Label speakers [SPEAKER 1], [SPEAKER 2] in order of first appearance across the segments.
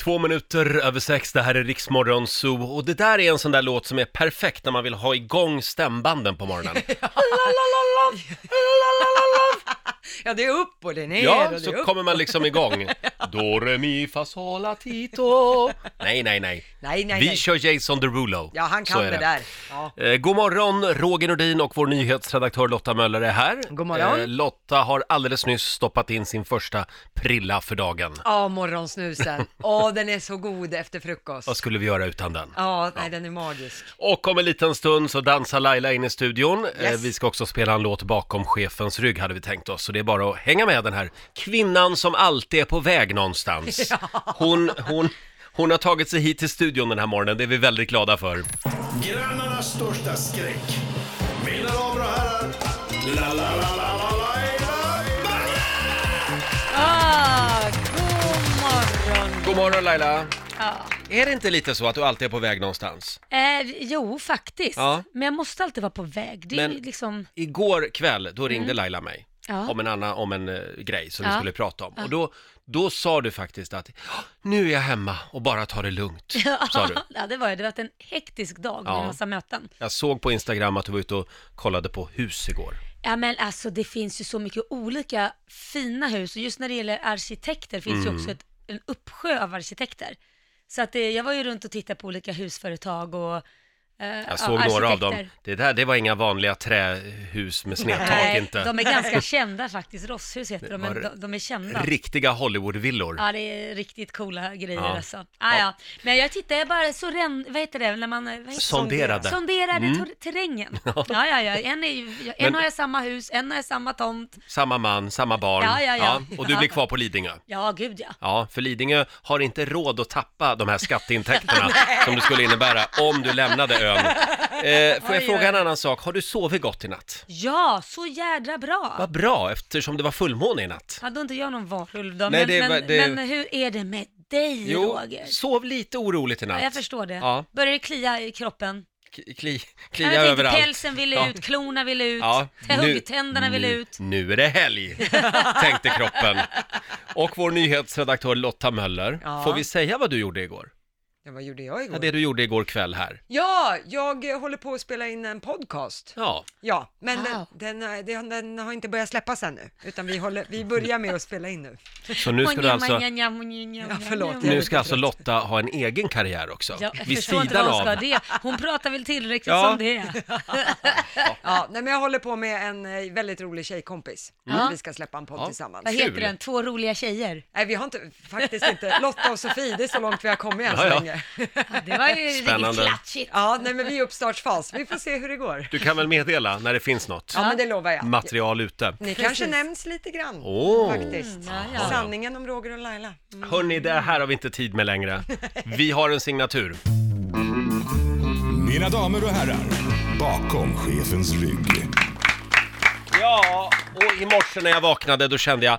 [SPEAKER 1] Två minuter över sex, det här är Riksmorgon Zoo och det där är en sån där låt som är perfekt när man vill ha igång stämbanden på morgonen.
[SPEAKER 2] Ja, det är upp och det är ner och
[SPEAKER 1] Ja,
[SPEAKER 2] det är
[SPEAKER 1] så
[SPEAKER 2] upp.
[SPEAKER 1] kommer man liksom igång. Do, re, mi, fa, sol, la, ti, to. Nej, nej, nej.
[SPEAKER 2] Nej, nej,
[SPEAKER 1] Vi
[SPEAKER 2] nej.
[SPEAKER 1] kör Jason Derulo.
[SPEAKER 2] Ja, han
[SPEAKER 1] Så
[SPEAKER 2] kan
[SPEAKER 1] är
[SPEAKER 2] det. där. Ja.
[SPEAKER 1] Eh, God morgon, Roger Nordin och vår nyhetsredaktör Lotta Möller är här. Eh,
[SPEAKER 2] God morgon.
[SPEAKER 1] Lotta har alldeles nyss stoppat in sin första prilla för dagen.
[SPEAKER 2] Ja, morgonsnusen. Åh, den är så god efter frukost.
[SPEAKER 1] Vad skulle vi göra utan den?
[SPEAKER 2] Ja, nej, den är magisk.
[SPEAKER 1] Och om en liten stund så dansar Laila in i studion. Eh,
[SPEAKER 2] Yes.
[SPEAKER 1] Vi ska också spela en låt bakom chefens rygg hade vi tänkt oss. Så det är bara att hänga med den här kvinnan som alltid är på väg någonstans. Hon, hon, hon har tagit sig hit till studion den här morgonen, det är vi väldigt glada för.
[SPEAKER 3] Grannarnas största skräck. Mina damer och herrar. La, la, la, la, la, la, la.
[SPEAKER 2] Ah, god morgon.
[SPEAKER 1] God morgon Laila!
[SPEAKER 4] Ja.
[SPEAKER 1] Är det inte lite så att du alltid är på väg någonstans?
[SPEAKER 4] Eh, jo, faktiskt.
[SPEAKER 1] Ja.
[SPEAKER 4] Men jag måste alltid vara på väg. Det är
[SPEAKER 1] Men-
[SPEAKER 4] ju liksom...
[SPEAKER 1] Igår kväll, då ringde Laila mig
[SPEAKER 4] Mm. Ja.
[SPEAKER 1] om en annan, om en eh, grej som vi
[SPEAKER 4] Ja.
[SPEAKER 1] skulle prata om. Och då, då sa du faktiskt att nu är jag hemma och bara tar det lugnt, sa du.
[SPEAKER 4] ja, det var det. Det var en hektisk dag med
[SPEAKER 1] Ja.
[SPEAKER 4] en massa möten.
[SPEAKER 1] Jag såg på Instagram att du var ute och kollade på hus igår.
[SPEAKER 4] Ja, men alltså det finns ju så mycket olika fina hus och just när det gäller arkitekter finns
[SPEAKER 1] Mm.
[SPEAKER 4] ju också ett, en uppsjö av arkitekter. Så att det, jag var ju runt och tittade på olika husföretag och eh, ja,
[SPEAKER 1] Jag såg några av dem.
[SPEAKER 4] arkitekter.
[SPEAKER 1] Det där, det var inga vanliga trähus med snedtak
[SPEAKER 4] Nej,
[SPEAKER 1] inte.
[SPEAKER 4] De är ganska kända faktiskt. Rosshus heter de,
[SPEAKER 1] var
[SPEAKER 4] men de, de är kända.
[SPEAKER 1] Riktiga Hollywoodvillor.
[SPEAKER 4] Ja, det är riktigt coola grejer
[SPEAKER 1] Ja.
[SPEAKER 4] alltså. Ah, ja. Men jag tittar, jag bara så ren, vad heter det, när man... Vad heter
[SPEAKER 1] Sonderade.
[SPEAKER 4] Sonderade tor- terrängen. Ja, ja, ja. En, är ju, en
[SPEAKER 1] Mm. Men-
[SPEAKER 4] har jag samma hus, en har jag samma tomt.
[SPEAKER 1] Samma man, samma barn.
[SPEAKER 4] Ja, ja, ja.
[SPEAKER 1] och du blir kvar på Lidingö.
[SPEAKER 4] Ja, gud ja.
[SPEAKER 1] Ja, för Lidingö har inte råd att tappa de här skatteintäkterna som det skulle innebära om du lämnade ön. Eh, får jag
[SPEAKER 4] Oj,
[SPEAKER 1] fråga
[SPEAKER 4] oj.
[SPEAKER 1] en annan sak? Har du sovit gott i natt?
[SPEAKER 4] Ja, så jädra bra.
[SPEAKER 1] Vad bra, eftersom det var fullmåne i natt.
[SPEAKER 4] Hade inte jag någon varulv då,
[SPEAKER 1] Nej,
[SPEAKER 4] men,
[SPEAKER 1] det var-
[SPEAKER 4] men,
[SPEAKER 1] det-
[SPEAKER 4] men hur är det med dig Roger?
[SPEAKER 1] sov lite oroligt i natt.
[SPEAKER 4] Ja, jag förstår det.
[SPEAKER 1] Ja.
[SPEAKER 4] Börjar det klia i kroppen?
[SPEAKER 1] K- Kli,
[SPEAKER 4] Ja,
[SPEAKER 1] klia
[SPEAKER 4] jag tänkte
[SPEAKER 1] överallt.
[SPEAKER 4] pälsen ville
[SPEAKER 1] Ja.
[SPEAKER 4] ut, klorna ville ut,
[SPEAKER 1] Ja,
[SPEAKER 4] ja, huggtänderna ville
[SPEAKER 1] nu,
[SPEAKER 4] ut.
[SPEAKER 1] Nu är det helg, tänkte kroppen. Och vår nyhetsredaktör Lotta Möller,
[SPEAKER 2] Ja.
[SPEAKER 1] får vi säga vad du gjorde igår?
[SPEAKER 2] Ja, vad gjorde jag
[SPEAKER 1] Ja,
[SPEAKER 2] igår?
[SPEAKER 1] det du gjorde igår kväll här.
[SPEAKER 2] Ja, jag eh, håller på att spela in en podcast.
[SPEAKER 1] Ja,
[SPEAKER 2] Ja, men
[SPEAKER 4] Wow.
[SPEAKER 2] den, den, eh, den, den har inte börjat släppas ännu, utan vi, håller, vi börjar med att spela in nu.
[SPEAKER 1] så nu ska du alltså...
[SPEAKER 4] Ja,
[SPEAKER 2] förlåt, jag
[SPEAKER 1] Nu ska alltså Lotta ha en egen karriär också,
[SPEAKER 4] Ja, jag
[SPEAKER 1] vid
[SPEAKER 4] förstår inte
[SPEAKER 1] sidan
[SPEAKER 4] vad hon ska ha
[SPEAKER 1] av.
[SPEAKER 4] det. Hon pratar väl tillräckligt
[SPEAKER 1] Ja.
[SPEAKER 4] som det är.
[SPEAKER 2] Ja, nej, men jag håller på med en eh, väldigt rolig tjejkompis.
[SPEAKER 4] Mm.
[SPEAKER 2] Vi ska släppa en podd
[SPEAKER 1] Ja.
[SPEAKER 2] tillsammans.
[SPEAKER 4] Vad
[SPEAKER 1] Kul.
[SPEAKER 4] heter den? Två roliga tjejer.
[SPEAKER 2] Nej, vi har inte, faktiskt inte, Lotta och Sofie, det är så långt vi har kommit än så
[SPEAKER 1] Ja, ja.
[SPEAKER 2] länge.
[SPEAKER 4] Ja, det var ju
[SPEAKER 1] Spännande.
[SPEAKER 4] riktigt klatschigt.
[SPEAKER 2] Ja, nej, men vi är i uppstartsfas, vi får se hur det går.
[SPEAKER 1] Du kan väl meddela när det finns något
[SPEAKER 2] Ja, men det lovar jag.
[SPEAKER 1] material ute?
[SPEAKER 2] Ni kanske nämns lite grann,
[SPEAKER 1] Åh.
[SPEAKER 2] faktiskt.
[SPEAKER 4] Ja, ja.
[SPEAKER 2] Sanningen om Roger och Laila. Mm.
[SPEAKER 1] Hörni, det här har vi inte tid med längre. Vi har en signatur.
[SPEAKER 3] Mina damer och herrar. Bakom chefens rygg.
[SPEAKER 1] Ja, och i morse när jag vaknade då kände jag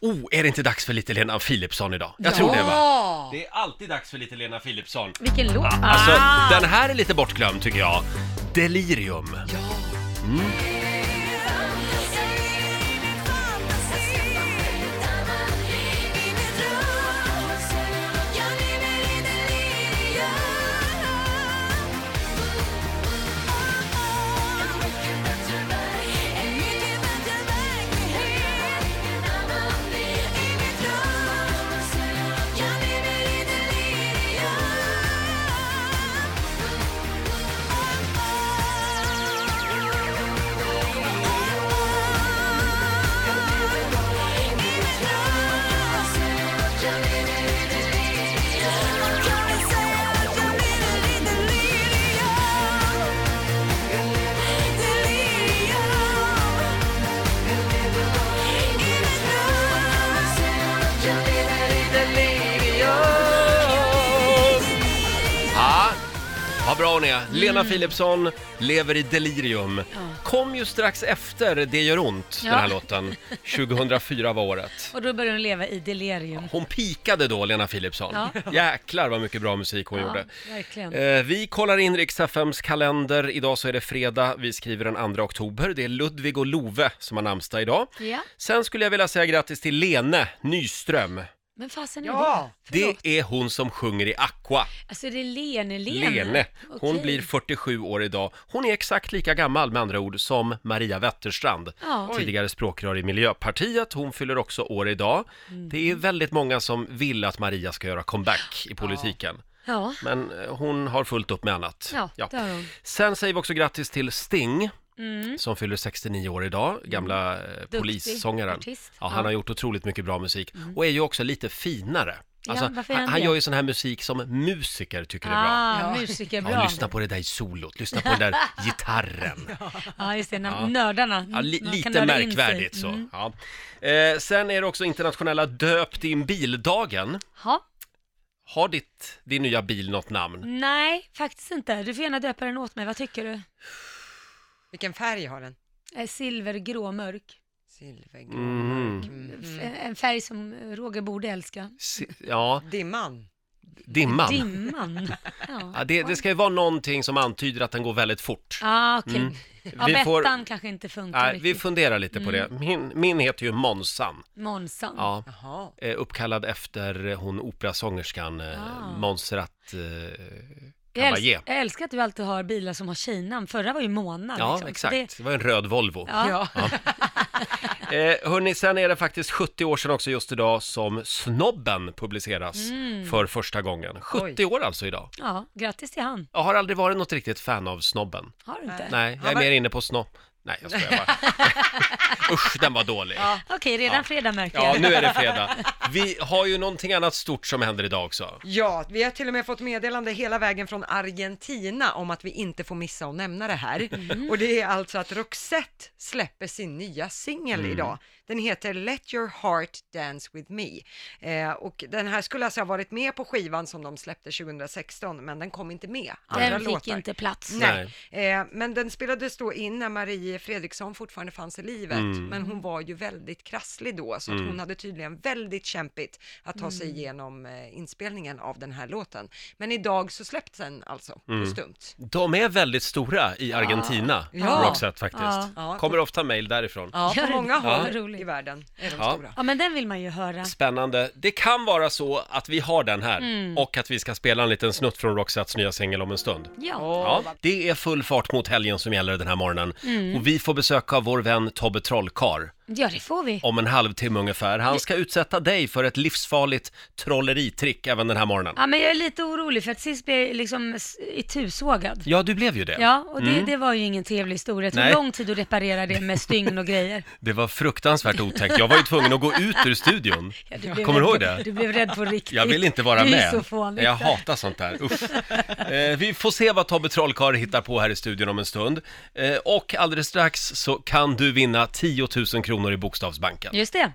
[SPEAKER 1] Oh, är det inte dags för lite Lena Philipsson idag? Jag tror det va?
[SPEAKER 2] Ja!
[SPEAKER 1] Det är alltid dags för lite Lena Philipsson.
[SPEAKER 4] Vilken låt.
[SPEAKER 1] Alltså, den här är lite bortglömd tycker jag. Delirium. Ja, vad bra hon är. Lena Philipsson lever i delirium. Kom ju strax efter Det gör ont, den här
[SPEAKER 4] Ja.
[SPEAKER 1] låten. 2004 var året.
[SPEAKER 4] Och då börjar hon leva i delirium.
[SPEAKER 1] Hon pikade då, Lena Philipsson.
[SPEAKER 4] Ja.
[SPEAKER 1] Jäklar vad mycket bra musik hon
[SPEAKER 4] Ja,
[SPEAKER 1] gjorde.
[SPEAKER 4] verkligen.
[SPEAKER 1] Eh, vi kollar in riks FMs kalender. Idag så är det fredag. Vi skriver den 2 oktober. Det är Ludvig och Love som har namnsdag idag.
[SPEAKER 4] Ja.
[SPEAKER 1] Sen skulle jag vilja säga grattis till Lene Nyström.
[SPEAKER 4] Men fasen är
[SPEAKER 2] Ja.
[SPEAKER 4] det? Förlåt.
[SPEAKER 1] Det är hon som sjunger i Aqua,
[SPEAKER 4] Alltså det är Lene, Lene.
[SPEAKER 1] Lene. Hon
[SPEAKER 4] Okej.
[SPEAKER 1] blir 47 år idag. Hon är exakt lika gammal med andra ord som Maria Wetterstrand,
[SPEAKER 4] Ja. Oj.
[SPEAKER 1] tidigare språkrör i Miljöpartiet. Hon fyller också år idag.
[SPEAKER 4] Mm.
[SPEAKER 1] Det är väldigt många som vill att Maria ska göra comeback i politiken.
[SPEAKER 4] Ja,
[SPEAKER 1] Men eh, hon har fullt upp med annat.
[SPEAKER 4] Ja, det har hon. Mm.
[SPEAKER 1] Sen säger vi också grattis till Sting. Som fyller 69 år idag, gamla eh, polissångaren.
[SPEAKER 4] artist.
[SPEAKER 1] Ja, han
[SPEAKER 4] Ja. Mm.
[SPEAKER 1] har gjort otroligt mycket bra musik och är ju också lite finare. Alltså,
[SPEAKER 4] varför är
[SPEAKER 1] han,
[SPEAKER 4] han
[SPEAKER 1] han
[SPEAKER 4] det?
[SPEAKER 1] gör ju sån här musik som musiker tycker är bra.
[SPEAKER 4] ah,
[SPEAKER 2] Ja.
[SPEAKER 4] musiker,
[SPEAKER 1] Ja,
[SPEAKER 4] bra.
[SPEAKER 1] lyssna på det där solot, lyssna på den där gitarren.
[SPEAKER 4] Ja, just det, när nördarna.
[SPEAKER 1] Ja, li-
[SPEAKER 4] man kan
[SPEAKER 1] lite
[SPEAKER 4] nörda in sig. Mm.
[SPEAKER 1] märkvärdigt så. Ja. Eh, sen är det också internationella döp din bildagen.
[SPEAKER 4] Ja.
[SPEAKER 1] Har ditt, din nya bil något namn?
[SPEAKER 4] Nej, faktiskt inte. Du får gärna döpa den åt mig. Vad tycker du?
[SPEAKER 2] Vilken färg har den?
[SPEAKER 4] Eh, Silvergrå mörk.
[SPEAKER 2] Silvergrå.
[SPEAKER 1] Mhm.
[SPEAKER 2] mörk. Mm.
[SPEAKER 4] F- En färg som eh, Roger borde älska.
[SPEAKER 1] Si- Ja,
[SPEAKER 2] Dimman.
[SPEAKER 1] dimman.
[SPEAKER 4] Dimman. Ja,
[SPEAKER 1] Ja, det, det ska ju vara någonting som antyder att den går väldigt fort.
[SPEAKER 4] ah, okej. Ja,
[SPEAKER 1] Mm. Vi får-
[SPEAKER 4] Bettan Mm. kanske inte funkar
[SPEAKER 1] Nej, vi
[SPEAKER 4] riktigt.
[SPEAKER 1] funderar lite på det. Min, min heter ju
[SPEAKER 4] Mm.
[SPEAKER 1] Monsan.
[SPEAKER 4] Månsan.
[SPEAKER 1] Ja,
[SPEAKER 2] Jaha.
[SPEAKER 1] eh, uppkallad efter eh, hon operasångerskan eh,
[SPEAKER 4] Ah.
[SPEAKER 1] Montserrat eh,
[SPEAKER 4] jag, älsk-
[SPEAKER 1] Caballé.
[SPEAKER 4] jag älskar att du alltid har bilar som har tjejnamn. Förra var ju Mona.
[SPEAKER 1] Ja,
[SPEAKER 4] liksom. Så
[SPEAKER 1] exakt.
[SPEAKER 4] Det,
[SPEAKER 1] Det var en röd Volvo.
[SPEAKER 4] ja.
[SPEAKER 2] Ja.
[SPEAKER 1] Eh, hörni, sen är det faktiskt 70 år sedan också just idag som Snobben publiceras
[SPEAKER 2] Mm.
[SPEAKER 1] för första gången. 70 år alltså idag.
[SPEAKER 4] ja, grattis till han.
[SPEAKER 1] Jag har aldrig varit något riktigt fan av Snobben.
[SPEAKER 4] Har du inte?
[SPEAKER 1] Nej, jag är
[SPEAKER 2] Ja, men-
[SPEAKER 1] mer inne på snopp. Nej, jag skojar bara. Usch, den var dålig. Ja.
[SPEAKER 4] Okej, redan fredag märker jag.
[SPEAKER 1] nu är det fredag. Vi har ju någonting annat stort som händer idag också.
[SPEAKER 2] Ja, vi har till och med fått meddelande hela vägen från Argentina om att vi inte får missa att nämna det här.
[SPEAKER 4] Mm.
[SPEAKER 2] Och det är alltså att Roxette släpper sin nya singel
[SPEAKER 4] Mm.
[SPEAKER 2] idag. Den heter Let your heart dance with me. Eh, och den här skulle alltså ha varit med på skivan som de släppte 2016, men den kom inte med. Andra
[SPEAKER 4] Den fick
[SPEAKER 2] låtar.
[SPEAKER 4] inte plats.
[SPEAKER 2] Nej, Eh, men den spelades då in när Marie Fredriksson fortfarande fanns i livet,
[SPEAKER 1] Mm.
[SPEAKER 2] men hon var ju väldigt krasslig då, så att hon hade tydligen väldigt kämpigt att ta sig igenom eh, inspelningen av den här låten. Men idag så släpptes den alltså,
[SPEAKER 1] Mm.
[SPEAKER 2] på stumt.
[SPEAKER 1] De är väldigt stora i Argentina,
[SPEAKER 2] Ja.
[SPEAKER 1] Roxette faktiskt.
[SPEAKER 2] Ja.
[SPEAKER 1] Kommer ofta mejl därifrån.
[SPEAKER 2] Ja,
[SPEAKER 4] Gör
[SPEAKER 2] på
[SPEAKER 4] det.
[SPEAKER 2] många håll
[SPEAKER 4] Ja. Roligt.
[SPEAKER 2] i världen är de
[SPEAKER 1] Ja.
[SPEAKER 2] stora.
[SPEAKER 4] Ja, men den vill man ju höra.
[SPEAKER 1] Spännande. Det kan vara så att vi har den här
[SPEAKER 4] Mm.
[SPEAKER 1] och att vi ska spela en liten snutt från Roxettes nya singel om en stund.
[SPEAKER 4] Ja.
[SPEAKER 1] Ja, det är full fart mot helgen som gäller den här morgonen.
[SPEAKER 4] Mm.
[SPEAKER 1] Och vi får besöka vår vän Tobbe Trollkarl.
[SPEAKER 4] ja, det får vi.
[SPEAKER 1] om en halvtimme ungefär. Han ska utsätta dig för ett livsfarligt trolleritrick även den här morgonen.
[SPEAKER 4] Ja, men jag är lite orolig för att sist blev jag liksom s- itusågad.
[SPEAKER 1] Ja, du blev ju det.
[SPEAKER 4] Ja, och det, det var ju ingen trevlig historia. Det tog
[SPEAKER 1] Nej.
[SPEAKER 4] lång tid att reparera det med stygn och grejer.
[SPEAKER 1] Det var fruktansvärt otäckt. Jag var ju tvungen att gå ut ur studion.
[SPEAKER 4] Ja, du blev
[SPEAKER 1] Kommer du
[SPEAKER 4] rädd
[SPEAKER 1] ihåg
[SPEAKER 4] på-
[SPEAKER 1] det?
[SPEAKER 4] Du blev rädd på riktigt.
[SPEAKER 1] Jag vill inte vara
[SPEAKER 4] du
[SPEAKER 1] med.
[SPEAKER 4] Är så fånig.
[SPEAKER 1] jag hatar sånt där. Usch. Eh, vi får se vad Tobbe Trollkarl hittar på här i studion om en stund. Eh, och alldeles strax så kan du vinna 10 000 kronor i Bokstavsbanken.
[SPEAKER 4] Just det.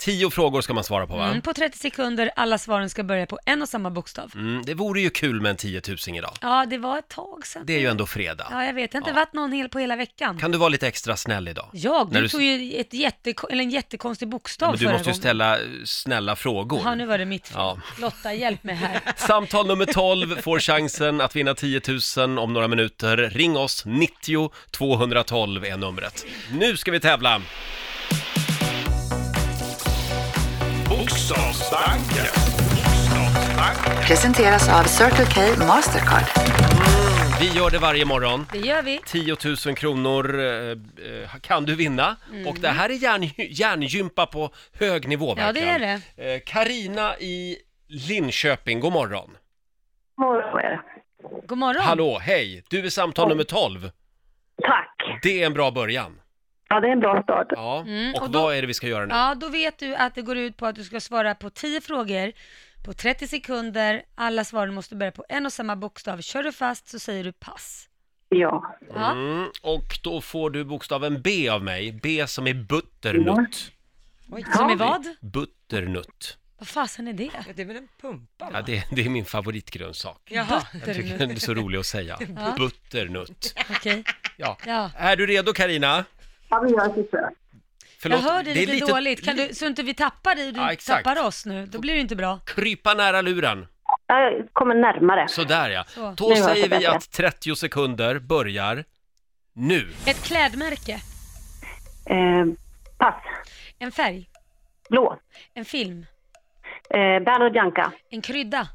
[SPEAKER 1] 10 frågor ska man svara på va?
[SPEAKER 4] Mm, på 30 sekunder, alla svaren ska börja på en och samma bokstav.
[SPEAKER 1] Mm, det vore ju kul med en 10 000 idag.
[SPEAKER 4] Ja, det var ett tag sedan.
[SPEAKER 1] Det är ju ändå fredag.
[SPEAKER 4] Ja, jag vet. Det har inte varit någon hel på hela veckan.
[SPEAKER 1] Kan du vara lite extra snäll idag?
[SPEAKER 4] Jag?
[SPEAKER 1] När
[SPEAKER 4] Du
[SPEAKER 1] du-
[SPEAKER 4] tog ju ett jätte, eller en jättekonstig bokstav
[SPEAKER 1] Men du
[SPEAKER 4] förra
[SPEAKER 1] måste ju
[SPEAKER 4] gången.
[SPEAKER 1] ställa eh, snälla frågor.
[SPEAKER 4] Ja, nu var det mitt fel.
[SPEAKER 1] Ja.
[SPEAKER 4] Lotta, hjälp mig här.
[SPEAKER 1] Samtal nummer 12 får chansen att vinna 10 000 om några minuter. Ring oss, 90 212 är numret. Nu ska vi tävla!
[SPEAKER 3] Bokstavsbanken.
[SPEAKER 5] Presenteras av Circle K Mastercard.
[SPEAKER 1] Vi gör det varje morgon.
[SPEAKER 4] Det gör vi.
[SPEAKER 1] 10 000 kronor eh, eh, kan du vinna. Och det här är järn, järngympa på hög nivå
[SPEAKER 4] Ja, det
[SPEAKER 1] verkligen.
[SPEAKER 4] är det.
[SPEAKER 1] Eh, Carina i Linköping, god morgon.
[SPEAKER 6] morgon på er.
[SPEAKER 4] God morgon.
[SPEAKER 1] Hallå, hej! Du är samtal nummer 12.
[SPEAKER 6] Tack!
[SPEAKER 1] Det är en bra början.
[SPEAKER 6] Ja, det är en bra start.
[SPEAKER 1] Ja, och,
[SPEAKER 4] Mm, och då-
[SPEAKER 1] vad är det vi ska göra nu?
[SPEAKER 4] Ja, då vet du att det går ut på att du ska svara på 10 frågor på 30 sekunder. Alla svaren måste börja på en och samma bokstav. Kör du fast så säger du pass.
[SPEAKER 6] Ja.
[SPEAKER 4] Ja,
[SPEAKER 1] Mm, och då får du bokstaven B av mig. B som är butternutt.
[SPEAKER 4] som är vad?
[SPEAKER 1] Butternutt.
[SPEAKER 4] Vad fasen är det?
[SPEAKER 2] Ja, det är väl en pumpa?
[SPEAKER 1] Ja, det, det är min favoritgrönsak.
[SPEAKER 2] Jaha.
[SPEAKER 1] Jag tycker den är så rolig att säga. Butternutt.
[SPEAKER 4] Okej.
[SPEAKER 1] Ja.
[SPEAKER 4] Ja.
[SPEAKER 1] Är du redo Karina?
[SPEAKER 6] Ja, vi gör ett försök.
[SPEAKER 1] Förlåt,
[SPEAKER 4] Jag hör dig
[SPEAKER 1] det är
[SPEAKER 4] lite, dåligt. Kan du, så inte vi tappar dig och du
[SPEAKER 1] Ja, exakt.
[SPEAKER 4] tappar oss nu. Då blir det inte bra.
[SPEAKER 1] Krypa nära luren.
[SPEAKER 6] Jag kommer närmare.
[SPEAKER 1] Sådär ja.
[SPEAKER 4] Så.
[SPEAKER 1] Då
[SPEAKER 6] Nu hörs
[SPEAKER 1] säger
[SPEAKER 6] det
[SPEAKER 1] vi
[SPEAKER 6] bättre.
[SPEAKER 1] att 30 sekunder börjar nu.
[SPEAKER 4] Ett klädmärke.
[SPEAKER 6] Eh, pass.
[SPEAKER 4] En färg.
[SPEAKER 6] Blå.
[SPEAKER 4] En film.
[SPEAKER 6] Eh, bär och Bianca.
[SPEAKER 4] En krydda.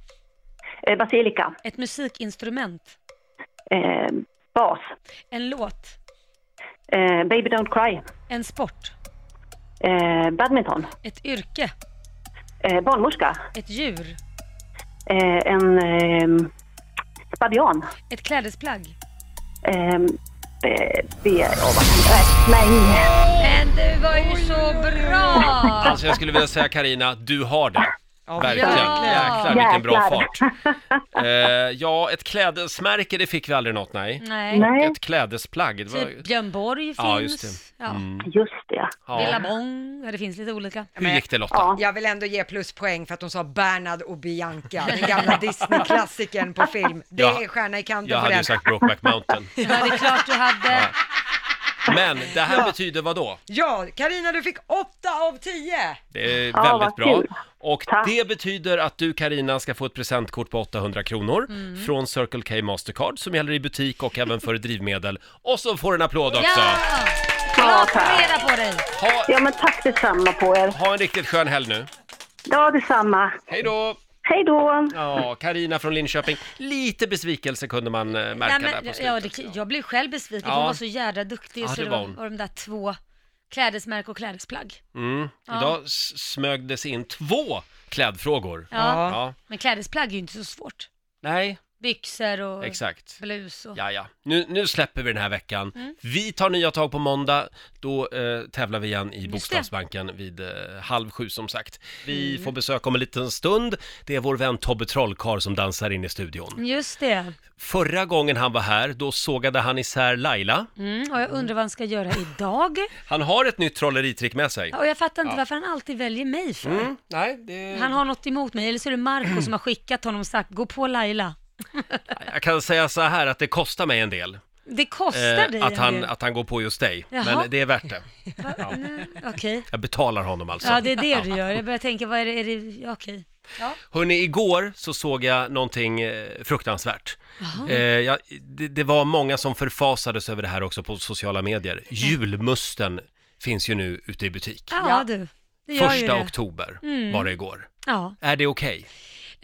[SPEAKER 6] Eh, basilika.
[SPEAKER 4] Ett musikinstrument.
[SPEAKER 6] Eh, bas.
[SPEAKER 4] En låt.
[SPEAKER 6] Eh, baby Don't Cry.
[SPEAKER 4] En sport.
[SPEAKER 6] Eh, badminton.
[SPEAKER 4] Ett yrke.
[SPEAKER 6] Eh, barnmorska.
[SPEAKER 4] Ett djur.
[SPEAKER 6] Eh, en eh, babian.
[SPEAKER 4] Ett klädesplagg.
[SPEAKER 6] Eh, be, be, eh, åh, vad, nej, nej.
[SPEAKER 4] Men du var ju så bra!
[SPEAKER 1] Alltså jag skulle vilja säga Karina, du har det.
[SPEAKER 2] Ja,
[SPEAKER 1] Verkligen.
[SPEAKER 4] verkligen.
[SPEAKER 1] Jäklar vilken bra
[SPEAKER 6] Jäklar.
[SPEAKER 1] fart. Eh, ja, ett klädesmärke det fick vi aldrig något, nej.
[SPEAKER 4] Nej,
[SPEAKER 6] Nej,
[SPEAKER 1] Ett klädesplagg. Det var...
[SPEAKER 4] typ Björn Borg finns.
[SPEAKER 1] Ja,
[SPEAKER 4] Ja,
[SPEAKER 1] just det. Mm.
[SPEAKER 6] just det.
[SPEAKER 4] Billa
[SPEAKER 1] Ja.
[SPEAKER 4] Bong, ja, det finns lite olika.
[SPEAKER 1] Hur gick det Lotta?
[SPEAKER 6] Ja.
[SPEAKER 2] Jag vill ändå ge pluspoäng för att hon sa Bernard och Bianca, den gamla Disney-klassikern på film. Det
[SPEAKER 1] Ja.
[SPEAKER 2] är stjärna i kanten
[SPEAKER 1] Jag
[SPEAKER 2] på
[SPEAKER 1] hade ju
[SPEAKER 2] den.
[SPEAKER 1] sagt Brokeback Mountain.
[SPEAKER 4] Ja, det är klart du hade.
[SPEAKER 1] Men det här betyder vad då?
[SPEAKER 2] Ja, Karina du fick 8 av 10!
[SPEAKER 1] Det är
[SPEAKER 6] Ja,
[SPEAKER 1] väldigt
[SPEAKER 6] vad
[SPEAKER 1] bra.
[SPEAKER 6] kul.
[SPEAKER 1] Och
[SPEAKER 6] Tack.
[SPEAKER 1] det betyder att du Karina ska få ett presentkort på 800 kronor
[SPEAKER 4] Mm.
[SPEAKER 1] från Circle K Mastercard som gäller i butik och även för drivmedel. Och så får du en applåd också!
[SPEAKER 4] Ja!
[SPEAKER 6] Ja,
[SPEAKER 4] Bra
[SPEAKER 6] tack.
[SPEAKER 4] reda på dig!
[SPEAKER 1] Ha,
[SPEAKER 6] Ja, men tack detsamma på er.
[SPEAKER 1] ha en riktigt skön helg nu.
[SPEAKER 6] Ja, detsamma.
[SPEAKER 1] Hej då!
[SPEAKER 6] Hej då!
[SPEAKER 1] Ja, Karina från Linköping. Lite besvikelse kunde man eh, märka
[SPEAKER 4] Nej,
[SPEAKER 1] där
[SPEAKER 4] men,
[SPEAKER 1] på
[SPEAKER 4] ja,
[SPEAKER 1] slutet.
[SPEAKER 4] det, jag blev själv besviken,
[SPEAKER 1] Ja.
[SPEAKER 4] hon var så jädra duktig.
[SPEAKER 1] Ja,
[SPEAKER 4] så
[SPEAKER 1] det
[SPEAKER 4] det
[SPEAKER 1] var
[SPEAKER 4] var,
[SPEAKER 1] hon.
[SPEAKER 4] var de där två klädesmärke och klädesplagg.
[SPEAKER 1] Mm. Idag s- smög det sig in två klädfrågor.
[SPEAKER 4] Ja.
[SPEAKER 1] Ja.
[SPEAKER 4] Men klädesplagg är ju inte så svårt.
[SPEAKER 1] Nej,
[SPEAKER 4] Byxor och
[SPEAKER 1] exakt.
[SPEAKER 4] blus och...
[SPEAKER 1] Ja, ja. Nu, nu släpper vi den här veckan.
[SPEAKER 4] Mm.
[SPEAKER 1] Vi tar nya tag på måndag. Då eh, tävlar vi igen i Bokstavsbanken vid eh, halv sju som sagt. Vi
[SPEAKER 4] Mm.
[SPEAKER 1] får besök om en liten stund. Det är vår vän Tobbe Trollkarl som dansar in i studion.
[SPEAKER 4] Just det.
[SPEAKER 1] Förra gången han var här, då sågade han isär Laila.
[SPEAKER 4] Mm, och jag undrar vad han ska göra idag.
[SPEAKER 1] Han har ett nytt trolleritrick med sig.
[SPEAKER 4] Ja, Och jag fattar inte varför han alltid väljer mig för.
[SPEAKER 1] Mm, nej, det...
[SPEAKER 4] Han har något emot mig, eller så är det Marco som har skickat honom och sagt gå på Laila.
[SPEAKER 1] Jag kan säga så här att det kostar mig en del.
[SPEAKER 4] Det kostar dig
[SPEAKER 1] Eh, att,
[SPEAKER 4] en
[SPEAKER 1] han,
[SPEAKER 4] del.
[SPEAKER 1] att han går på just dig.
[SPEAKER 4] Jaha.
[SPEAKER 1] Men det är värt det.
[SPEAKER 4] Va? Nej, Mm, Okej.
[SPEAKER 1] Jag betalar honom alltså.
[SPEAKER 4] Ja, det är det du gör. Jag börjar tänka, vad är det, är det... ja, okej. Ja.
[SPEAKER 1] Hörni, igår så såg jag någonting eh, fruktansvärt. Eh, jag, det, det var många som förfasades över det här också på sociala medier. Julmusten finns ju nu ute i butik.
[SPEAKER 4] Ja, du. Det gör ju
[SPEAKER 1] Första
[SPEAKER 4] det. Mm.
[SPEAKER 1] oktober var det igår.
[SPEAKER 4] Ja.
[SPEAKER 1] Är det okej?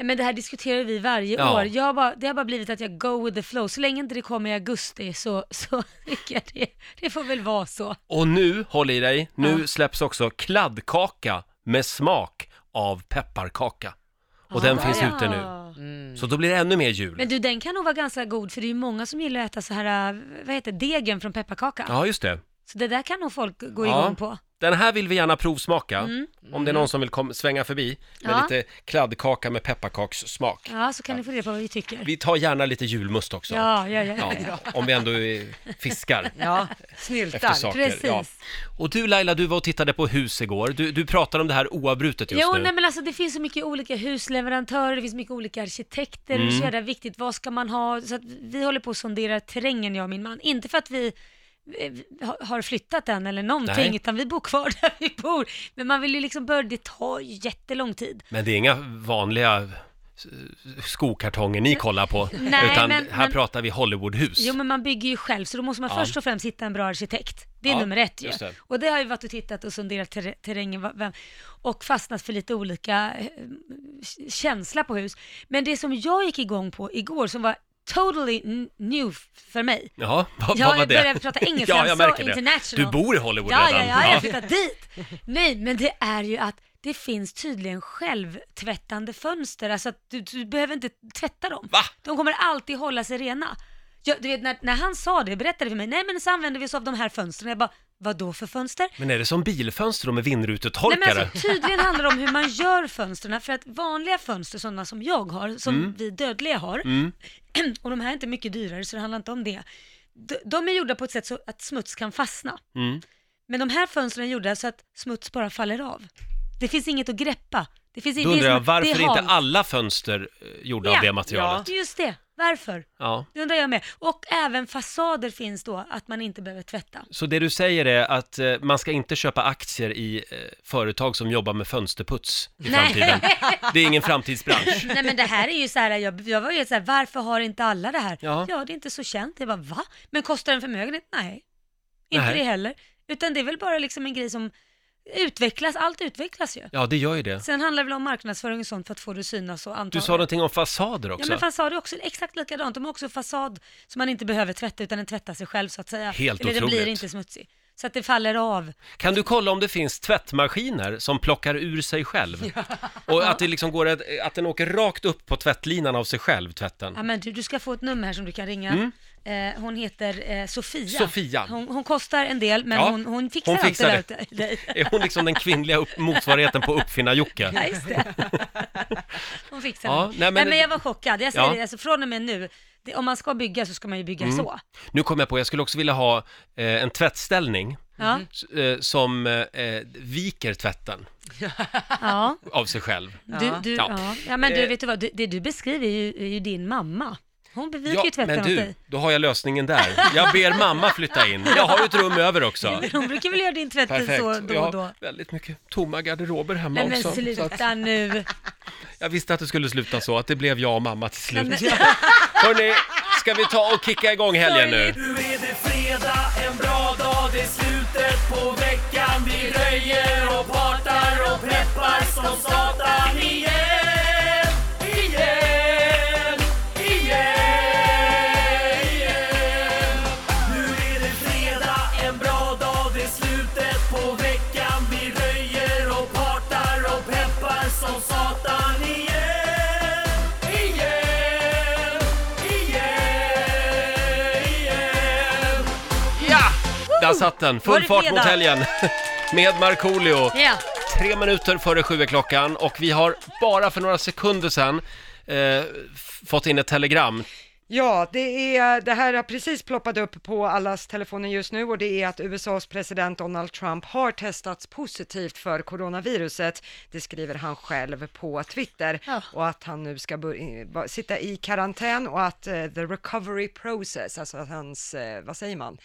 [SPEAKER 4] Men det här diskuterar vi varje
[SPEAKER 1] Ja.
[SPEAKER 4] år. Jag har bara, det har bara blivit att jag go with the flow. Så länge inte det kommer i augusti så, så tycker jag det, det får väl vara så.
[SPEAKER 1] Och nu, håll i dig, nu släpps också kladdkaka med smak av pepparkaka. Och den finns ute nu.
[SPEAKER 4] Ah, Ja.
[SPEAKER 1] Så då blir det ännu mer jul.
[SPEAKER 4] Mm. Men du, den kan nog vara ganska god för det är ju många som gillar att äta så här, äh, vad heter det, degen från pepparkaka.
[SPEAKER 1] Ja, just det.
[SPEAKER 4] Så det där kan nog folk gå
[SPEAKER 1] Ja.
[SPEAKER 4] igång på.
[SPEAKER 1] Den här vill vi gärna provsmaka. Om det är någon som vill kom, svänga förbi med
[SPEAKER 4] Mm. Ja.
[SPEAKER 1] lite kladdkaka med pepparkakssmak.
[SPEAKER 4] Ja, så kan ni få reda på vad vi tycker.
[SPEAKER 1] Vi tar gärna lite julmust också.
[SPEAKER 4] Ja, ja, ja.
[SPEAKER 1] Ja, om vi ändå är- fiskar
[SPEAKER 2] Ja,
[SPEAKER 1] efter
[SPEAKER 2] snyltar.
[SPEAKER 1] saker.
[SPEAKER 4] Precis.
[SPEAKER 1] Ja. Och du Laila, du var och tittade på hus igår. Du, du pratar om det här oavbrutet just
[SPEAKER 4] Jo,
[SPEAKER 1] nu.
[SPEAKER 4] nej men alltså det finns så mycket olika husleverantörer, det finns mycket olika arkitekter, det är
[SPEAKER 1] Mm.
[SPEAKER 4] så jävla viktigt, vad ska man ha? Så att vi håller på att sondera terrängen jag och min man. Inte för att vi eh, ha- har flyttat än eller någonting,
[SPEAKER 1] Nej.
[SPEAKER 4] utan vi bor kvar där vi bor. Men man vill ju liksom börja, det tar ju jättelång tid.
[SPEAKER 1] Men det är inga vanliga eh, skokartonger ni kollar på,
[SPEAKER 4] Nej,
[SPEAKER 1] utan
[SPEAKER 4] men-
[SPEAKER 1] här
[SPEAKER 4] men-
[SPEAKER 1] pratar vi Hollywoodhus.
[SPEAKER 4] Jo men man bygger ju själv så då måste man
[SPEAKER 1] Ja.
[SPEAKER 4] först och främst hitta en bra arkitekt. Det är
[SPEAKER 1] Ja,
[SPEAKER 4] nummer ett ju.
[SPEAKER 1] just det.
[SPEAKER 4] Och det har ju varit och tittat och sonderat ter- terrängen va- vem- och fastnat för lite olika eh, k- känsla på hus. Men det som jag gick igång på igår som var totally n- new f- för mig.
[SPEAKER 1] Jaha, vad,
[SPEAKER 4] Ja,
[SPEAKER 1] vad var
[SPEAKER 4] jag
[SPEAKER 1] det?
[SPEAKER 4] började prata engelska,
[SPEAKER 1] ja,
[SPEAKER 4] jag
[SPEAKER 1] jag
[SPEAKER 4] sa
[SPEAKER 1] märker det. Du
[SPEAKER 4] international.
[SPEAKER 1] bor i Hollywood
[SPEAKER 4] Ja, ja,
[SPEAKER 1] redan.
[SPEAKER 4] ja, jag har flyttat dit. Nej, men det är ju att det finns tydligen självtvättande fönster, alltså att du, du behöver inte tvätta dem.
[SPEAKER 1] Va?
[SPEAKER 4] De kommer alltid hålla sig rena. Jag, du vet, när, när han sa det, berättade för mig, nej men så använder vi oss av de här fönstren. Jag bara, vad då för fönster?
[SPEAKER 1] Men är det som bilfönster och med
[SPEAKER 4] Nej,
[SPEAKER 1] vindrutetorkare?
[SPEAKER 4] men alltså, tydligen handlar det om hur man gör fönstren, för att vanliga fönster, sådana som jag har, som
[SPEAKER 1] Mm.
[SPEAKER 4] vi dödliga har, och de här är inte mycket dyrare så det handlar inte om det. De, de är gjorda på ett sätt så att smuts kan fastna.
[SPEAKER 1] Mm.
[SPEAKER 4] Men de här fönstren är gjorda så att smuts bara faller av. Det finns inget att greppa. Det finns
[SPEAKER 1] Då
[SPEAKER 4] inget,
[SPEAKER 1] undrar jag, varför är inte
[SPEAKER 4] allt
[SPEAKER 1] alla fönster eh, gjorda
[SPEAKER 4] Ja,
[SPEAKER 1] av det materialet?
[SPEAKER 4] Just det, varför?
[SPEAKER 1] ja.
[SPEAKER 4] Det undrar jag med. Och även fasader finns då, att man inte behöver tvätta.
[SPEAKER 1] Så det du säger är att eh, man ska inte köpa aktier i eh, företag som jobbar med fönsterputs i
[SPEAKER 4] Nej.
[SPEAKER 1] framtiden? Det är ingen framtidsbransch.
[SPEAKER 4] Nej men det här är ju så här, jag, jag var ju så här, varför har inte alla det här?
[SPEAKER 1] Ja.
[SPEAKER 4] Ja, det är inte så känt. Jag bara, va? Men kostar en förmögenhet? Nej, inte
[SPEAKER 1] Nej.
[SPEAKER 4] det heller. Utan det är väl bara liksom en grej som utvecklas, allt utvecklas ju.
[SPEAKER 1] Ja, det gör ju det.
[SPEAKER 4] Sen handlar det väl om marknadsföring och sånt för att få det att synas och antagligen.
[SPEAKER 1] Du sa någonting om fasader
[SPEAKER 4] Ja
[SPEAKER 1] också.
[SPEAKER 4] men fasad är också exakt likadant, de har också fasad som man inte behöver tvätta utan den tvättar sig själv så att säga.
[SPEAKER 1] Helt
[SPEAKER 4] Eller den
[SPEAKER 1] otroligt.
[SPEAKER 4] blir inte smutsig. Så att det faller av.
[SPEAKER 1] Kan du kolla om det finns tvättmaskiner som plockar ur sig själv? Och att, det liksom går att, att den åker rakt upp på tvättlinan av sig själv, tvätten.
[SPEAKER 4] Ja, men du, du ska få ett nummer här som du kan ringa. Eh, hon heter eh, Sofia.
[SPEAKER 1] Mm. Sofia.
[SPEAKER 4] Hon, hon kostar en del, men
[SPEAKER 1] Ja,
[SPEAKER 4] hon, hon fixar,
[SPEAKER 1] hon fixar
[SPEAKER 4] allt det
[SPEAKER 1] det.
[SPEAKER 4] där åt dig.
[SPEAKER 1] Är hon liksom den kvinnliga upp- motsvarigheten på Uppfinnar-Jocke?
[SPEAKER 4] Ja, just det. Hon fixar
[SPEAKER 1] Ja,
[SPEAKER 4] det.
[SPEAKER 1] nej,
[SPEAKER 4] Nej,
[SPEAKER 1] men-
[SPEAKER 4] men, jag var chockad. Jag säger
[SPEAKER 1] Ja. Mm.
[SPEAKER 4] det, alltså, från och med nu, det, om man ska bygga så ska man ju bygga så.
[SPEAKER 1] Nu kom jag på, jag skulle också vilja ha eh, en tvättställning
[SPEAKER 4] Ja,
[SPEAKER 1] s- eh, som eh, viker tvätten
[SPEAKER 4] ja.
[SPEAKER 1] av sig själv.
[SPEAKER 4] Du, du,
[SPEAKER 1] Ja.
[SPEAKER 4] ja. ja, men du,
[SPEAKER 1] Eh.
[SPEAKER 4] vet du vad, det, det du beskriver är ju, är ju din mamma. Hon beviker
[SPEAKER 1] Ja,
[SPEAKER 4] ju tvätten
[SPEAKER 1] men
[SPEAKER 4] åt
[SPEAKER 1] du,
[SPEAKER 4] dig.
[SPEAKER 1] då har jag lösningen där. Jag ber mamma flytta in. Jag har ju ett rum över också.
[SPEAKER 4] Hon brukar väl göra din tvätt
[SPEAKER 1] Perfekt.
[SPEAKER 4] så då
[SPEAKER 1] jag
[SPEAKER 4] och
[SPEAKER 1] har
[SPEAKER 4] då.
[SPEAKER 1] väldigt mycket tomma garderober hemma
[SPEAKER 4] Nej men
[SPEAKER 1] också. Så att
[SPEAKER 4] sluta nu.
[SPEAKER 1] jag visste att det skulle sluta så, att det blev jag och mamma till slut.
[SPEAKER 4] Nej, men-
[SPEAKER 1] Hörni, ska vi ta och kicka igång helgen nu?
[SPEAKER 7] Nu är det fredag, en bra dag, det är slutet på veckan Vi röjer och partar och preppar som satan igen Igen, igen, igen Nu är det fredag, en bra dag, det är slutet på veckan Vi röjer och partar och peppar som satan igen Igen, igen, igen
[SPEAKER 1] Ja! Där satt den,
[SPEAKER 4] Var
[SPEAKER 1] full
[SPEAKER 4] det
[SPEAKER 1] fart
[SPEAKER 4] fredag?
[SPEAKER 1] mot helgen. Med Markoolio.
[SPEAKER 4] Ja.
[SPEAKER 1] Tre minuter före sju är klockan och vi har bara för några sekunder sedan eh, f- fått in ett telegram.
[SPEAKER 2] Ja, det, är, det här har precis ploppat upp på allas telefoner just nu och det är att USAs president Donald Trump har testats positivt för coronaviruset. Det skriver han själv på Twitter
[SPEAKER 4] Ja.
[SPEAKER 2] och att han nu ska bör- va- sitta i karantän och att eh, the recovery process, alltså att hans, eh, vad säger man,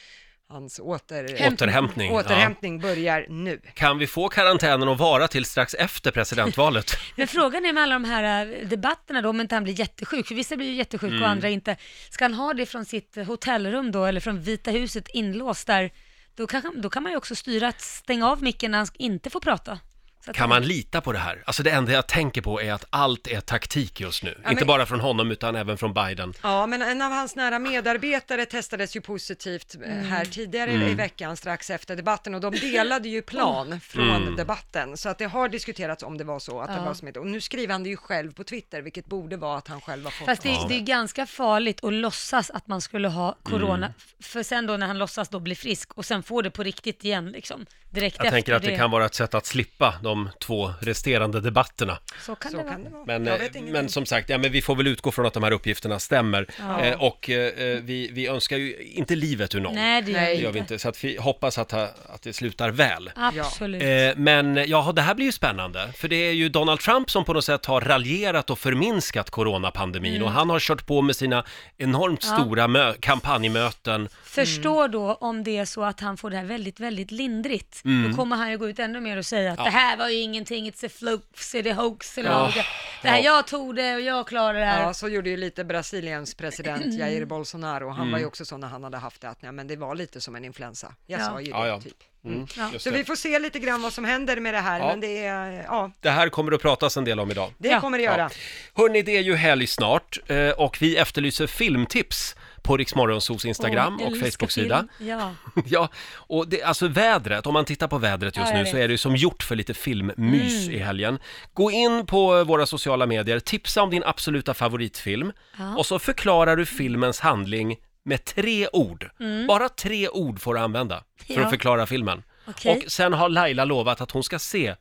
[SPEAKER 2] hans åter...
[SPEAKER 1] Återhämtning. ja.
[SPEAKER 2] återhämtning börjar nu.
[SPEAKER 1] Kan vi få karantänen att vara till strax efter presidentvalet?
[SPEAKER 4] Men frågan är med alla de här eh, debatterna då, om inte han blir jättesjuk, för vissa blir ju jättesjuka
[SPEAKER 1] Mm.
[SPEAKER 4] och andra inte. Ska han ha det från sitt hotellrum då, eller från Vita huset inlåst där, då kan, då kan man ju också styra att stänga av micken när han inte får prata. Så att-
[SPEAKER 1] Kan man lita på det här? Alltså det enda jag tänker på är att allt är taktik just nu.
[SPEAKER 2] men-
[SPEAKER 1] Inte bara från honom utan även från Biden.
[SPEAKER 2] Ja, men en av hans nära medarbetare testades ju positivt eh,
[SPEAKER 4] Mm.
[SPEAKER 2] här tidigare i-
[SPEAKER 1] Mm.
[SPEAKER 2] i veckan strax efter debatten och de delade ju plan från
[SPEAKER 1] Mm.
[SPEAKER 2] debatten så att det har diskuterats om det var så att det var smitt. Och nu skriver han det ju själv på Twitter, vilket borde vara att han själv har fått.
[SPEAKER 4] Fast det, det är ganska farligt att låtsas att man skulle ha corona,
[SPEAKER 1] Mm.
[SPEAKER 4] f- för sen då när han låtsas då bli frisk och sen får det på riktigt igen liksom, direkt
[SPEAKER 1] Jag
[SPEAKER 4] efter
[SPEAKER 1] tänker att det kan vara ett sätt att slippa de två resterande debatterna.
[SPEAKER 4] Så kan
[SPEAKER 2] så
[SPEAKER 4] det
[SPEAKER 2] kan
[SPEAKER 4] vara.
[SPEAKER 2] det vara.
[SPEAKER 1] Men,
[SPEAKER 2] Jag
[SPEAKER 1] eh,
[SPEAKER 2] vet ingenting.
[SPEAKER 1] men som sagt, ja, men vi får väl utgå från att de här uppgifterna stämmer. Eh, och eh, eh, vi, vi önskar ju inte livet ur någon.
[SPEAKER 4] Nej, det gör,
[SPEAKER 2] Nej.
[SPEAKER 1] Det gör vi inte. Så att vi hoppas att, ha- att det slutar väl.
[SPEAKER 4] Absolut.
[SPEAKER 1] Eh, men ja, det här blir ju spännande. För det är ju Donald Trump som på något sätt har raljerat och förminskat coronapandemin. Och han har kört på med sina enormt stora mö- kampanjmöten.
[SPEAKER 4] Förstå då om det är så att han får det här väldigt, väldigt lindrigt.
[SPEAKER 1] Mm.
[SPEAKER 4] Då kommer han ju gå ut ännu mer och säga att det här var ju ingenting, it's a flux, it's a hoax, eller
[SPEAKER 1] Ja.
[SPEAKER 4] oh. det här, jag tog det och jag klarar det här.
[SPEAKER 2] Ja, så gjorde ju lite Brasiliens president Jair Bolsonaro. Han
[SPEAKER 1] Mm.
[SPEAKER 2] var ju också så när han hade haft det att nej, men det var lite som en influensa. Jag
[SPEAKER 4] Ja.
[SPEAKER 2] sa ju det,
[SPEAKER 1] Ja, ja.
[SPEAKER 2] typ.
[SPEAKER 4] Ja.
[SPEAKER 1] Just
[SPEAKER 2] Så vi
[SPEAKER 1] det.
[SPEAKER 2] får se lite grann vad som händer med det här,
[SPEAKER 1] Ja.
[SPEAKER 2] men det är, ja,
[SPEAKER 1] det här kommer att pratas en del om idag.
[SPEAKER 2] det
[SPEAKER 4] Ja.
[SPEAKER 2] kommer det göra.
[SPEAKER 1] Hörni, det är ju helg snart eh, och vi efterlyser filmtips på Riksmorgonsos Instagram
[SPEAKER 4] Åh,
[SPEAKER 1] och
[SPEAKER 4] älskar
[SPEAKER 1] Facebook-sida.
[SPEAKER 4] film. Ja.
[SPEAKER 1] Ja, och det, alltså vädret, om man tittar på vädret just
[SPEAKER 4] Ja, jag
[SPEAKER 1] nu
[SPEAKER 4] vet. Mm.
[SPEAKER 1] så är det ju som gjort för lite filmmys i helgen. Gå in på våra sociala medier, tipsa om din absoluta favoritfilm och så förklarar du filmens handling med tre ord. Bara tre ord får du använda för
[SPEAKER 4] Mm. Ja.
[SPEAKER 1] att förklara filmen.
[SPEAKER 4] Okej.
[SPEAKER 1] Och sen har Laila lovat att hon ska se,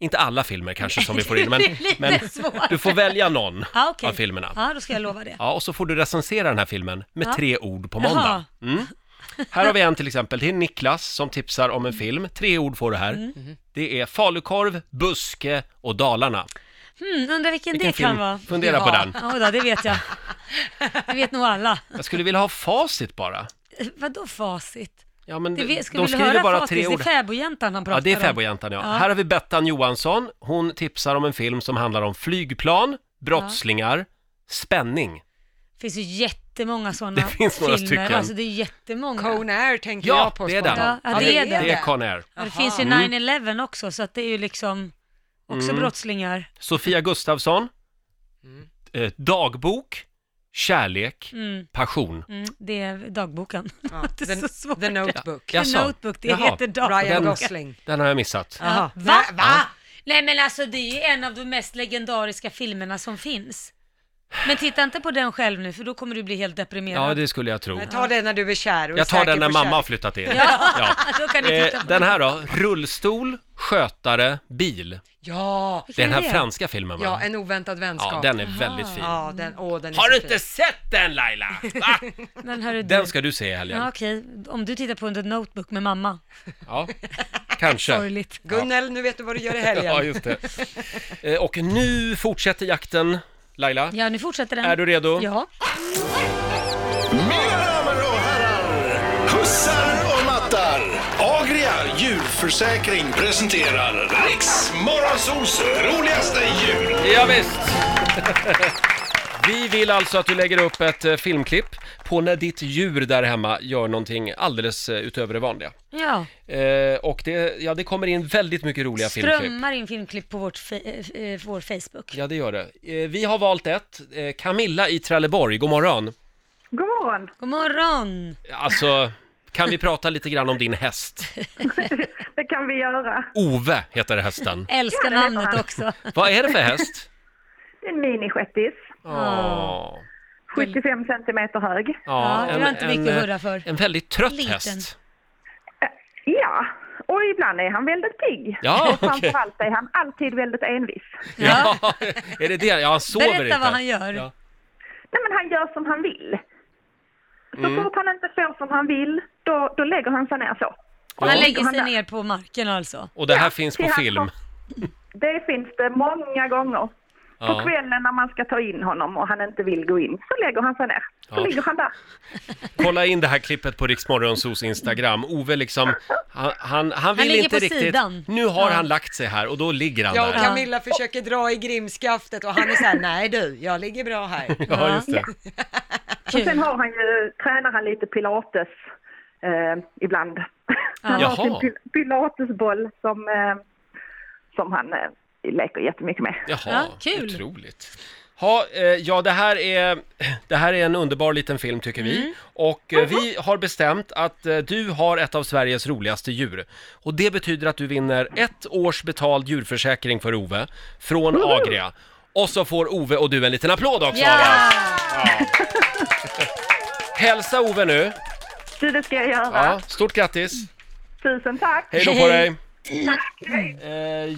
[SPEAKER 1] inte alla filmer kanske som vi får in, men,
[SPEAKER 4] Det är lite
[SPEAKER 1] men
[SPEAKER 4] svårt.
[SPEAKER 1] du får välja någon
[SPEAKER 4] Ja, Ah, okej.
[SPEAKER 1] av filmerna. Ja.
[SPEAKER 4] Ja, då ska jag lova det.
[SPEAKER 1] och så får du recensera den här filmen med
[SPEAKER 4] Ja.
[SPEAKER 1] tre ord på
[SPEAKER 4] Jaha.
[SPEAKER 1] måndag. Mm. Här har vi en till exempel, det är Niklas som tipsar om en film. Tre ord får du här.
[SPEAKER 4] Mm. Mm-hmm.
[SPEAKER 1] Det är falukorv, buske och Dalarna.
[SPEAKER 4] Mm, undrar vilken,
[SPEAKER 1] Vilken
[SPEAKER 4] det kan
[SPEAKER 1] film?
[SPEAKER 4] vara.
[SPEAKER 1] Fundera på den.
[SPEAKER 4] Ja, då, det vet jag. Det vet nog alla.
[SPEAKER 1] Jag skulle vilja ha facit bara.
[SPEAKER 4] Eh, Vadå facit?
[SPEAKER 1] Ja, men
[SPEAKER 4] Det, vet- skulle
[SPEAKER 1] de
[SPEAKER 4] du
[SPEAKER 1] skriver
[SPEAKER 4] höra
[SPEAKER 1] bara
[SPEAKER 4] facit?
[SPEAKER 1] tre ord.
[SPEAKER 4] Det är fäbodjäntan han pratar
[SPEAKER 1] Ja, det är
[SPEAKER 4] om.
[SPEAKER 1] fäbodjäntan ja.
[SPEAKER 4] Ja.
[SPEAKER 1] Här har vi Bettan Johansson. Hon tipsar om en film som handlar om flygplan, brottslingar, spänning.
[SPEAKER 4] finns ju jättemånga sådana
[SPEAKER 1] Det finns några
[SPEAKER 4] filmer.
[SPEAKER 1] stycken.
[SPEAKER 4] Alltså det är jättemånga.
[SPEAKER 2] Cone Air tänker
[SPEAKER 1] Ja,
[SPEAKER 2] jag på.
[SPEAKER 1] det är den.
[SPEAKER 2] spontant.
[SPEAKER 4] Ja, det är den.
[SPEAKER 1] Det är Con Air.
[SPEAKER 4] Och det finns
[SPEAKER 1] Mm.
[SPEAKER 4] ju 9-11 också, så att det är ju liksom också brottslingar.
[SPEAKER 1] Sofia Gustafsson, eh, dagbok, kärlek, passion.
[SPEAKER 4] Mm, det är dagboken.
[SPEAKER 2] Ja,
[SPEAKER 4] det är så svårt.
[SPEAKER 2] The Notebook.
[SPEAKER 1] Jaså?
[SPEAKER 4] The Notebook, det
[SPEAKER 1] Jaha.
[SPEAKER 4] heter dagboken.
[SPEAKER 2] Ryan
[SPEAKER 1] Den-
[SPEAKER 2] Gosling.
[SPEAKER 1] Den har jag missat.
[SPEAKER 2] Jaha.
[SPEAKER 4] Va? Va? Nej men alltså det är ju en av de mest legendariska filmerna som finns. Men titta inte på den själv nu för då kommer du bli helt deprimerad.
[SPEAKER 1] Ja, det skulle jag tro.
[SPEAKER 2] Men Ta den när du är kär och är
[SPEAKER 1] Jag tar
[SPEAKER 2] säker
[SPEAKER 1] den när
[SPEAKER 2] på
[SPEAKER 1] mamma har
[SPEAKER 2] kärlek.
[SPEAKER 1] flyttat in.
[SPEAKER 4] Ja, då kan du titta
[SPEAKER 1] Eh,
[SPEAKER 4] på
[SPEAKER 1] den här då, rullstol, skötare, bil.
[SPEAKER 2] Ja,
[SPEAKER 1] Det är den här
[SPEAKER 4] Vilken är det?
[SPEAKER 1] franska filmen va?
[SPEAKER 2] ja, en oväntad vänskap.
[SPEAKER 1] Ja, den är väldigt fin.
[SPEAKER 2] Ja, den, åh, den är
[SPEAKER 1] Har du
[SPEAKER 2] så fin.
[SPEAKER 1] inte sett den Laila? Va?
[SPEAKER 4] Men hörru,
[SPEAKER 1] Den
[SPEAKER 4] du-
[SPEAKER 1] ska du se i helgen.
[SPEAKER 4] Ja, okej, om du tittar på The Notebook med mamma.
[SPEAKER 1] Ja, kanske.
[SPEAKER 4] Sorgligt.
[SPEAKER 2] Gunnel, nu vet du vad du gör i helgen.
[SPEAKER 1] Ja, just det. Eh, Och nu fortsätter jakten, Laila.
[SPEAKER 4] Ja, nu fortsätter den.
[SPEAKER 1] Är du redo?
[SPEAKER 4] Ja.
[SPEAKER 3] Mina damer och herrar, hussar och mattar. Agria djurförsäkring presenterar Riks Morgonzoos roligaste jul.
[SPEAKER 1] Ja, visst. Vi vill alltså att du lägger upp ett eh, filmklipp på när ditt djur där hemma gör någonting alldeles eh, utöver det vanliga.
[SPEAKER 4] ja.
[SPEAKER 1] Eh, och det, ja, det kommer in väldigt mycket roliga filmklipp.
[SPEAKER 4] Strömmar in filmklipp på vårt fe- eh, eh, vår Facebook.
[SPEAKER 1] Ja, det gör det. Eh, vi har valt ett. Eh, Camilla i Trelleborg, god morgon.
[SPEAKER 6] God morgon.
[SPEAKER 4] God morgon!
[SPEAKER 1] Alltså, kan vi prata lite grann om din häst?
[SPEAKER 6] Det kan vi göra.
[SPEAKER 1] Ove heter hästen.
[SPEAKER 4] Älskar
[SPEAKER 6] det är
[SPEAKER 4] namnet
[SPEAKER 6] bra.
[SPEAKER 4] också.
[SPEAKER 1] Vad är det för häst?
[SPEAKER 6] Det är en minishettis.
[SPEAKER 1] Åh.
[SPEAKER 6] 75 centimeter hög.
[SPEAKER 4] Ja, det var inte mycket
[SPEAKER 1] eh,
[SPEAKER 4] att hurra för.
[SPEAKER 1] En väldigt trött
[SPEAKER 4] Liten.
[SPEAKER 1] häst.
[SPEAKER 6] Ja, och ibland är han väldigt pigg.
[SPEAKER 1] Ja,
[SPEAKER 6] och
[SPEAKER 1] okej.
[SPEAKER 6] framförallt är han alltid väldigt envis.
[SPEAKER 1] Ja. är det det? Ja, han sover
[SPEAKER 4] Berätta
[SPEAKER 1] inte.
[SPEAKER 4] vad han gör.
[SPEAKER 1] Ja.
[SPEAKER 6] Nej, men han gör som han vill. Så
[SPEAKER 1] Mm.
[SPEAKER 6] fort han inte får som han vill, då, då lägger han sig ner så.
[SPEAKER 4] Han
[SPEAKER 1] Ja.
[SPEAKER 4] lägger sig
[SPEAKER 6] Han-
[SPEAKER 4] ner på marken alltså.
[SPEAKER 1] Och det här finns på
[SPEAKER 6] till hans
[SPEAKER 1] film.
[SPEAKER 6] kom- Det finns det många gånger. På
[SPEAKER 1] Ja.
[SPEAKER 6] kvällen när man ska ta in honom och han inte vill gå in, så lägger han sig ner. Så
[SPEAKER 1] Ja.
[SPEAKER 6] ligger han där.
[SPEAKER 1] Kolla in det här klippet på Riksmorgonsos Instagram. Ove liksom, han, han, han vill
[SPEAKER 4] ligger
[SPEAKER 1] inte
[SPEAKER 4] på
[SPEAKER 1] riktigt.
[SPEAKER 4] sidan.
[SPEAKER 1] Nu har
[SPEAKER 4] Ja.
[SPEAKER 1] han lagt sig här och då ligger han
[SPEAKER 2] Jag och
[SPEAKER 1] där.
[SPEAKER 2] Camilla försöker dra i grimskaftet och han är så här, nej du, jag ligger bra här.
[SPEAKER 1] Ja, just det.
[SPEAKER 6] Och sen
[SPEAKER 4] Kul.
[SPEAKER 6] har han ju, tränar han lite pilates eh, ibland. Han har
[SPEAKER 1] Jaha.
[SPEAKER 6] sin pil- pilatesboll som, eh, som han eh, leker jättemycket med.
[SPEAKER 1] Jaha,
[SPEAKER 4] Ja, kul.
[SPEAKER 1] otroligt. Ha, eh, ja, det här, är, det här är en underbar liten film tycker
[SPEAKER 4] Mm.
[SPEAKER 1] vi. Och eh, vi har bestämt att eh, du har ett av Sveriges roligaste djur. Och det betyder att du vinner ett års betald djurförsäkring för Ove från Agria. Och så får Ove och du en liten applåd också av
[SPEAKER 4] Ja!
[SPEAKER 1] oss. Hälsa Ove nu.
[SPEAKER 6] Du, det ska jag göra.
[SPEAKER 1] Ja, stort grattis.
[SPEAKER 6] Tusen tack!
[SPEAKER 1] Hej då på
[SPEAKER 4] Hej.
[SPEAKER 1] dig. Eh,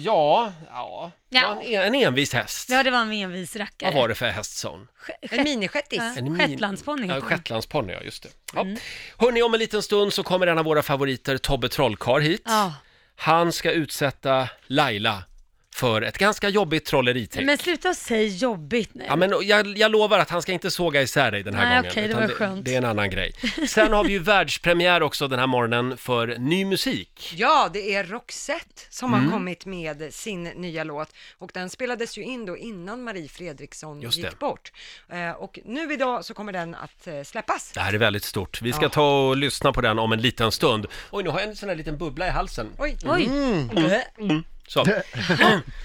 [SPEAKER 1] ja, ja.
[SPEAKER 4] Ja.
[SPEAKER 1] En, en envis häst.
[SPEAKER 4] ja, det var en envis
[SPEAKER 1] Vad
[SPEAKER 4] rackare.
[SPEAKER 1] var det för häst sån?
[SPEAKER 2] En minishettis.
[SPEAKER 1] En min-
[SPEAKER 4] Shetlandsponny
[SPEAKER 1] Ja,
[SPEAKER 4] heter den.
[SPEAKER 1] Shetlandsponny, ja just det. Ja.
[SPEAKER 4] Mm.
[SPEAKER 1] Hörni, om en liten stund så kommer en av våra favoriter, Tobbe Trollkarl, hit.
[SPEAKER 4] Ja.
[SPEAKER 1] Han ska utsätta Laila för ett ganska jobbigt trolleritrick.
[SPEAKER 4] Men sluta säga jobbigt nu.
[SPEAKER 1] Ja, men jag, jag lovar att han ska inte såga isär dig den här
[SPEAKER 4] Nej,
[SPEAKER 1] gången.
[SPEAKER 4] okej, det
[SPEAKER 1] utan
[SPEAKER 4] var skönt.
[SPEAKER 1] Det, det är en annan grej. Sen har vi ju världspremiär också den här morgonen för ny musik.
[SPEAKER 2] Ja, det är Roxette som
[SPEAKER 1] Mm.
[SPEAKER 2] har kommit med sin nya låt och den spelades ju in då innan Marie Fredriksson
[SPEAKER 1] Just det.
[SPEAKER 2] gick bort. Eh, Och nu idag så kommer den att eh, släppas.
[SPEAKER 1] Det här är väldigt stort. Vi ska ta och lyssna på den om en liten stund. Oj, nu har jag en sån här liten bubbla i halsen.
[SPEAKER 2] Oj, Mm.
[SPEAKER 4] Oj,
[SPEAKER 8] Mm.
[SPEAKER 1] Så.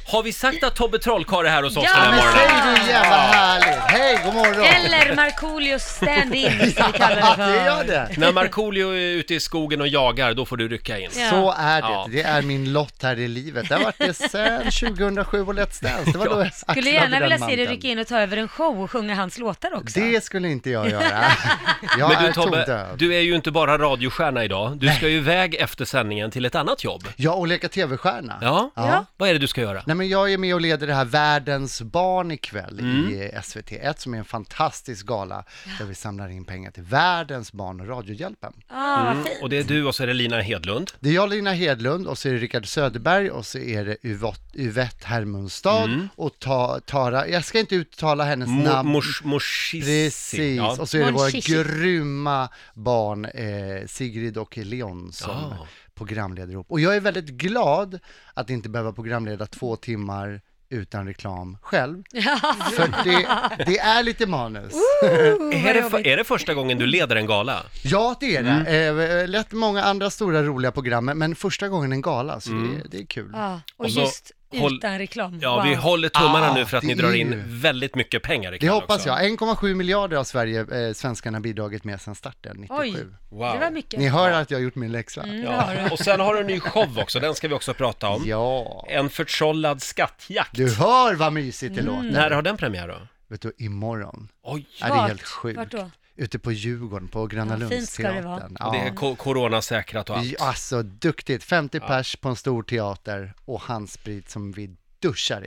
[SPEAKER 1] har vi sagt att Tobbe Trollkarl är här hos oss
[SPEAKER 4] Ja,
[SPEAKER 1] den här
[SPEAKER 4] men
[SPEAKER 1] morgonen?
[SPEAKER 8] Säg du jävla härligt! Hej, god morgon!
[SPEAKER 4] eller Markoolios stand-in som vi kallar det
[SPEAKER 8] Ja, det
[SPEAKER 4] för.
[SPEAKER 8] gör det!
[SPEAKER 1] När Markoolio är ute i skogen och jagar, då får du rycka in.
[SPEAKER 4] Ja.
[SPEAKER 8] Så är
[SPEAKER 1] Ja.
[SPEAKER 8] det. Det är min lott här i livet. Det har varit det sedan 2007 och Let's Dance. Det var då
[SPEAKER 4] Skulle
[SPEAKER 8] jag axlade
[SPEAKER 4] gärna
[SPEAKER 8] den
[SPEAKER 4] vilja se dig
[SPEAKER 8] manteln.
[SPEAKER 4] rycka in och ta över en show och sjunga hans låtar också.
[SPEAKER 8] Det skulle inte jag göra. Jag
[SPEAKER 1] Men
[SPEAKER 8] är
[SPEAKER 1] du Tobbe,
[SPEAKER 8] tondöv.
[SPEAKER 1] du är ju inte bara radiostjärna idag. Du ska ju iväg efter sändningen till ett annat jobb.
[SPEAKER 8] Jag och leka tv-stjärna.
[SPEAKER 1] Ja.
[SPEAKER 8] Ja.
[SPEAKER 1] Vad är det du ska göra?
[SPEAKER 8] Nej, men jag är med och leder det här Världens barn ikväll
[SPEAKER 1] Mm.
[SPEAKER 8] i SVT1 som är en fantastisk gala där vi samlar in pengar till Världens barn och Radiohjälpen.
[SPEAKER 4] Ah, vad fint.
[SPEAKER 1] Och det är du och så är det Lina Hedlund.
[SPEAKER 8] Det är jag, Lina Hedlund, och så är det Rickard Söderberg och så är det Yvot- Yvette Hermundstad och ta, Tara, jag ska inte uttala hennes
[SPEAKER 1] Mm. Mo-
[SPEAKER 8] namn.
[SPEAKER 1] Mors, morsissi.
[SPEAKER 8] Precis,
[SPEAKER 1] Ja.
[SPEAKER 8] och så är det våra
[SPEAKER 4] Monchichi.
[SPEAKER 8] grymma barn eh, Sigrid och Leon som
[SPEAKER 1] Ja.
[SPEAKER 8] programleder ihop. Och jag är väldigt glad att inte behöva programleda två timmar utan reklam själv.
[SPEAKER 4] Ja.
[SPEAKER 8] För det, det är lite manus.
[SPEAKER 1] Är det, för, är det första gången du leder en gala?
[SPEAKER 8] Ja, det är det.
[SPEAKER 1] Mm.
[SPEAKER 8] Eh, lätt många andra stora roliga program, men- men första gången en gala, så
[SPEAKER 1] Mm.
[SPEAKER 8] det, det är kul.
[SPEAKER 4] Ja, och,
[SPEAKER 1] Och så
[SPEAKER 4] just
[SPEAKER 1] håll-
[SPEAKER 4] utan reklam.
[SPEAKER 1] Ja,
[SPEAKER 4] Wow.
[SPEAKER 1] vi håller tummarna
[SPEAKER 8] Ah,
[SPEAKER 1] nu för att ni
[SPEAKER 8] det
[SPEAKER 1] drar
[SPEAKER 8] är
[SPEAKER 1] in
[SPEAKER 8] ju-
[SPEAKER 1] väldigt mycket pengar
[SPEAKER 8] Det
[SPEAKER 1] ikväll
[SPEAKER 8] hoppas
[SPEAKER 1] också.
[SPEAKER 8] jag. 1,7 miljarder har Sverige, eh, svenskarna bidragit med sedan starten, 97.
[SPEAKER 4] Oj, Mm.
[SPEAKER 1] Wow.
[SPEAKER 4] det var mycket.
[SPEAKER 8] Ni hör att jag har gjort min läxa.
[SPEAKER 1] Ja. Och sen har du en ny show också, den ska vi också prata om.
[SPEAKER 8] Ja.
[SPEAKER 1] En förtrollad skattjakt.
[SPEAKER 8] Du hör vad mysigt
[SPEAKER 4] Mm.
[SPEAKER 8] det låter.
[SPEAKER 1] När har den premiär då?
[SPEAKER 8] Vet du, imorgon.
[SPEAKER 1] Oj!
[SPEAKER 8] Ja, det är
[SPEAKER 4] Vart?
[SPEAKER 8] helt sjukt.
[SPEAKER 4] Vart då?
[SPEAKER 8] Ute på Djurgården, på Gröna
[SPEAKER 4] Ja, fint ska det vara.
[SPEAKER 8] Lundsteatern.
[SPEAKER 1] Och det är ko- coronasäkrat och allt.
[SPEAKER 8] Ja, Alltså, duktigt. 50 pers på en stor teater och handsprit som vi duschar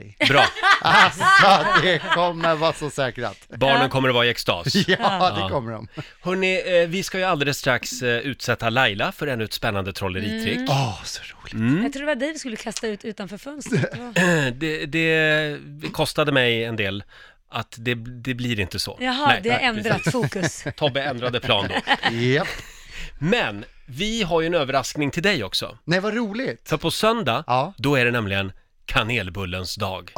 [SPEAKER 8] i.
[SPEAKER 1] Bra!
[SPEAKER 8] Alltså, det kommer vara så säkrat.
[SPEAKER 1] Barnen kommer att vara i extas.
[SPEAKER 8] Ja, det kommer de.
[SPEAKER 1] Hörni, eh, vi ska ju alldeles strax eh, utsätta Laila för ännu ett spännande trolleritrick.
[SPEAKER 8] Åh, så roligt.
[SPEAKER 4] Jag tror det var dig vi skulle kasta ut utanför fönstret. Det var-
[SPEAKER 8] Mm.
[SPEAKER 1] Det, det kostade mig en del att det, det blir inte så.
[SPEAKER 4] Jaha,
[SPEAKER 1] Nej,
[SPEAKER 4] det har
[SPEAKER 1] nej,
[SPEAKER 4] ändrat
[SPEAKER 1] precis.
[SPEAKER 4] fokus.
[SPEAKER 1] Tobbe ändrade plan då.
[SPEAKER 8] Japp.
[SPEAKER 1] Men vi har ju en överraskning till dig också.
[SPEAKER 8] Nej, vad roligt.
[SPEAKER 1] För på söndag,
[SPEAKER 8] Ja. Ah.
[SPEAKER 1] då är det nämligen kanelbullens dag.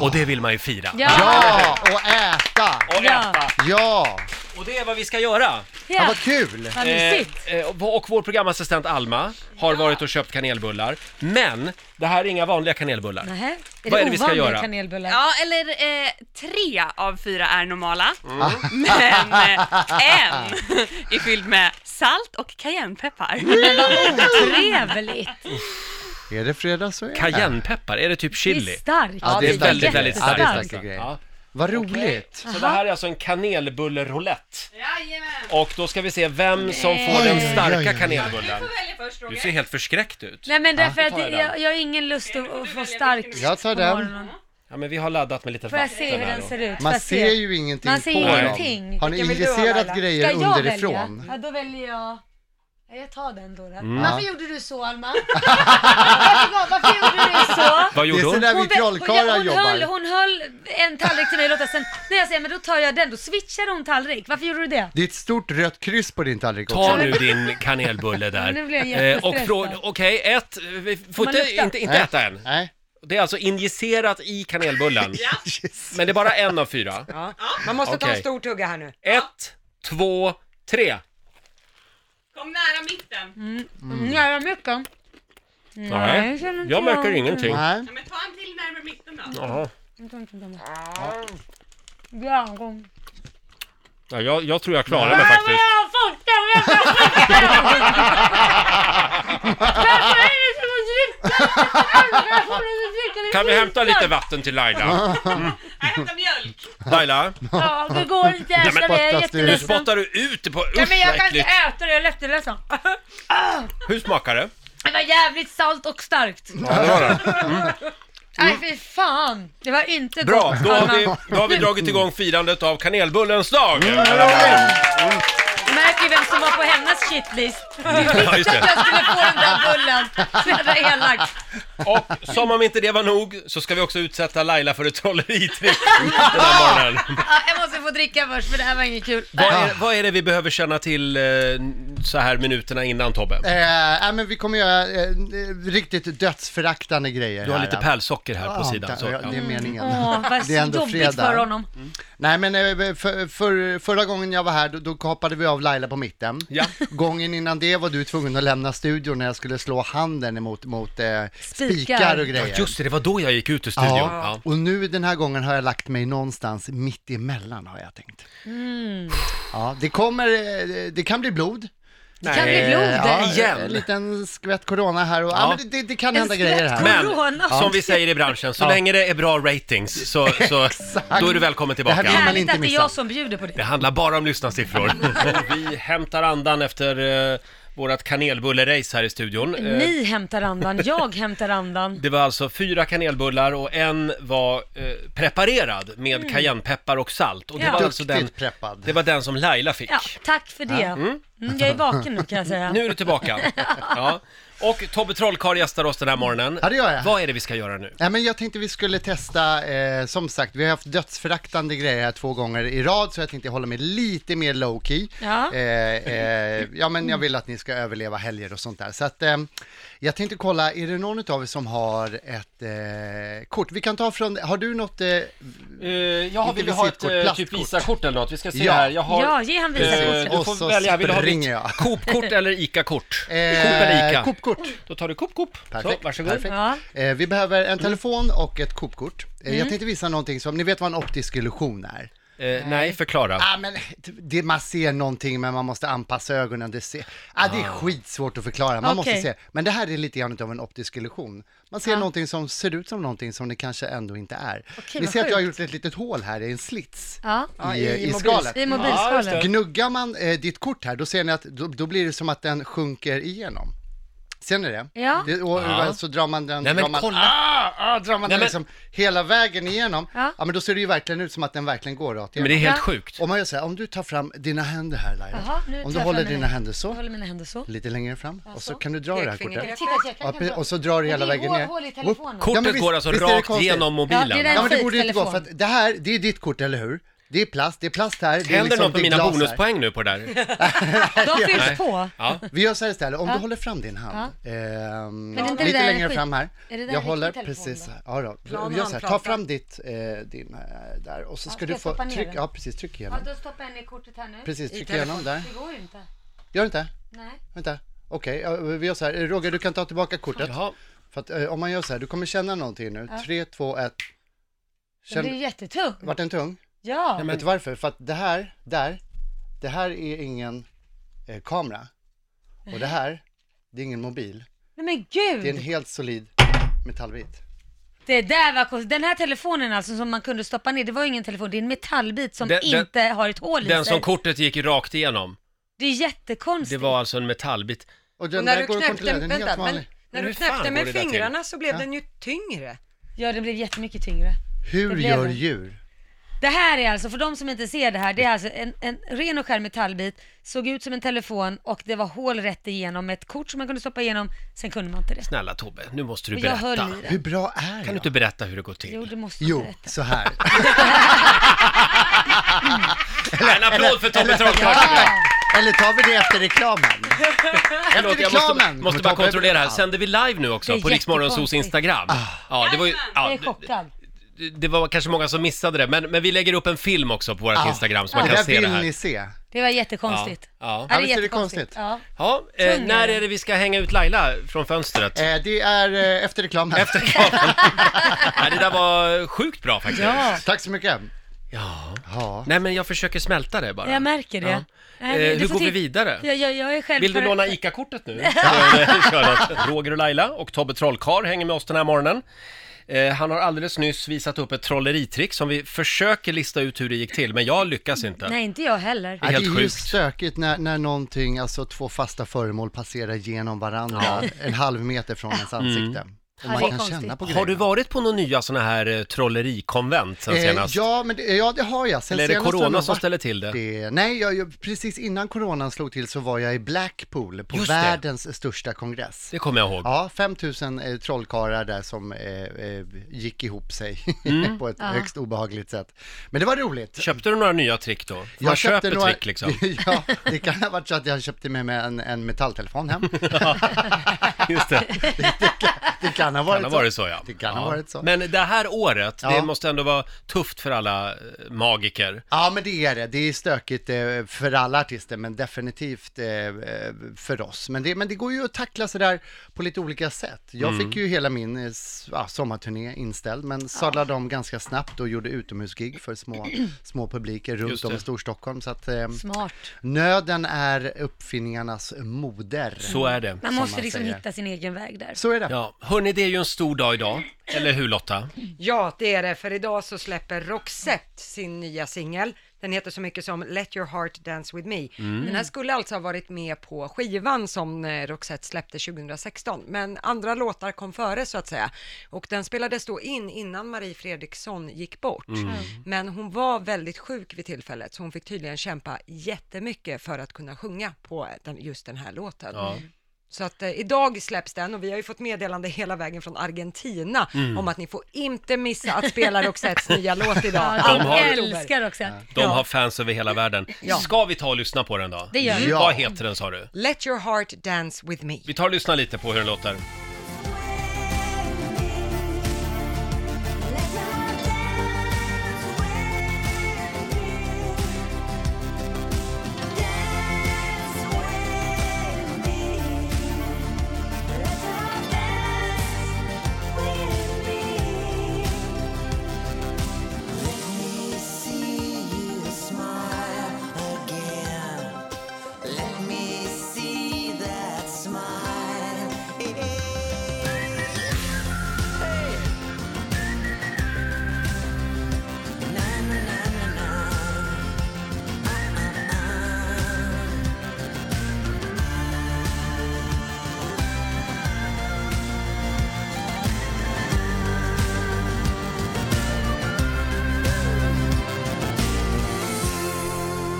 [SPEAKER 1] Och det vill man ju fira.
[SPEAKER 8] Ja, och äta.
[SPEAKER 1] Och äta.
[SPEAKER 8] Ja,
[SPEAKER 1] Och det är vad vi ska göra.
[SPEAKER 8] ja
[SPEAKER 4] Ja,
[SPEAKER 8] vad kul.
[SPEAKER 4] vad
[SPEAKER 1] Eh,
[SPEAKER 4] mysigt.
[SPEAKER 1] eh, och och vår programassistent Alma har varit och köpt kanelbullar. Men det här är inga vanliga kanelbullar.
[SPEAKER 4] Nähä, är
[SPEAKER 1] vad
[SPEAKER 4] det,
[SPEAKER 1] är det vi ska
[SPEAKER 4] ovanliga
[SPEAKER 1] göra?
[SPEAKER 4] kanelbullar?
[SPEAKER 9] Ja, eller eh, tre av fyra är normala, men eh, en är fylld med salt och cayennepeppar.
[SPEAKER 4] Otrevligt!
[SPEAKER 8] Är det fredag så är det.
[SPEAKER 1] Cayennepeppar, är det typ
[SPEAKER 4] Det är
[SPEAKER 1] chili?
[SPEAKER 4] starkt.
[SPEAKER 8] Ja, det är starkt.
[SPEAKER 1] väldigt, väldigt
[SPEAKER 8] Ja,
[SPEAKER 1] starkt.
[SPEAKER 8] det är starka grejer.
[SPEAKER 1] Ja.
[SPEAKER 8] Vad roligt.
[SPEAKER 1] Så det här är alltså en kanelbullerroulette. Och då ska vi se vem som får
[SPEAKER 8] Oj,
[SPEAKER 1] den
[SPEAKER 8] oj, oj, oj,
[SPEAKER 1] starka
[SPEAKER 8] oj.
[SPEAKER 1] kanelbullen. Du ser helt förskräckt ut.
[SPEAKER 4] Nej men därför att
[SPEAKER 1] tar jag
[SPEAKER 4] jag,
[SPEAKER 1] den.
[SPEAKER 4] jag, har ingen lust att, att få stark
[SPEAKER 8] Jag tar
[SPEAKER 4] på
[SPEAKER 8] den.
[SPEAKER 4] morgonen.
[SPEAKER 1] Ja, men vi har laddat med lite
[SPEAKER 4] Får jag
[SPEAKER 1] vatten
[SPEAKER 4] se hur
[SPEAKER 1] här
[SPEAKER 4] den
[SPEAKER 1] då.
[SPEAKER 4] ser ut? Får
[SPEAKER 8] Man
[SPEAKER 4] jag
[SPEAKER 8] ser ju ingenting
[SPEAKER 4] Man ser
[SPEAKER 8] på
[SPEAKER 4] ingenting.
[SPEAKER 8] dem. Har ni
[SPEAKER 4] Vilken vill du ha,
[SPEAKER 8] injicerat
[SPEAKER 4] Laila?
[SPEAKER 8] grejer
[SPEAKER 4] Ska jag
[SPEAKER 8] underifrån?
[SPEAKER 4] Välja? Ja, då väljer jag... Ja, Jag tar den då. då.
[SPEAKER 8] Ja.
[SPEAKER 1] Mm.
[SPEAKER 4] Varför gjorde du så, Alma? Varför, varför gjorde du så?
[SPEAKER 1] Vad
[SPEAKER 8] Det är
[SPEAKER 1] gjorde
[SPEAKER 8] så
[SPEAKER 1] hon?
[SPEAKER 8] där vi
[SPEAKER 4] vä- ja,
[SPEAKER 8] trollkarlar
[SPEAKER 4] hon, höll,
[SPEAKER 8] jobbar.
[SPEAKER 4] hon höll en tallrik till mig och Lotta, sen när jag säger men då tar jag den, då switchade hon tallrik. Varför gjorde du det?
[SPEAKER 8] Det är ett stort rött kryss på din tallrik
[SPEAKER 1] Ta
[SPEAKER 8] också.
[SPEAKER 1] nu din kanelbulle där.
[SPEAKER 4] Nu blir jag
[SPEAKER 1] Eh, och
[SPEAKER 4] jättestressad.
[SPEAKER 1] fråga, okej, ett, eh, vi får
[SPEAKER 4] man
[SPEAKER 1] inte,
[SPEAKER 4] lukta?
[SPEAKER 1] inte, inte
[SPEAKER 8] Nej.
[SPEAKER 1] äta än.
[SPEAKER 8] Nej.
[SPEAKER 1] Det är alltså injicerat i kanelbullen. Men det är bara en av fyra.
[SPEAKER 2] Ja. Man måste ta en
[SPEAKER 1] Okej.
[SPEAKER 2] stor tugga här nu.
[SPEAKER 1] Ett, två, tre.
[SPEAKER 9] Kom nära mitten.
[SPEAKER 4] Mm. Ja, mycket. jag känner inte
[SPEAKER 1] jag märker
[SPEAKER 4] jag.
[SPEAKER 1] ingenting.
[SPEAKER 8] Nej.
[SPEAKER 9] Ja, men ta en till närmare mitten då.
[SPEAKER 1] Jaha.
[SPEAKER 4] Ja, gång.
[SPEAKER 1] Ja, jag, jag tror jag klarar mig faktiskt.
[SPEAKER 4] Jag fattar, jag fattar. Varför är det som att dricka? Varför är det som att dricka? Det är
[SPEAKER 1] Kan vi hämta lite
[SPEAKER 4] skitgott.
[SPEAKER 1] vatten till Laila?
[SPEAKER 9] Jag hämtar mjölk.
[SPEAKER 1] Laila,
[SPEAKER 4] Ja, det går inte att äta det, jag är
[SPEAKER 8] spottas du?
[SPEAKER 1] nu
[SPEAKER 4] jätteledsen.
[SPEAKER 1] spottar du ut på...
[SPEAKER 4] Nej
[SPEAKER 1] Usch
[SPEAKER 4] men jag
[SPEAKER 1] vad
[SPEAKER 4] kan inte
[SPEAKER 1] äckligt.
[SPEAKER 4] äta det, jag är jätteledsen.
[SPEAKER 1] Hur smakar det?
[SPEAKER 4] Det var jävligt salt och starkt.
[SPEAKER 1] Ja, det var det.
[SPEAKER 4] Nej fy fan, det var inte
[SPEAKER 1] Bra,
[SPEAKER 4] gott.
[SPEAKER 1] då har,
[SPEAKER 4] Alma.
[SPEAKER 1] vi, då har vi dragit igång firandet av kanelbullens dag.
[SPEAKER 4] Mm. Jag märker ju vem som var på hennes shitlist.
[SPEAKER 1] Ja, just det.
[SPEAKER 4] Jag skulle få den där bullen. Så jävla elak.
[SPEAKER 1] Och som om inte det var nog så ska vi också utsätta Laila för ett trolleritrick den här morgonen.
[SPEAKER 4] Ja, jag måste få dricka först för det här var inget kul.
[SPEAKER 1] Vad
[SPEAKER 8] Ah.
[SPEAKER 1] är, vad är det vi behöver känna till eh, så här minuterna innan Tobbe?
[SPEAKER 8] Eh, äh, men vi kommer göra eh, eh, riktigt dödsföraktande grejer.
[SPEAKER 1] Du har
[SPEAKER 8] här,
[SPEAKER 1] lite
[SPEAKER 8] ja.
[SPEAKER 1] pärlsocker här på
[SPEAKER 8] Ja,
[SPEAKER 1] sidan. Så,
[SPEAKER 8] Ah, ja, Det är
[SPEAKER 1] ja. Mm.
[SPEAKER 8] meningen.
[SPEAKER 4] Åh, vad
[SPEAKER 8] det är ändå
[SPEAKER 4] jobbigt
[SPEAKER 8] fredag.
[SPEAKER 4] för honom.
[SPEAKER 8] Nej men eh, för, för, förra gången jag var här då, då hoppade vi av Laila på mitten.
[SPEAKER 1] Ja.
[SPEAKER 8] Gången innan det var du tvungen att lämna studion när jag skulle slå handen emot mot, eh, spikar och
[SPEAKER 1] ja,
[SPEAKER 8] grejer.
[SPEAKER 1] just det, det var då jag gick ut ur studion.
[SPEAKER 8] Ja.
[SPEAKER 1] Ja.
[SPEAKER 8] Och nu den här gången har jag lagt mig någonstans mitt emellan har jag tänkt.
[SPEAKER 4] Mm.
[SPEAKER 8] Ja, det kommer, eh, det kan bli blod. Eh,
[SPEAKER 4] Det kan bli blod.
[SPEAKER 8] ja,
[SPEAKER 1] Igen.
[SPEAKER 8] En liten skvätt corona här och, ja.
[SPEAKER 1] Ja.
[SPEAKER 8] men det, det kan
[SPEAKER 4] En
[SPEAKER 8] hända grejer
[SPEAKER 4] skvätt
[SPEAKER 8] här.
[SPEAKER 1] Men
[SPEAKER 4] Corona.
[SPEAKER 1] som vi säger i branschen, så
[SPEAKER 8] Ja.
[SPEAKER 1] länge det är bra ratings så, så då är du välkommen
[SPEAKER 8] Det här
[SPEAKER 1] tillbaka.
[SPEAKER 8] vill man
[SPEAKER 4] Härligt
[SPEAKER 8] inte
[SPEAKER 4] att det är
[SPEAKER 8] missa. Eh.
[SPEAKER 4] jag som bjuder på
[SPEAKER 1] Det
[SPEAKER 4] det.
[SPEAKER 1] handlar bara om lyssnarsiffror. vi hämtar andan efter eh, vårt kanelbullerace här i studion. Eh,
[SPEAKER 4] Ni hämtar andan, jag hämtar andan.
[SPEAKER 1] Det var alltså fyra kanelbullar och en var eh, preparerad med cayennepeppar och salt. Och det,
[SPEAKER 4] Mm. Ja.
[SPEAKER 1] var alltså
[SPEAKER 8] Duktigt
[SPEAKER 1] den,
[SPEAKER 8] preppad.
[SPEAKER 1] det var den som Laila fick.
[SPEAKER 4] Mm, Ja, tack för det. Mm, jag är vaken nu kan jag säga.
[SPEAKER 1] Nu är du tillbaka. Ja. Och Tobbe Trollkarl gästar oss den här morgonen.
[SPEAKER 8] Ja, det gör jag.
[SPEAKER 1] Vad är det vi ska göra nu?
[SPEAKER 8] Nej, men jag tänkte vi skulle testa, eh, som sagt, vi har haft dödsföraktande grejer här två gånger i rad, så jag tänkte hålla mig lite mer low key.
[SPEAKER 4] Ja.
[SPEAKER 8] Eh, eh, ja, men jag vill att ni ska överleva helger och sånt där. Så att, eh, jag tänkte kolla, är det någon av er som har ett eh, kort? Vi kan ta från, har du något? Eh,
[SPEAKER 1] ja,
[SPEAKER 8] Inte vill vi ha ett, visitkort, eh, typ plastkort.
[SPEAKER 1] Visakort eller något? Vi ska se
[SPEAKER 8] Ja. här.
[SPEAKER 1] Jag
[SPEAKER 4] Ja, ge han
[SPEAKER 1] Eh,
[SPEAKER 4] visakortet.
[SPEAKER 1] du
[SPEAKER 8] Och
[SPEAKER 1] får
[SPEAKER 8] så
[SPEAKER 1] välja, vill du ha
[SPEAKER 8] springer
[SPEAKER 1] ditt
[SPEAKER 8] jag.
[SPEAKER 1] Coop-kort eller ICA-kort? Coop eller ICA?
[SPEAKER 8] Coop-kort.
[SPEAKER 1] Då tar du Coop, Coop. Så,
[SPEAKER 8] Perfekt,
[SPEAKER 1] varsågod.
[SPEAKER 8] perfekt.
[SPEAKER 4] Ja.
[SPEAKER 8] Eh, vi behöver en telefon och ett Coop-kort. Eh, Jag tänkte visa någonting som, ni vet vad en optisk illusion är?
[SPEAKER 1] Eh, nej, förklara.
[SPEAKER 8] Ah, men det, man ser någonting men man måste anpassa ögonen. Det, ser, ah, det är skitsvårt att förklara, man måste
[SPEAKER 4] Okej. Ah.
[SPEAKER 8] se. Men det här är lite grann av en optisk illusion. Man ser någonting som ser ut som någonting som det kanske ändå inte är. Ni
[SPEAKER 4] vad
[SPEAKER 8] ser att
[SPEAKER 4] sjukt.
[SPEAKER 8] jag har
[SPEAKER 4] Ah.
[SPEAKER 8] gjort ett litet hål här, det är en slits
[SPEAKER 4] Ja.
[SPEAKER 2] Ja,
[SPEAKER 8] i,
[SPEAKER 2] i
[SPEAKER 8] i,
[SPEAKER 2] mobil-
[SPEAKER 8] skalet.
[SPEAKER 4] I mobilskalet.
[SPEAKER 1] Ja,
[SPEAKER 8] Gnuggar man eh, ditt kort här, då ser ni att då, då blir det som att den sjunker igenom. Ser ni det?
[SPEAKER 4] Ja.
[SPEAKER 8] det och,
[SPEAKER 1] Ja.
[SPEAKER 8] Så drar man den,
[SPEAKER 1] Nej, men
[SPEAKER 8] drar man,
[SPEAKER 1] kolla.
[SPEAKER 8] Ah, ah, drar man
[SPEAKER 1] Nej,
[SPEAKER 8] den
[SPEAKER 1] men-
[SPEAKER 8] liksom hela vägen igenom,
[SPEAKER 4] Ja.
[SPEAKER 8] ja. men då ser det ju verkligen ut som att den verkligen går rakt
[SPEAKER 1] Men
[SPEAKER 8] igenom.
[SPEAKER 1] det är helt
[SPEAKER 4] Ja.
[SPEAKER 1] sjukt.
[SPEAKER 8] Om man gör så här, om du tar fram dina händer här Laila,
[SPEAKER 4] Jaha, nu
[SPEAKER 8] om
[SPEAKER 4] tar
[SPEAKER 8] du
[SPEAKER 4] jag
[SPEAKER 8] håller
[SPEAKER 4] fram
[SPEAKER 8] dina
[SPEAKER 4] mina-
[SPEAKER 8] händer
[SPEAKER 4] Jag
[SPEAKER 8] så,
[SPEAKER 4] håller mina händer så.
[SPEAKER 8] lite längre fram, och så
[SPEAKER 4] så.
[SPEAKER 8] kan du dra det här
[SPEAKER 2] Pekfingret.
[SPEAKER 8] kortet.
[SPEAKER 4] Titta, jag
[SPEAKER 8] Ja,
[SPEAKER 4] kan
[SPEAKER 8] pre- och så drar du hela vägen ner.
[SPEAKER 4] hål i
[SPEAKER 8] Whoop.
[SPEAKER 4] telefonen.
[SPEAKER 8] Ja,
[SPEAKER 1] Kortet
[SPEAKER 8] men visst-
[SPEAKER 1] går alltså
[SPEAKER 8] visst är det
[SPEAKER 1] rakt
[SPEAKER 8] konstigt?
[SPEAKER 1] genom mobilen.
[SPEAKER 4] Ja, det är
[SPEAKER 8] Ja, men det
[SPEAKER 4] Fake
[SPEAKER 8] borde inte gå, för
[SPEAKER 4] telefon.
[SPEAKER 8] att det här, det är ditt kort, eller hur? Det är plast, det är plast här, det är
[SPEAKER 1] Händer
[SPEAKER 8] liksom
[SPEAKER 1] något med
[SPEAKER 8] det är
[SPEAKER 1] mina
[SPEAKER 8] glas här.
[SPEAKER 1] bonuspoäng nu på det där?
[SPEAKER 4] De
[SPEAKER 1] Nej.
[SPEAKER 4] fylls på.
[SPEAKER 1] Ja.
[SPEAKER 8] Vi gör så här istället, om du håller fram din hand, ehm,
[SPEAKER 4] Men är inte det
[SPEAKER 8] lite
[SPEAKER 4] där
[SPEAKER 8] längre
[SPEAKER 4] skit-
[SPEAKER 8] fram här.
[SPEAKER 4] är det där
[SPEAKER 8] jag håller
[SPEAKER 4] riktig telefon
[SPEAKER 8] precis,
[SPEAKER 4] då?
[SPEAKER 8] ja, då.
[SPEAKER 2] Plan,
[SPEAKER 8] vi gör så här, ta
[SPEAKER 2] handplan,
[SPEAKER 8] fram ditt, eh, din, eh, där och så ska
[SPEAKER 4] ska
[SPEAKER 8] du
[SPEAKER 4] jag
[SPEAKER 8] få,
[SPEAKER 4] stoppa ner
[SPEAKER 8] tryck,
[SPEAKER 4] den?
[SPEAKER 8] ja precis, tryck igenom.
[SPEAKER 4] då stoppar jag ner kortet här nu.
[SPEAKER 8] Precis, tryck
[SPEAKER 2] telefon.
[SPEAKER 8] igenom där.
[SPEAKER 4] går ju inte.
[SPEAKER 8] Gör det inte?
[SPEAKER 4] Nej.
[SPEAKER 8] Vänta, okej, ja, vi gör så här, Roger du kan ta tillbaka kortet.
[SPEAKER 1] Jaha.
[SPEAKER 8] För att eh, om man gör så här, du kommer känna någonting nu. Tre, två, ett.
[SPEAKER 4] Den blir
[SPEAKER 8] Känn,
[SPEAKER 4] jättetung.
[SPEAKER 8] vart den tung?
[SPEAKER 4] Ja.
[SPEAKER 1] men-
[SPEAKER 8] Vet du varför? För att det här, där, det här är ingen eh, kamera. Och det här, det är ingen mobil.
[SPEAKER 4] Nej men
[SPEAKER 8] Det är en
[SPEAKER 4] gud!
[SPEAKER 8] helt solid metallbit.
[SPEAKER 4] Det där var konstigt. Den här telefonen alltså som man kunde stoppa ner, det var ju ingen telefon, det är en metallbit som
[SPEAKER 1] Den- den-
[SPEAKER 4] inte har ett hål i
[SPEAKER 1] Den
[SPEAKER 4] sig.
[SPEAKER 1] som kortet gick rakt igenom,
[SPEAKER 4] Det är
[SPEAKER 1] det
[SPEAKER 4] jättekonstigt.
[SPEAKER 1] var alltså en metallbit.
[SPEAKER 8] Och den
[SPEAKER 2] Och när
[SPEAKER 8] där
[SPEAKER 2] du
[SPEAKER 8] går att
[SPEAKER 2] knäppte,
[SPEAKER 8] kontrollera, den är
[SPEAKER 2] vänta,
[SPEAKER 8] helt
[SPEAKER 2] men,
[SPEAKER 8] vanlig.
[SPEAKER 1] Men
[SPEAKER 2] när du
[SPEAKER 1] hur fan
[SPEAKER 2] knäppte
[SPEAKER 1] går
[SPEAKER 2] med
[SPEAKER 1] det där till?
[SPEAKER 2] fingrarna så blev den ju tyngre.
[SPEAKER 4] Ja, det blev jättemycket tyngre.
[SPEAKER 8] Hur
[SPEAKER 4] det blev
[SPEAKER 8] gör
[SPEAKER 4] det.
[SPEAKER 8] djur?
[SPEAKER 4] Det här är alltså, för de som inte ser det här, det är alltså en, en ren och skär metallbit, såg ut som en telefon och det var hål rätt igenom, ett kort som man kunde stoppa igenom, sen kunde man inte det.
[SPEAKER 1] Snälla Tobbe, nu måste du
[SPEAKER 4] Och jag höll i
[SPEAKER 1] berätta.
[SPEAKER 4] den.
[SPEAKER 8] Hur bra är
[SPEAKER 1] Kan du
[SPEAKER 8] jag?
[SPEAKER 1] inte berätta hur det går till?
[SPEAKER 4] Jo, det måste
[SPEAKER 8] Jo,
[SPEAKER 4] jag berätta.
[SPEAKER 8] så här.
[SPEAKER 1] En applåd för Tobbe Trollkarl!
[SPEAKER 4] Ja!
[SPEAKER 8] Eller tar vi det efter reklamen?
[SPEAKER 1] Förlåt, jag måste,
[SPEAKER 8] reklamen.
[SPEAKER 1] måste
[SPEAKER 8] Kommer
[SPEAKER 1] bara
[SPEAKER 8] Tobbe-
[SPEAKER 1] kontrollera här.
[SPEAKER 8] Ja.
[SPEAKER 1] Sänder vi live nu också
[SPEAKER 4] Det är
[SPEAKER 1] på Riksmorgonsos
[SPEAKER 4] jättekonstigt.
[SPEAKER 1] Instagram? Ja, det var ju...
[SPEAKER 4] Jag
[SPEAKER 1] Ja,
[SPEAKER 4] är chockad.
[SPEAKER 1] det- det var kanske många som missade det, men, men vi lägger upp en film också på vårt
[SPEAKER 8] Ah. Ja.
[SPEAKER 1] Instagram så man
[SPEAKER 8] det
[SPEAKER 1] kan
[SPEAKER 8] där
[SPEAKER 1] se det
[SPEAKER 8] vill
[SPEAKER 1] här.
[SPEAKER 8] ni se.
[SPEAKER 4] Det var jättekonstigt.
[SPEAKER 1] Ja, ja.
[SPEAKER 4] det
[SPEAKER 8] Ja,
[SPEAKER 4] är
[SPEAKER 8] visst är det
[SPEAKER 4] jättekonstigt.
[SPEAKER 8] konstigt.
[SPEAKER 4] Ja.
[SPEAKER 1] Ja, eh,
[SPEAKER 4] Tung är
[SPEAKER 1] när
[SPEAKER 4] den.
[SPEAKER 1] är det vi ska hänga ut Laila från fönstret?
[SPEAKER 8] Eh, det är eh, efter reklamen.
[SPEAKER 1] Efter kraven. Nej, det där var sjukt bra faktiskt.
[SPEAKER 4] ja.
[SPEAKER 8] Tack så mycket.
[SPEAKER 1] Ja.
[SPEAKER 8] Ja.
[SPEAKER 1] Nej, men jag försöker smälta det bara.
[SPEAKER 4] Jag märker det.
[SPEAKER 1] Ja.
[SPEAKER 4] Nej,
[SPEAKER 1] Eh,
[SPEAKER 4] men du
[SPEAKER 1] hur
[SPEAKER 4] får
[SPEAKER 1] går vi
[SPEAKER 4] titta-
[SPEAKER 1] vidare?
[SPEAKER 4] Jag, jag, jag är själv
[SPEAKER 1] Vill du låna ICA-kortet nu? Så, eh, kör något. Roger och Laila och Tobbe Trollkarl hänger med oss den här morgonen. Eh, han har alldeles nyss visat upp ett trolleritrick som vi försöker lista ut hur det gick till, men jag lyckas inte.
[SPEAKER 4] Nej, inte jag heller.
[SPEAKER 1] är
[SPEAKER 8] Ja,
[SPEAKER 1] helt
[SPEAKER 8] det är ju
[SPEAKER 1] sjukt.
[SPEAKER 8] stökigt när, när någonting, alltså två fasta föremål passerar genom varandra en halv meter från ens ansikte. Och
[SPEAKER 4] Ja,
[SPEAKER 8] man
[SPEAKER 4] det är
[SPEAKER 8] kan
[SPEAKER 4] konstigt.
[SPEAKER 8] känna på grejerna.
[SPEAKER 1] Mm. Har du varit på några nya sådana här eh, trollerikonvent sen
[SPEAKER 8] Eh,
[SPEAKER 1] senast?
[SPEAKER 8] ja, men det, ja, det har jag. Sen
[SPEAKER 1] Eller är det
[SPEAKER 8] senast har jag
[SPEAKER 1] corona
[SPEAKER 8] nog
[SPEAKER 1] som
[SPEAKER 8] varit
[SPEAKER 1] ställer till det?
[SPEAKER 8] det. Nej, jag, jag, precis innan coronan slog till så var jag i Blackpool på
[SPEAKER 1] Just det.
[SPEAKER 8] världens största kongress.
[SPEAKER 1] Det kommer jag ihåg.
[SPEAKER 8] Ja, 5000 eh, trollkarlar där som eh, eh, gick ihop sig på ett högst obehagligt sätt. Men det var roligt.
[SPEAKER 1] Mm. Köpte du några nya trick då? Man
[SPEAKER 8] Jag köpte
[SPEAKER 1] köper
[SPEAKER 8] några-
[SPEAKER 1] trick liksom.
[SPEAKER 8] ja, det kan ha varit så att jag köpte med mig en, en metalltelefon hem.
[SPEAKER 1] Just det.
[SPEAKER 8] Det kan ha varit,
[SPEAKER 1] kan ha varit så, ja.
[SPEAKER 8] Det kan
[SPEAKER 1] ja.
[SPEAKER 8] ha varit så.
[SPEAKER 1] Men det här året, det
[SPEAKER 8] Ja.
[SPEAKER 1] måste ändå vara tufft för alla eh, magiker.
[SPEAKER 8] Ja, men det är det. Det är stökigt eh, för alla artister, men definitivt eh, eh, för oss. Men det, men det går ju att tackla sådär på lite olika sätt. Jag
[SPEAKER 1] Mm.
[SPEAKER 8] fick ju hela min eh, s- ja, sommarturné inställd, men sadlade om ganska snabbt och gjorde utomhusgig för små, små publiker
[SPEAKER 1] Just
[SPEAKER 8] runt om
[SPEAKER 1] det.
[SPEAKER 8] i Storstockholm. Så att, eh,
[SPEAKER 4] Smart.
[SPEAKER 8] nöden är uppfinningarnas moder.
[SPEAKER 1] Så är det.
[SPEAKER 4] Man
[SPEAKER 8] som
[SPEAKER 4] måste
[SPEAKER 8] man
[SPEAKER 4] liksom
[SPEAKER 8] säger.
[SPEAKER 4] hitta sin egen väg där.
[SPEAKER 8] Så är det.
[SPEAKER 1] Ja, hörni, det är ju en stor dag idag. Eller hur Lotta?
[SPEAKER 2] Ja, det är det, för idag så släpper Roxette sin nya singel. Den heter så mycket som Let your heart dance with me. Den här skulle alltså ha varit med på skivan som eh, Roxette släppte 2016, men andra låtar kom före så att säga. Och den spelades då in innan Marie Fredriksson gick bort. Mm. Men hon var väldigt sjuk vid tillfället, så hon fick tydligen kämpa jättemycket för att kunna sjunga på den, just den här låten.
[SPEAKER 1] Ja.
[SPEAKER 2] Så att eh, idag släpps den och vi har ju fått meddelande hela vägen från Argentina
[SPEAKER 1] Mm.
[SPEAKER 2] om att ni får inte missa att spela Roxettes nya låt idag.
[SPEAKER 4] Ja, de
[SPEAKER 1] har-
[SPEAKER 4] älskar också.
[SPEAKER 1] De har fans över hela världen. Ska vi ta och lyssna på den då? Mm.
[SPEAKER 4] Det gör vi.
[SPEAKER 8] Ja.
[SPEAKER 1] Vad heter den sa du?
[SPEAKER 2] Let your heart dance with me.
[SPEAKER 1] Vi tar och lyssnar lite på hur den låter.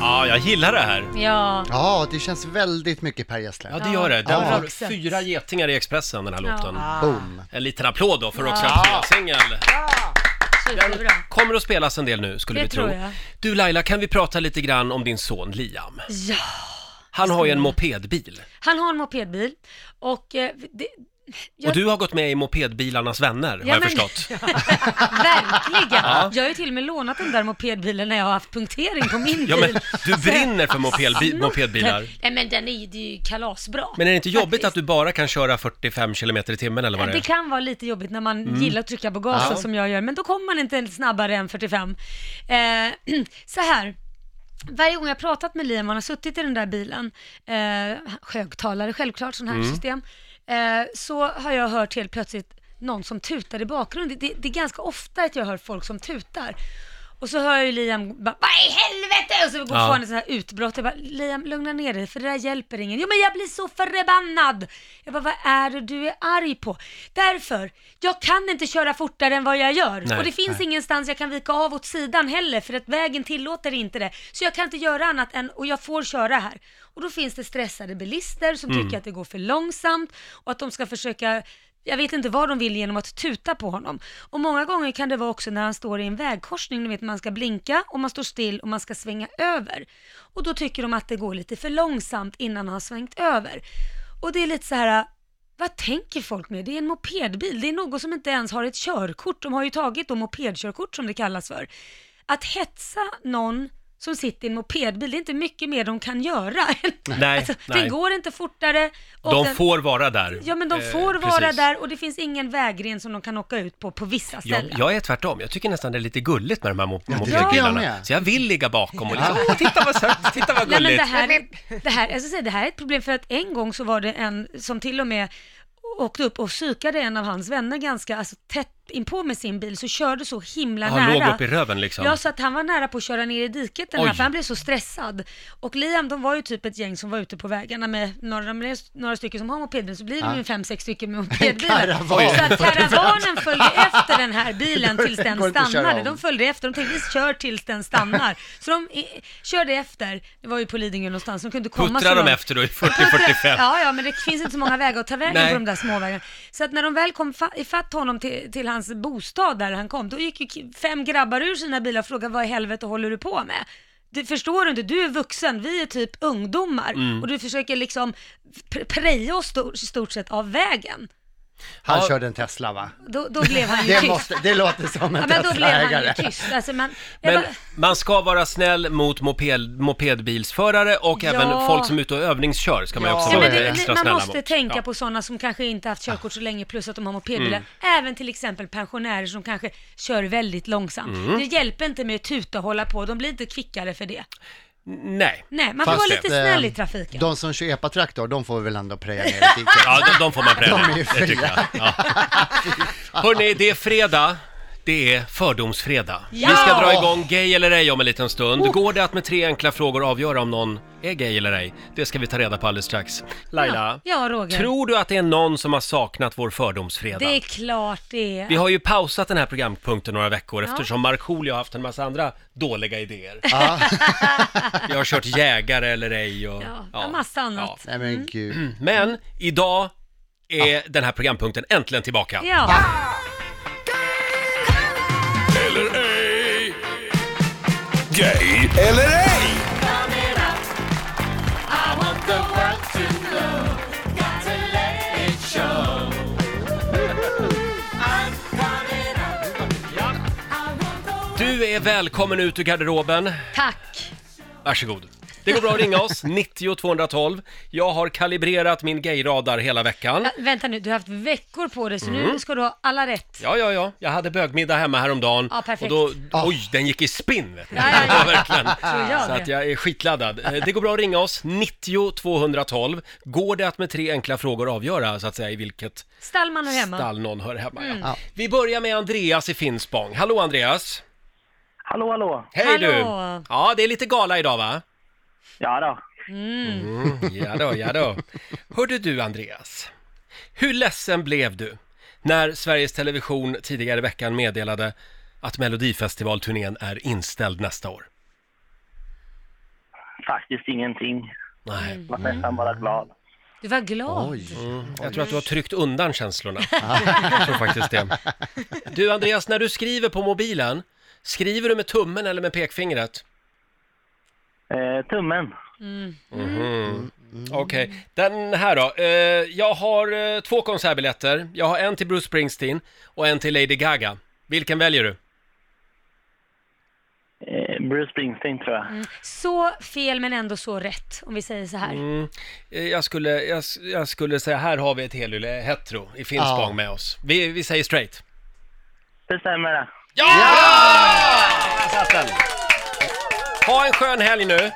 [SPEAKER 1] Ja, jag gillar det här.
[SPEAKER 4] Ja,
[SPEAKER 8] Ja, det känns väldigt mycket Per
[SPEAKER 1] Ja,
[SPEAKER 8] Gessle.
[SPEAKER 1] det gör det. Den
[SPEAKER 8] Ja.
[SPEAKER 1] har
[SPEAKER 4] Roxette.
[SPEAKER 1] fyra getingar i Expressen, den här
[SPEAKER 4] Ja.
[SPEAKER 1] låten.
[SPEAKER 8] Boom.
[SPEAKER 1] En liten applåd då för Roxettes nya singel.
[SPEAKER 4] superbra.
[SPEAKER 1] Kommer att spelas en del nu, skulle
[SPEAKER 4] Det
[SPEAKER 1] vi tro.
[SPEAKER 4] tror jag.
[SPEAKER 1] Du Laila, kan vi prata lite grann om din son Liam?
[SPEAKER 4] Ja.
[SPEAKER 1] Han har ju en mopedbil.
[SPEAKER 4] Han har en mopedbil och eh, det,
[SPEAKER 1] Och du har gått med i Mopedbilarnas vänner, har
[SPEAKER 4] Ja,
[SPEAKER 1] jag
[SPEAKER 4] men-
[SPEAKER 1] förstått.
[SPEAKER 4] verkligen. Jag har ju till och med lånat den där mopedbilen när jag har haft punktering på min bil.
[SPEAKER 1] Ja, men du
[SPEAKER 4] Så jag-
[SPEAKER 1] brinner för mopedbi- mopedbilar.
[SPEAKER 4] Nej men den är, ju- det är ju kalasbra.
[SPEAKER 1] Men är det inte jobbigt att du bara kan köra 45 kilometer i timmen eller vad det Mm.
[SPEAKER 4] det
[SPEAKER 1] är?
[SPEAKER 4] kan vara lite jobbigt när man gillar att trycka på gasen som jag gör, men då kommer man inte snabbare än 45. Eh, så här. Varje gång jag pratat med Liam, han har suttit i den där bilen, eh, högtalare självklart, sån här system, eh, så har jag hört helt plötsligt någon som tutar i bakgrunden. Det, det är ganska ofta att jag hör folk som tutar. Och så hör jag ju Liam bara, vad i helvete? Och så går
[SPEAKER 1] Ja.
[SPEAKER 4] ja. en sån här utbrott. Jag bara, Liam lugna ner dig för det där hjälper ingen. Jo men jag blir så förbannad. Jag bara, vad är det du är arg på? Därför, jag kan inte köra fortare än vad jag gör.
[SPEAKER 1] Nej.
[SPEAKER 4] och det finns ingenstans jag kan vika av åt sidan heller för att vägen tillåter inte det. Så jag kan inte göra annat än, och jag får köra här. Och då finns det stressade bilister som
[SPEAKER 1] Mm.
[SPEAKER 4] tycker att det går för långsamt och att de ska försöka jag vet inte vad de vill genom att tuta på honom. Och många gånger kan det vara också när han står i en vägkorsning, du vet man ska blinka och man står still och man ska svänga över. Och då tycker de att det går lite för långsamt innan han har svängt över. Och det är lite så här, vad tänker folk med? Det är en mopedbil, det är någon som inte ens har ett körkort. De har ju tagit då mopedkörkort som det kallas för. Att hetsa någon som sitter i en mopedbil, det är inte mycket mer de kan göra.
[SPEAKER 1] Nej,
[SPEAKER 4] alltså,
[SPEAKER 1] nej.
[SPEAKER 4] Den går inte fortare. och
[SPEAKER 1] De
[SPEAKER 4] den-
[SPEAKER 1] får vara där.
[SPEAKER 4] Ja men de
[SPEAKER 1] Eh,
[SPEAKER 4] får vara
[SPEAKER 1] precis.
[SPEAKER 4] där och det finns ingen vägren som de kan åka ut på på vissa
[SPEAKER 1] Jag,
[SPEAKER 4] ställen.
[SPEAKER 1] jag är tvärtom, jag tycker nästan det är lite gulligt med de här mo-
[SPEAKER 8] tycker jag
[SPEAKER 1] mopedbilarna.
[SPEAKER 8] med.
[SPEAKER 1] Så jag vill ligga bakom och liksom, åh titta vad sött, titta vad
[SPEAKER 4] Nej, men
[SPEAKER 1] gulligt.
[SPEAKER 4] det här, det, här, jag ska säga, det här är ett problem för att en gång så var det en som till och med åkte upp och psykade en av hans vänner ganska alltså, tätt inpå med sin bil så körde så himla
[SPEAKER 1] Han
[SPEAKER 4] nära.
[SPEAKER 1] låg upp i röven liksom.
[SPEAKER 4] Ja, så att han var nära på att köra ner i diket den här,
[SPEAKER 1] Oj.
[SPEAKER 4] för han blev så stressad. Och Liam, de var ju typ ett gäng som var ute på vägarna med några, de blev några stycken som har mopedbil, så blir det ju fem, sex stycken med mopedbilar.
[SPEAKER 8] Karavan.
[SPEAKER 4] så att karavanen följde efter den här bilen tills den
[SPEAKER 8] Går inte att köra
[SPEAKER 4] stannade.
[SPEAKER 8] om.
[SPEAKER 4] De följde efter, de tänkte vi kör tills den stannar. Så de eh, körde efter, det var ju på Lidingö någonstans, de kunde inte komma
[SPEAKER 1] Puttrar
[SPEAKER 4] så
[SPEAKER 1] de
[SPEAKER 4] långt.
[SPEAKER 1] efter då i 40-45?
[SPEAKER 4] Ja, ja, men det finns inte så många vägar att ta vägen
[SPEAKER 1] Nej.
[SPEAKER 4] på de där småvägarna. Så att när de väl kom fa- ifatt honom till, till hans bostad där han kom, då gick ju ki- fem grabbar ur sina bilar och frågade vad i helvete håller du på med? Du förstår du inte, du är vuxen, vi är typ ungdomar
[SPEAKER 1] Mm.
[SPEAKER 4] och du försöker liksom pr- preja oss stor- stort sett av vägen.
[SPEAKER 8] Han
[SPEAKER 1] Ja.
[SPEAKER 8] körde en Tesla va?
[SPEAKER 4] Då, då blev han ju
[SPEAKER 8] Det,
[SPEAKER 4] tyst.
[SPEAKER 8] måste, det låter som
[SPEAKER 4] Ja,
[SPEAKER 8] en
[SPEAKER 4] men då blev han ju
[SPEAKER 8] Tesla-ägare.
[SPEAKER 4] tyst. Alltså, man, jag
[SPEAKER 1] Men
[SPEAKER 4] bara-
[SPEAKER 1] man ska vara snäll mot moped, mopedbilsförare och
[SPEAKER 4] Ja.
[SPEAKER 1] även folk som är ute och övningskör ska man ju
[SPEAKER 8] Ja.
[SPEAKER 1] också
[SPEAKER 4] Ja,
[SPEAKER 1] vara
[SPEAKER 4] men
[SPEAKER 8] är
[SPEAKER 4] det,
[SPEAKER 1] extra
[SPEAKER 4] man
[SPEAKER 1] snälla
[SPEAKER 4] måste
[SPEAKER 1] mot. Ja.
[SPEAKER 4] tänka
[SPEAKER 1] Mm.
[SPEAKER 4] på sådana som kanske inte haft körkort så länge plus att de har mopedbilar. Även till exempel pensionärer som kanske kör väldigt långsamt.
[SPEAKER 1] Mm.
[SPEAKER 4] Det hjälper inte med att tuta och hålla på, de blir inte kvickare för det.
[SPEAKER 1] Nej.
[SPEAKER 4] Nej, man får
[SPEAKER 1] Fast
[SPEAKER 4] vara
[SPEAKER 1] det-
[SPEAKER 4] lite snäll i
[SPEAKER 8] Ehm,
[SPEAKER 4] trafiken.
[SPEAKER 8] De som kör epatraktor, de får vi väl ändå preja ner i diket.
[SPEAKER 1] Ja, de, de får man
[SPEAKER 8] De
[SPEAKER 1] pröva.
[SPEAKER 8] är ju
[SPEAKER 1] Det tycker jag. Ja. Hörni, det är fredag. Det är Fördomsfredag.
[SPEAKER 4] Ja! Oh!
[SPEAKER 1] Vi ska dra igång Gay eller ej om en liten stund. Går det att med tre enkla frågor avgöra om någon är gay eller ej? Det ska vi ta reda på alldeles strax. Laila,
[SPEAKER 4] Ja, Roger.
[SPEAKER 1] tror du att det är någon som har saknat vår Fördomsfredag?
[SPEAKER 4] Det är klart det är.
[SPEAKER 1] Vi har ju pausat den här programpunkten några veckor
[SPEAKER 4] Ja.
[SPEAKER 1] eftersom Markoolio har haft en massa andra dåliga idéer. Vi har kört jägare eller ej och...
[SPEAKER 4] Ja, en massa annat.
[SPEAKER 8] Nej men
[SPEAKER 4] Mm.
[SPEAKER 8] gud.
[SPEAKER 1] Men idag är den här programpunkten äntligen tillbaka.
[SPEAKER 4] Ja,
[SPEAKER 3] Gay eller ej?
[SPEAKER 1] Du är välkommen ut ur garderoben.
[SPEAKER 4] tack.
[SPEAKER 1] Varsågod. Det går bra att ringa oss, 90 212. Jag har kalibrerat min gayradar hela veckan.
[SPEAKER 4] Ja, vänta nu, du har haft veckor på dig så
[SPEAKER 1] Mm.
[SPEAKER 4] nu ska du ha alla rätt.
[SPEAKER 1] Ja, ja, ja. Jag hade bögmiddag hemma häromdagen.
[SPEAKER 4] Ja, perfekt.
[SPEAKER 1] Och då, oj, den gick i spinn vet ni.
[SPEAKER 4] Ja, ja, ja.
[SPEAKER 1] verkligen.
[SPEAKER 4] Tror
[SPEAKER 1] Ah,
[SPEAKER 4] jag
[SPEAKER 1] Så
[SPEAKER 4] det.
[SPEAKER 1] att jag är skitladdad. Eh, Det går bra att ringa oss, 90 212. Går det att med tre enkla frågor avgöra så att säga i vilket
[SPEAKER 4] Stallman är hemma.
[SPEAKER 1] stall någon hör hemma?
[SPEAKER 4] Mm.
[SPEAKER 1] Ja. Vi börjar med Andreas i Finspång. Hallå Andreas!
[SPEAKER 10] Hallå, hallå.
[SPEAKER 1] Hej
[SPEAKER 4] Hallå.
[SPEAKER 1] du! Ja, det är lite gala idag va?
[SPEAKER 10] Ja då.
[SPEAKER 1] Ja då, ja då. Hörde du Andreas, hur ledsen blev du när Sveriges Television tidigare i veckan meddelade att Melodifestivalturnén är inställd nästa år?
[SPEAKER 10] Faktiskt ingenting.
[SPEAKER 1] Nej,
[SPEAKER 10] Var nästan bara glad.
[SPEAKER 4] Du var glad.
[SPEAKER 8] Oj.
[SPEAKER 1] jag tror att du har tryckt undan känslorna. Jag tror faktiskt det. Du Andreas, när du skriver på mobilen, skriver du med tummen eller med pekfingret?
[SPEAKER 10] Eh, tummen.
[SPEAKER 1] Okej, den här då. Eh, jag har eh, två konsertbiljetter. Jag har en till Bruce Springsteen och en till Lady Gaga. Vilken väljer du?
[SPEAKER 10] Eh, Bruce Springsteen tror jag.
[SPEAKER 1] Mm.
[SPEAKER 4] Så fel men ändå så rätt, om vi säger så här.
[SPEAKER 1] Eh, Jag skulle, jag, s- jag skulle säga, här har vi ett helylle hetero i Finspång
[SPEAKER 8] Ja.
[SPEAKER 1] med oss. Vi, vi säger straight.
[SPEAKER 10] Det stämmer det.
[SPEAKER 1] Ja! Ha en skön helg nu.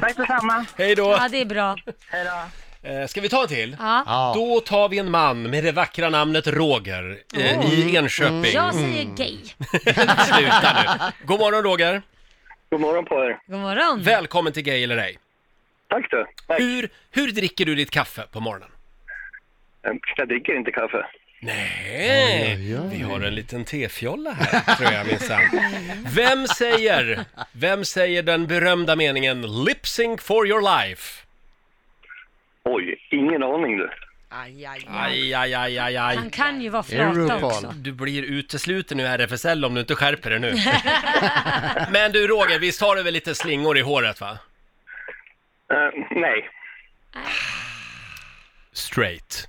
[SPEAKER 10] Tack detsamma.
[SPEAKER 1] Hej då.
[SPEAKER 4] Ja, det är bra.
[SPEAKER 10] Hej då.
[SPEAKER 1] Eh, Ska vi ta en till?
[SPEAKER 4] Ja.
[SPEAKER 8] Ja.
[SPEAKER 1] Då tar vi en man med det vackra namnet Roger eh,
[SPEAKER 8] Mm.
[SPEAKER 1] i Enköping.
[SPEAKER 4] Jag säger gay.
[SPEAKER 1] Sluta nu. God morgon Roger.
[SPEAKER 10] God morgon på er.
[SPEAKER 4] God morgon.
[SPEAKER 1] Välkommen till Gay eller ej.
[SPEAKER 10] Tack du.
[SPEAKER 1] Hur, hur dricker du ditt kaffe på morgonen?
[SPEAKER 10] Jag dricker inte kaffe.
[SPEAKER 1] Nej, vi har en liten tefjolla här, tror jag minsann. Vem säger, vem säger den berömda meningen lip sync for your life?
[SPEAKER 10] Oj, ingen aning du.
[SPEAKER 2] Aj, aj, aj.
[SPEAKER 1] Aj, aj, aj, aj, aj.
[SPEAKER 4] Han kan ju vara
[SPEAKER 8] Är det
[SPEAKER 4] flata
[SPEAKER 8] RuPaul?
[SPEAKER 4] också.
[SPEAKER 1] Du blir utesluten nu RFSL om du inte skärper dig nu. Men du Roger, visst har du väl lite slingor i håret va?
[SPEAKER 10] Eh, nej.
[SPEAKER 1] Straight.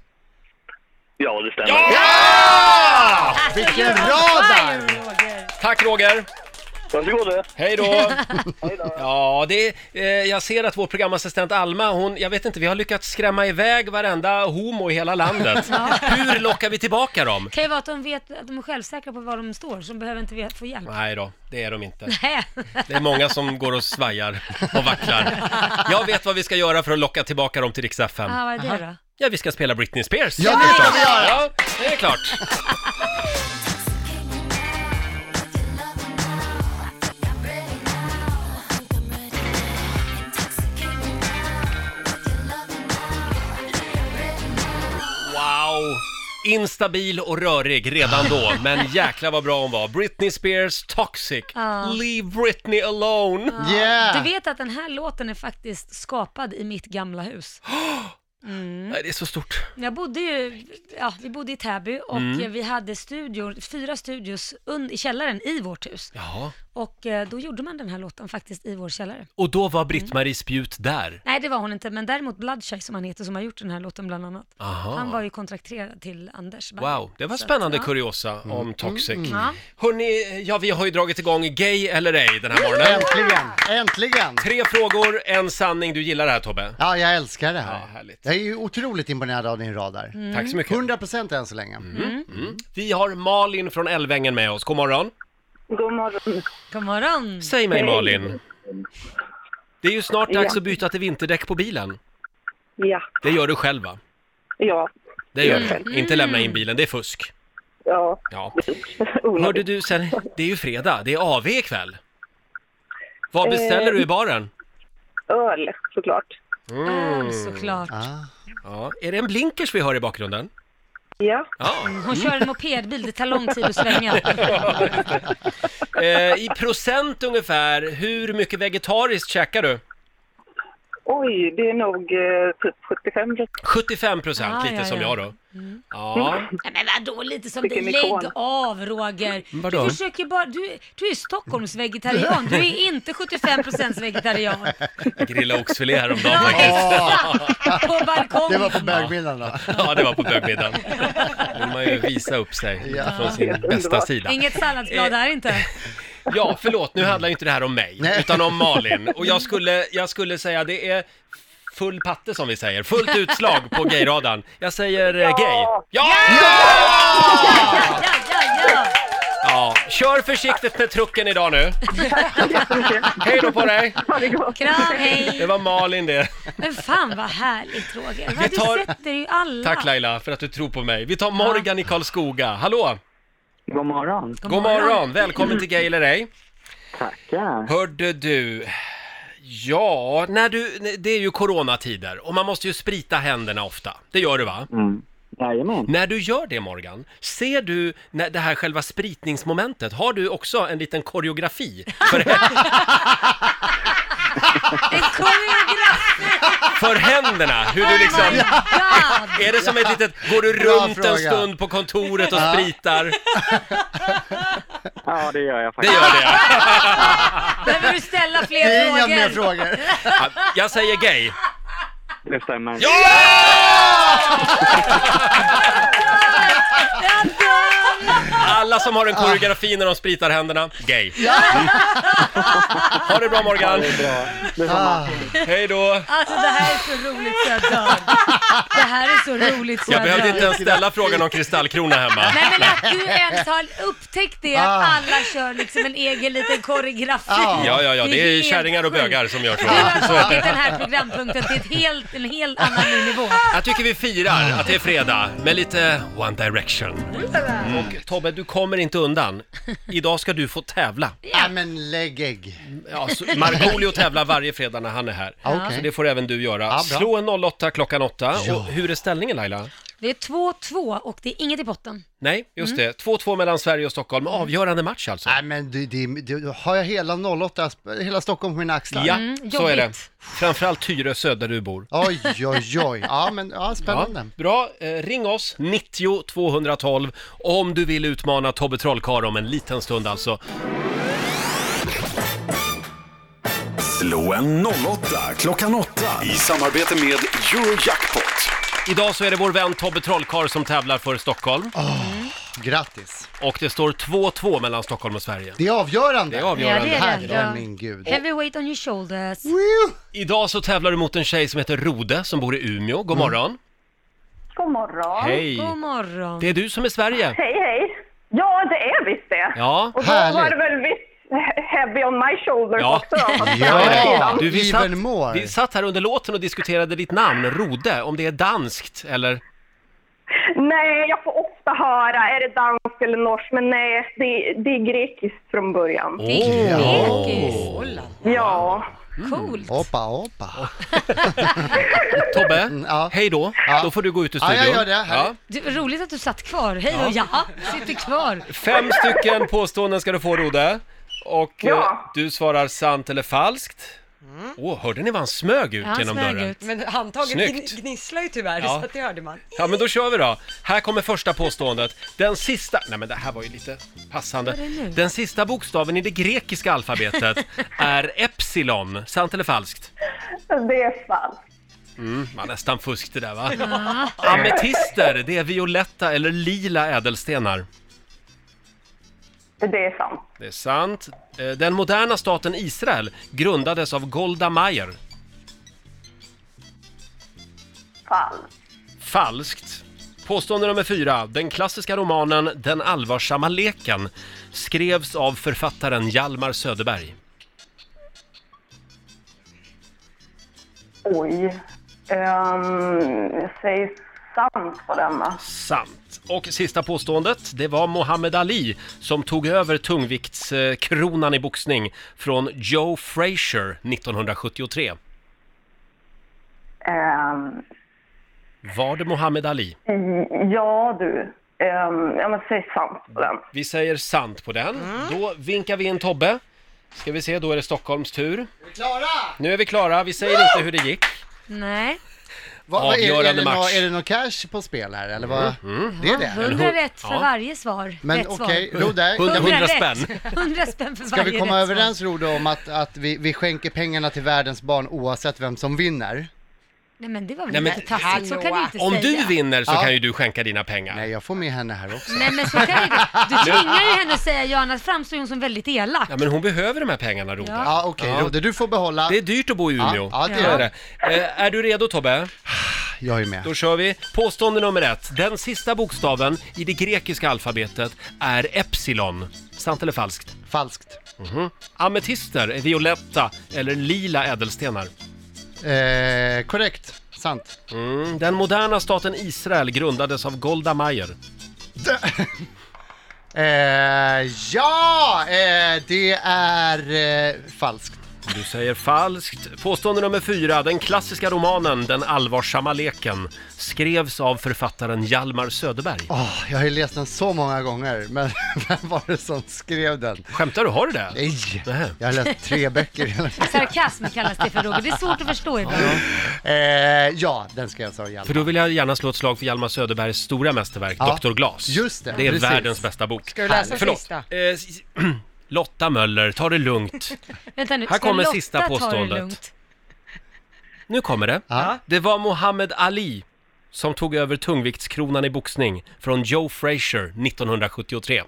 [SPEAKER 10] Ja, det stämmer.
[SPEAKER 8] Vilken radar!
[SPEAKER 1] Tack Roger!
[SPEAKER 10] Varsågod du.
[SPEAKER 1] Hej då! Ja, det, eh, jag ser att vår programassistent Alma, hon, jag vet inte, vi har lyckats skrämma iväg varenda homo i hela landet. Hur lockar vi tillbaka dem?
[SPEAKER 4] kan ju vara att de vet att de är självsäkra på var de står, så de behöver inte vet- få hjälp.
[SPEAKER 1] Nej då, det är de inte.
[SPEAKER 4] Nej.
[SPEAKER 1] Det är många som går och svajar och vacklar. Jag vet vad vi ska göra för att locka tillbaka dem till Rix FM.
[SPEAKER 4] Ah, vad är det då?
[SPEAKER 1] Ja, vi ska spela Britney Spears.
[SPEAKER 8] Ja, det ska vi göra!
[SPEAKER 1] Ja, det är klart. Wow! Instabil och rörig redan då, men jäkla vad bra hon var. Britney Spears, Toxic.
[SPEAKER 4] Ja.
[SPEAKER 1] Leave Britney alone!
[SPEAKER 8] Yeah!
[SPEAKER 4] Du vet att den här låten är faktiskt skapad i mitt gamla hus. Mm.
[SPEAKER 1] Nej, det är så stort.
[SPEAKER 4] Jag bodde ju, ja, vi bodde i Täby och
[SPEAKER 1] Mm.
[SPEAKER 4] eh, vi hade studior, fyra studios un- i källaren i vårt hus.
[SPEAKER 1] Ja.
[SPEAKER 4] Och eh, då gjorde man den här låten faktiskt i vår källare.
[SPEAKER 1] Och då var
[SPEAKER 4] Mm.
[SPEAKER 1] Britt-Marie Spjut där.
[SPEAKER 4] Nej, det var hon inte, men däremot Bloodshy som han heter, som har gjort den här låten bland annat. Han var ju kontrakterad till Anders Bagge.
[SPEAKER 1] Ah. Wow, det var
[SPEAKER 4] Så att,
[SPEAKER 1] spännande
[SPEAKER 4] ja. Mm.
[SPEAKER 1] kuriosa om Toxic.
[SPEAKER 4] Ja.
[SPEAKER 1] Hörni, ja vi har ju dragit igång Gay eller ej den här morgonen.
[SPEAKER 8] Äntligen! Äntligen!
[SPEAKER 1] Tre frågor, en sanning. Du gillar det här Tobbe?
[SPEAKER 8] Ja, jag älskar det här.
[SPEAKER 1] Ja, härligt.
[SPEAKER 8] jag är ju otroligt imponerad av din radar.
[SPEAKER 4] Mm.
[SPEAKER 1] Tack så mycket.
[SPEAKER 8] 100% än så länge.
[SPEAKER 1] Mm. Vi har Malin från Älvängen med oss. God morgon.
[SPEAKER 6] God morgon.
[SPEAKER 4] God morgon!
[SPEAKER 1] Säg mig Malin. Det är ju snart dags att byta till vinterdäck på bilen.
[SPEAKER 6] Ja,
[SPEAKER 1] Det gör du själv va?
[SPEAKER 6] ja,
[SPEAKER 4] Mm.
[SPEAKER 1] Det gör du. Inte lämna in bilen, det är fusk.
[SPEAKER 6] Ja.
[SPEAKER 1] Ja.
[SPEAKER 6] Onödigt.
[SPEAKER 1] Hörde du, sen, det är ju fredag, det är AV ikväll. Vad beställer
[SPEAKER 6] Eh.
[SPEAKER 1] du i baren?
[SPEAKER 6] Öl, såklart.
[SPEAKER 1] Mm.
[SPEAKER 4] Såklart.
[SPEAKER 8] Ah.
[SPEAKER 1] Ja. Är det en blinkers vi hör i bakgrunden?
[SPEAKER 6] Ja.
[SPEAKER 1] Ja.
[SPEAKER 4] Hon kör en mopedbil, det tar lång tid att svänga.
[SPEAKER 1] Eh, I procent ungefär, hur mycket vegetariskt käkar du?
[SPEAKER 6] Oj, det är nog eh, typ 75
[SPEAKER 1] 75 procent,
[SPEAKER 4] Ah,
[SPEAKER 1] lite
[SPEAKER 4] ja, Mm.
[SPEAKER 1] som
[SPEAKER 4] ja.
[SPEAKER 1] jag då. Ja.
[SPEAKER 4] Nej men vadå lite som dig?
[SPEAKER 6] Vilken
[SPEAKER 4] Lägg
[SPEAKER 6] ikon.
[SPEAKER 4] av Roger!
[SPEAKER 1] Men vadå?
[SPEAKER 4] Du försöker bara, du, du är Stockholmsvegetarian, du är inte 75% vegetarian.
[SPEAKER 1] Jag grillade oxfilé häromdagen
[SPEAKER 4] Ja,
[SPEAKER 1] faktiskt.
[SPEAKER 4] exakt! På balkongen.
[SPEAKER 8] Det var på bögmiddagen då.
[SPEAKER 1] Ja, det var på bögmiddagen. Då vill man ju visa upp sig
[SPEAKER 8] Ja.
[SPEAKER 1] från sin
[SPEAKER 6] Helt
[SPEAKER 1] bästa
[SPEAKER 6] underbart.
[SPEAKER 1] sida.
[SPEAKER 4] Inget salladsblad här inte.
[SPEAKER 1] Ja, förlåt, nu handlar ju inte det här om mig,
[SPEAKER 8] Nej.
[SPEAKER 1] utan om Malin. Och jag skulle, jag skulle säga, det är full patte som vi säger, fullt utslag på gayradan. Jag säger eh, gay. Ja!
[SPEAKER 4] Ja, ja, ja, ja.
[SPEAKER 1] ja! Kör försiktigt med trucken idag nu. Hej då på dig!
[SPEAKER 4] Kram,
[SPEAKER 1] Det
[SPEAKER 4] hej!
[SPEAKER 1] var Malin det.
[SPEAKER 4] Men fan vad härligt Roger.
[SPEAKER 1] Vi
[SPEAKER 4] Vi
[SPEAKER 1] tar-
[SPEAKER 4] Du sätter ju alla.
[SPEAKER 1] Tack Laila för att du tror på mig. Vi tar Morgan i Karlskoga. Hallå!
[SPEAKER 11] God morgon.
[SPEAKER 1] God morgon! Välkommen till Gay eller ej.
[SPEAKER 11] Tackar.
[SPEAKER 1] Hörde du, ja, när du, det är ju coronatider och man måste ju sprita händerna ofta. Det gör du va?
[SPEAKER 11] Mm. Jajamän.
[SPEAKER 1] När du gör det Morgan, ser du när det här själva spritningsmomentet, har du också en liten koreografi för,
[SPEAKER 4] En koreograf!
[SPEAKER 1] för händerna? Hur du
[SPEAKER 4] Oh my
[SPEAKER 1] liksom,
[SPEAKER 4] God!
[SPEAKER 1] är det som ett litet, går du
[SPEAKER 8] Bra
[SPEAKER 1] runt en
[SPEAKER 8] fråga.
[SPEAKER 1] stund på kontoret och spritar?
[SPEAKER 11] Ja, det gör jag
[SPEAKER 1] Det
[SPEAKER 11] faktiskt.
[SPEAKER 1] gör det ja.
[SPEAKER 4] Behöver du ställa fler
[SPEAKER 8] Det är inga
[SPEAKER 4] frågor?
[SPEAKER 8] mer frågor.
[SPEAKER 1] Ja, Jag säger gay.
[SPEAKER 11] Det stämmer.
[SPEAKER 1] Ja!
[SPEAKER 4] Jag dör!
[SPEAKER 1] Alla som har en koreografi när de spritar händerna, gay. Mm. Ha det bra Morgan.
[SPEAKER 8] Ah,
[SPEAKER 1] Hej då.
[SPEAKER 4] Alltså det här är så roligt så jag dör. Det här är så roligt så
[SPEAKER 1] Jag
[SPEAKER 4] jag,
[SPEAKER 1] behövde
[SPEAKER 4] dör.
[SPEAKER 1] inte ens ställa frågan om kristallkrona hemma.
[SPEAKER 4] Nej men att du ens har upptäckt det,
[SPEAKER 8] Ah.
[SPEAKER 4] att alla kör liksom en egen liten koreografi.
[SPEAKER 8] Ah.
[SPEAKER 1] Ja, ja, ja, det är
[SPEAKER 4] helt
[SPEAKER 1] kärringar och
[SPEAKER 4] sjukt.
[SPEAKER 1] bögar som gör så.
[SPEAKER 4] Du har tagit den här programpunkten till ett helt, en helt annan ny nivå.
[SPEAKER 1] Jag tycker vi firar att det är fredag med lite One Direction.
[SPEAKER 4] Mm.
[SPEAKER 1] Och Tobbe, du kommer inte undan. Idag ska du få tävla.
[SPEAKER 8] Nej men lägg ägg.
[SPEAKER 1] Ja, så Markoolio tävlar varje fredag när han är här.
[SPEAKER 8] Ja, okej.
[SPEAKER 1] Så det får även du göra.
[SPEAKER 8] Ja, bra.
[SPEAKER 1] Slå en 08 klockan 8. Och hur är ställningen Laila?
[SPEAKER 4] Det är 2-2 och det är inget i botten.
[SPEAKER 1] Nej, just
[SPEAKER 8] Mm.
[SPEAKER 1] det. 2-2 mellan Sverige och Stockholm. Avgörande match alltså.
[SPEAKER 8] Nej men du, det, du, har jag hela 08, hela Stockholm på mina axlar?
[SPEAKER 1] Ja,
[SPEAKER 4] Mm,
[SPEAKER 1] så är det.
[SPEAKER 4] jobbigt.
[SPEAKER 1] Framförallt Tyresö där du bor.
[SPEAKER 8] Oj, oj, oj. Ja men, ja
[SPEAKER 1] Ja,
[SPEAKER 8] spännande.
[SPEAKER 1] bra, eh, ring oss, 90 212, om du vill utmana Tobbe Trollkarl om en liten stund alltså.
[SPEAKER 3] Slå en 08 klockan 8 i samarbete med Eurojackpot.
[SPEAKER 1] Idag så är det vår vän Tobbe Trollkarl som tävlar för Stockholm
[SPEAKER 8] Grattis.
[SPEAKER 1] och det står 2-2 mellan Stockholm och Sverige.
[SPEAKER 8] Det är avgörande.
[SPEAKER 1] Det är avgörande.
[SPEAKER 4] Ja, det är det.
[SPEAKER 8] Herre min gud.
[SPEAKER 4] Heavy weight on your shoulders.
[SPEAKER 8] Woo!
[SPEAKER 1] Idag så tävlar du mot en tjej som heter Rode som bor i Umeå. God morgon!
[SPEAKER 6] God morgon.
[SPEAKER 1] Hej!
[SPEAKER 4] Mm. God morgon.
[SPEAKER 1] Det är du som är Sverige.
[SPEAKER 6] Hej, hej. Ja, det är visst det.
[SPEAKER 1] Ja.
[SPEAKER 6] Och då
[SPEAKER 8] Härligt.
[SPEAKER 6] var det väl visst he- heavy on my shoulders
[SPEAKER 1] Ja.
[SPEAKER 6] också. då, fast
[SPEAKER 8] Ja.
[SPEAKER 6] på andra sidan.
[SPEAKER 1] Du, vi, satt,
[SPEAKER 8] Even more.
[SPEAKER 1] vi satt här under låten och diskuterade ditt namn, Rode, om det är danskt eller...
[SPEAKER 6] Nej, jag får ofta höra, är det dansk eller norsk? Men nej, det, det är grekiskt från början.
[SPEAKER 4] Det är
[SPEAKER 8] Ja.
[SPEAKER 4] grekiskt.
[SPEAKER 6] Ja.
[SPEAKER 4] Coolt.
[SPEAKER 8] Hoppa, hoppa.
[SPEAKER 1] Tobbe,
[SPEAKER 8] Mm, ja.
[SPEAKER 1] hej då.
[SPEAKER 8] Ja.
[SPEAKER 1] Då får du gå ut ur
[SPEAKER 8] Ja,
[SPEAKER 1] studion.
[SPEAKER 8] jag gör det. Härligt.
[SPEAKER 4] Du, roligt att du satt kvar. Hej och ja, sitter kvar.
[SPEAKER 1] Fem stycken påståenden ska du få, Rode. Och
[SPEAKER 6] Ja.
[SPEAKER 1] eh, du svarar sant eller falskt. Åh, hörde ni vad han smög ut
[SPEAKER 4] Mm. Ja, han
[SPEAKER 1] genom
[SPEAKER 4] smög
[SPEAKER 1] dörren?
[SPEAKER 4] ut.
[SPEAKER 2] Men handtaget
[SPEAKER 1] Snyggt.
[SPEAKER 2] gn- gnisslar ju tyvärr,
[SPEAKER 1] Ja.
[SPEAKER 2] så att det hörde man.
[SPEAKER 1] Ja, men då kör vi då. Här kommer första påståendet. Den sista... Nej, men det här var ju lite passande. Den sista bokstaven i det grekiska alfabetet är epsilon. Sant eller falskt?
[SPEAKER 6] Det är falskt.
[SPEAKER 1] Man nästan fusk det där, va? Ametister, det är violetta eller lila ädelstenar.
[SPEAKER 6] Det är sant.
[SPEAKER 1] Det är sant. Eh, Den moderna staten Israel grundades av Golda Meir.
[SPEAKER 6] Falskt.
[SPEAKER 1] Falskt. Påstående nummer fyra. Den klassiska romanen Den allvarsamma leken skrevs av författaren Hjalmar Söderberg.
[SPEAKER 6] Oj. Ehm, jag säger
[SPEAKER 12] sant på denna.
[SPEAKER 1] Sant. Och sista påståendet, det var Muhammad Ali som tog över tungviktskronan i boxning från Joe Frazier 1973.
[SPEAKER 12] Ehm,
[SPEAKER 1] Var det Muhammad Ali?
[SPEAKER 12] i- ja du, Ehm, ja men säg sant på den.
[SPEAKER 1] Vi säger sant på den. Då vinkar vi in Tobbe. Ska vi se, då är det Stockholms tur.
[SPEAKER 8] Klara!
[SPEAKER 1] Nu är vi klara, vi säger inte hur det gick.
[SPEAKER 4] Nej.
[SPEAKER 8] är,
[SPEAKER 1] Avgörande
[SPEAKER 8] det
[SPEAKER 1] match. Mm,
[SPEAKER 8] nå- är det någon cash på spel här eller vad? Det är det?
[SPEAKER 4] 100 rätt för varje svar.
[SPEAKER 8] Men
[SPEAKER 4] Mm-hmm. rätt
[SPEAKER 8] okej,
[SPEAKER 4] svar.
[SPEAKER 8] Rodde, 100
[SPEAKER 4] rätt.
[SPEAKER 8] spänn.
[SPEAKER 4] 100 spänn för
[SPEAKER 8] Ska
[SPEAKER 4] varje
[SPEAKER 8] vi komma
[SPEAKER 4] rätt svar.
[SPEAKER 8] överens Rodo om att, att vi, vi skänker pengarna till världens barn oavsett vem som vinner?
[SPEAKER 4] Nej men det var väl
[SPEAKER 1] Nej, men-
[SPEAKER 4] lite taskigt, så kan du inte
[SPEAKER 1] Om
[SPEAKER 4] säga.
[SPEAKER 1] du vinner så
[SPEAKER 8] Ja.
[SPEAKER 1] kan ju du skänka dina pengar. Nej,
[SPEAKER 8] jag får med henne här också.
[SPEAKER 4] Nej men så kan du inte. Du tvingar ju henne att säga ja, annars framstår hon som väldigt elak.
[SPEAKER 1] Ja, men hon behöver de här pengarna, Rode.
[SPEAKER 4] Ja. Ja,
[SPEAKER 8] okej, Rode, du får behålla.
[SPEAKER 1] Det är dyrt att bo i
[SPEAKER 8] Ja,
[SPEAKER 1] Umeå.
[SPEAKER 8] ja, det är det.
[SPEAKER 1] Eh, är du redo, Tobbe?
[SPEAKER 8] Jag är med.
[SPEAKER 1] Då kör vi. Påstående nummer ett. Den sista bokstaven i det grekiska alfabetet är epsilon. Sant eller falskt?
[SPEAKER 8] Falskt.
[SPEAKER 1] Ametister är violetta eller lila ädelstenar.
[SPEAKER 8] Eh, korrekt, sant.
[SPEAKER 1] Mm. Den moderna staten Israel grundades av Golda Meir.
[SPEAKER 8] Eh, ja, eh, det är eh, falskt.
[SPEAKER 1] Du säger falskt. Påstående nummer fyra. Den klassiska romanen Den allvarsamma leken skrevs av författaren Hjalmar Söderberg.
[SPEAKER 8] Åh, jag har ju läst den så många gånger, men vem var det som skrev den?
[SPEAKER 1] Skämtar du? Har du det?
[SPEAKER 8] Nej, jag har läst tre böcker i hela
[SPEAKER 4] Sarkasm kallas det för Roger, det är svårt att förstå ibland.
[SPEAKER 8] Eh, ja, den ska jag säga Hjalmar.
[SPEAKER 1] För då vill jag gärna slå ett slag för Hjalmar Söderbergs stora mästerverk,
[SPEAKER 8] Ja,
[SPEAKER 1] Dr. Glas.
[SPEAKER 8] just det,
[SPEAKER 1] är
[SPEAKER 8] precis.
[SPEAKER 1] världens bästa bok.
[SPEAKER 8] Ska du läsa
[SPEAKER 1] Förlåt.
[SPEAKER 8] sista?
[SPEAKER 1] Eh, s- Lotta Möller, ta det lugnt.
[SPEAKER 4] Vänta nu,
[SPEAKER 1] Här
[SPEAKER 4] ska
[SPEAKER 1] kommer
[SPEAKER 4] Lotta
[SPEAKER 1] sista
[SPEAKER 4] ta det
[SPEAKER 1] påståendet.
[SPEAKER 4] lugnt?
[SPEAKER 1] Nu kommer det. Det var Muhammad Ali som tog över tungviktskronan i boxning från Joe Frazier 1973.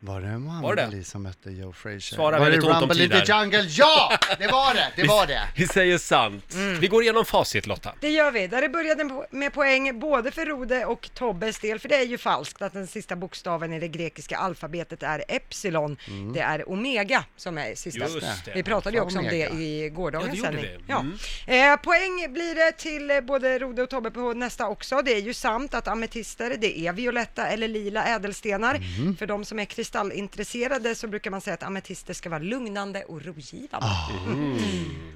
[SPEAKER 8] Var det
[SPEAKER 1] Var
[SPEAKER 8] Muhammad
[SPEAKER 1] det?
[SPEAKER 8] Ali som mötte Joe Frazier?
[SPEAKER 1] Svara
[SPEAKER 8] var
[SPEAKER 1] väldigt
[SPEAKER 8] det
[SPEAKER 1] ont om
[SPEAKER 8] Rumble
[SPEAKER 1] tid
[SPEAKER 8] in
[SPEAKER 1] här.
[SPEAKER 8] the Jungle? Ja, det var det, det var det. Mm.
[SPEAKER 1] Vi, vi säger sant. Vi går igenom facit Lotta.
[SPEAKER 2] Det gör vi. Där det började po- med poäng både för Rode och Tobbes del, för det är ju falskt att den sista bokstaven i det grekiska alfabetet är epsilon.
[SPEAKER 13] Mm.
[SPEAKER 2] Det är omega som är sista.
[SPEAKER 13] Just det.
[SPEAKER 2] Vi pratade ju också om
[SPEAKER 13] Omega.
[SPEAKER 2] det i gårdagens
[SPEAKER 13] Ja, det gjorde
[SPEAKER 2] sändning.
[SPEAKER 13] vi. Mm.
[SPEAKER 2] Ja. Eh, poäng blir det till eh, både Rode och Tobbe på nästa också. Det är ju sant att ametister, det är violetta eller lila ädelstenar.
[SPEAKER 13] Mm.
[SPEAKER 2] För de som är kristallintresserade så brukar man säga att ametister ska vara lugnande och rogivande.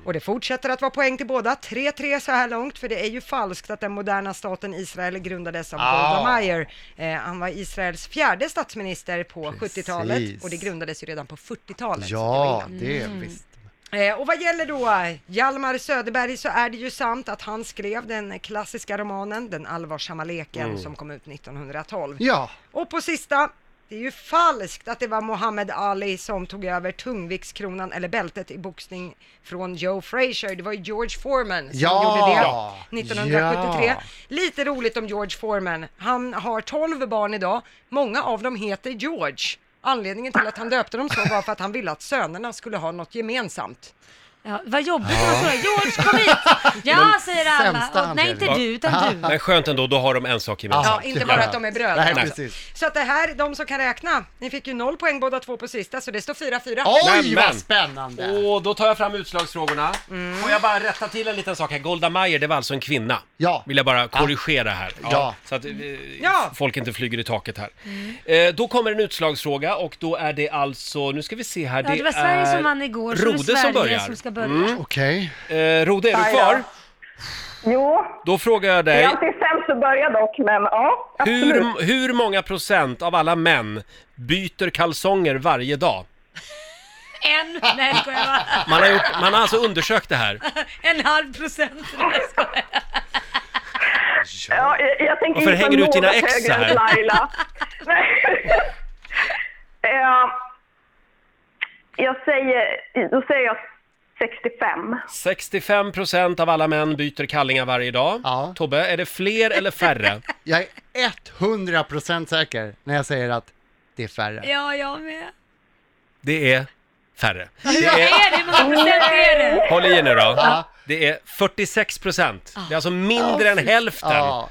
[SPEAKER 2] Och det fortsätter att vara poäng till båda, 3-3 så här långt, för det är ju falskt att den moderna staten Israel grundades av
[SPEAKER 13] Ah.
[SPEAKER 2] Golda Meir. Eh, han var Israels fjärde statsminister på 70-talet och det grundades ju redan på 40-talet.
[SPEAKER 8] Ja, det
[SPEAKER 2] Mm.
[SPEAKER 8] visst.
[SPEAKER 2] Eh, Och vad gäller då Hjalmar Söderberg så är det ju sant att han skrev den klassiska romanen Den allvarsamma leken
[SPEAKER 8] Mm.
[SPEAKER 2] som kom ut 1912.
[SPEAKER 8] Ja,
[SPEAKER 2] Och på sista, det är ju falskt att det var Muhammad Ali som tog över tungviktskronan eller bältet i boxning från Joe Frazier. Det var ju George Foreman som
[SPEAKER 13] Ja!
[SPEAKER 2] gjorde det 1973.
[SPEAKER 13] Ja!
[SPEAKER 2] Lite roligt om George Foreman. Han har 12 barn idag. Många av dem heter George. Anledningen till att han döpte dem så var för att han ville att sönerna skulle ha något gemensamt.
[SPEAKER 4] Ja, vad jobbigt att vara så. George kom hit! Ja,
[SPEAKER 2] Men
[SPEAKER 4] säger alla.
[SPEAKER 2] sämsta
[SPEAKER 4] Och, nej, inte du, utan du.
[SPEAKER 1] Men skönt ändå, då har de en sak gemensamt.
[SPEAKER 2] Ja, inte bara att de är bröder.
[SPEAKER 1] Nej,
[SPEAKER 2] alltså.
[SPEAKER 1] precis.
[SPEAKER 2] Så att det här, de som kan räkna, ni fick ju noll poäng båda två på sista, så det står 4-4.
[SPEAKER 8] spännande!
[SPEAKER 1] Och då tar jag fram utslagsfrågorna.
[SPEAKER 8] Mm.
[SPEAKER 1] Får jag bara rätta till en liten sak här. Golda Meir, det var alltså en kvinna.
[SPEAKER 8] Ja.
[SPEAKER 1] Vill jag bara korrigera här.
[SPEAKER 8] Ja.
[SPEAKER 1] Så att eh,
[SPEAKER 2] Ja.
[SPEAKER 1] folk inte flyger i taket här. Eh, då kommer en utslagsfråga och då är det alltså, nu ska vi se här.
[SPEAKER 4] Ja, det var Sverige
[SPEAKER 1] är
[SPEAKER 4] som vann igår, så
[SPEAKER 1] Rode
[SPEAKER 4] det är Sverige
[SPEAKER 1] som börjar. Mm.
[SPEAKER 4] som ska börja.
[SPEAKER 8] Okej.
[SPEAKER 1] Eh, Rode, är du
[SPEAKER 12] Aj då.
[SPEAKER 1] kvar?
[SPEAKER 12] Jo,
[SPEAKER 1] Då frågar jag
[SPEAKER 12] det
[SPEAKER 1] dig.
[SPEAKER 12] är alltid sämst att börja dock, men ja, absolut.
[SPEAKER 1] Hur, hur många procent av alla män byter kalsonger varje dag?
[SPEAKER 4] En, nej jag skojar bara.
[SPEAKER 1] Man har, gjort, man har alltså undersökt det här.
[SPEAKER 4] En halv procent. Nej, jag skojar.
[SPEAKER 12] Ja, jag, jag tänker
[SPEAKER 1] Varför
[SPEAKER 12] inte
[SPEAKER 1] hänger du ut
[SPEAKER 12] något
[SPEAKER 1] dina ex
[SPEAKER 12] högre
[SPEAKER 1] så här?
[SPEAKER 12] än Laila. Nej. Eh, jag säger, då säger jag 65.
[SPEAKER 1] 65 procent av alla män byter kallingar varje dag. Tobbe, är det fler eller färre?
[SPEAKER 8] jag är 100% säker när jag säger att det är färre.
[SPEAKER 4] Ja, jag med.
[SPEAKER 1] Det är färre.
[SPEAKER 4] Det är det, hur många procent är det?
[SPEAKER 1] Håll i er nu då.
[SPEAKER 4] Ja. Ah.
[SPEAKER 1] Det är 46 procent. Det är alltså mindre än
[SPEAKER 4] fy-
[SPEAKER 1] hälften
[SPEAKER 4] Ja.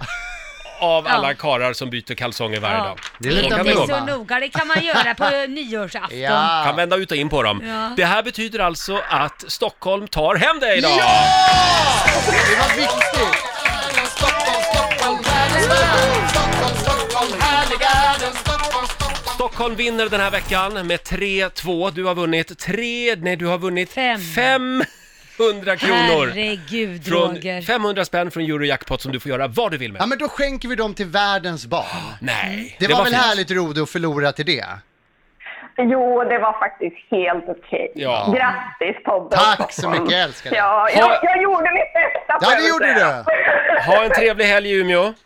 [SPEAKER 1] av
[SPEAKER 4] Ja. Ah.
[SPEAKER 1] alla karlar som byter kalsonger varje
[SPEAKER 4] Ja.
[SPEAKER 1] dag.
[SPEAKER 4] Det är
[SPEAKER 1] Så kan
[SPEAKER 4] inte
[SPEAKER 1] det gå.
[SPEAKER 4] så noga, det kan man göra på nyårsafton.
[SPEAKER 1] Kan vända ut och in på dem.
[SPEAKER 4] Ja.
[SPEAKER 1] Det här betyder alltså att Stockholm tar hem dig idag!
[SPEAKER 8] Det var viktigt! Stockholm, Stockholm,
[SPEAKER 1] Stockholm vinner den här veckan med 3-2. Du har vunnit 3, nej du har vunnit 500 kronor.
[SPEAKER 4] Herregud Roger.
[SPEAKER 1] Från 500 spänn från Eurojackpot som du får göra vad du vill med.
[SPEAKER 8] Ja, men då skänker vi dem till världens barn.
[SPEAKER 1] Nej,
[SPEAKER 8] Det,
[SPEAKER 1] det
[SPEAKER 8] var,
[SPEAKER 1] var
[SPEAKER 8] väl
[SPEAKER 1] fint.
[SPEAKER 8] härligt Rode att förlora till det?
[SPEAKER 6] Jo, det var faktiskt helt okej.
[SPEAKER 8] Ja.
[SPEAKER 6] Grattis Tobbe!
[SPEAKER 8] Tack så mycket, älskade.
[SPEAKER 6] Ja,
[SPEAKER 1] Ha-
[SPEAKER 6] jag, jag gjorde mitt bästa får jag väl säga.
[SPEAKER 1] Ha en trevlig helg i Umeå.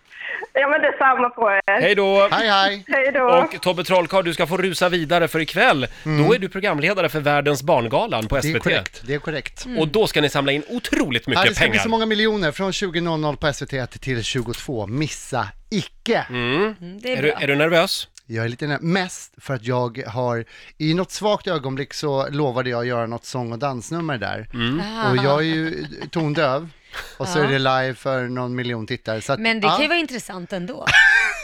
[SPEAKER 6] Ja, men detsamma på er.
[SPEAKER 1] Hej då!
[SPEAKER 6] Hej då!
[SPEAKER 1] Och Tobbe Trollkarl, du ska få rusa vidare för ikväll. Då är du programledare för Världens Barngalan på SVT.
[SPEAKER 8] Mm. Det är korrekt, det är korrekt.
[SPEAKER 1] Mm. Och då ska ni samla in otroligt mycket
[SPEAKER 8] ja, det ska
[SPEAKER 1] pengar.
[SPEAKER 8] bli så många miljoner, från 20.00 på SVT till 22. Missa icke!
[SPEAKER 13] Mm.
[SPEAKER 1] är, du, är du nervös?
[SPEAKER 8] Jag är lite nervös, mest för att jag har, i något svagt ögonblick så lovade jag att göra något sång och dansnummer där.
[SPEAKER 13] Mm.
[SPEAKER 8] Och jag är ju tondöv, och så
[SPEAKER 4] Ja.
[SPEAKER 8] är det live för någon miljon tittare. Så att,
[SPEAKER 4] Men det
[SPEAKER 8] ja.
[SPEAKER 4] kan ju vara intressant ändå.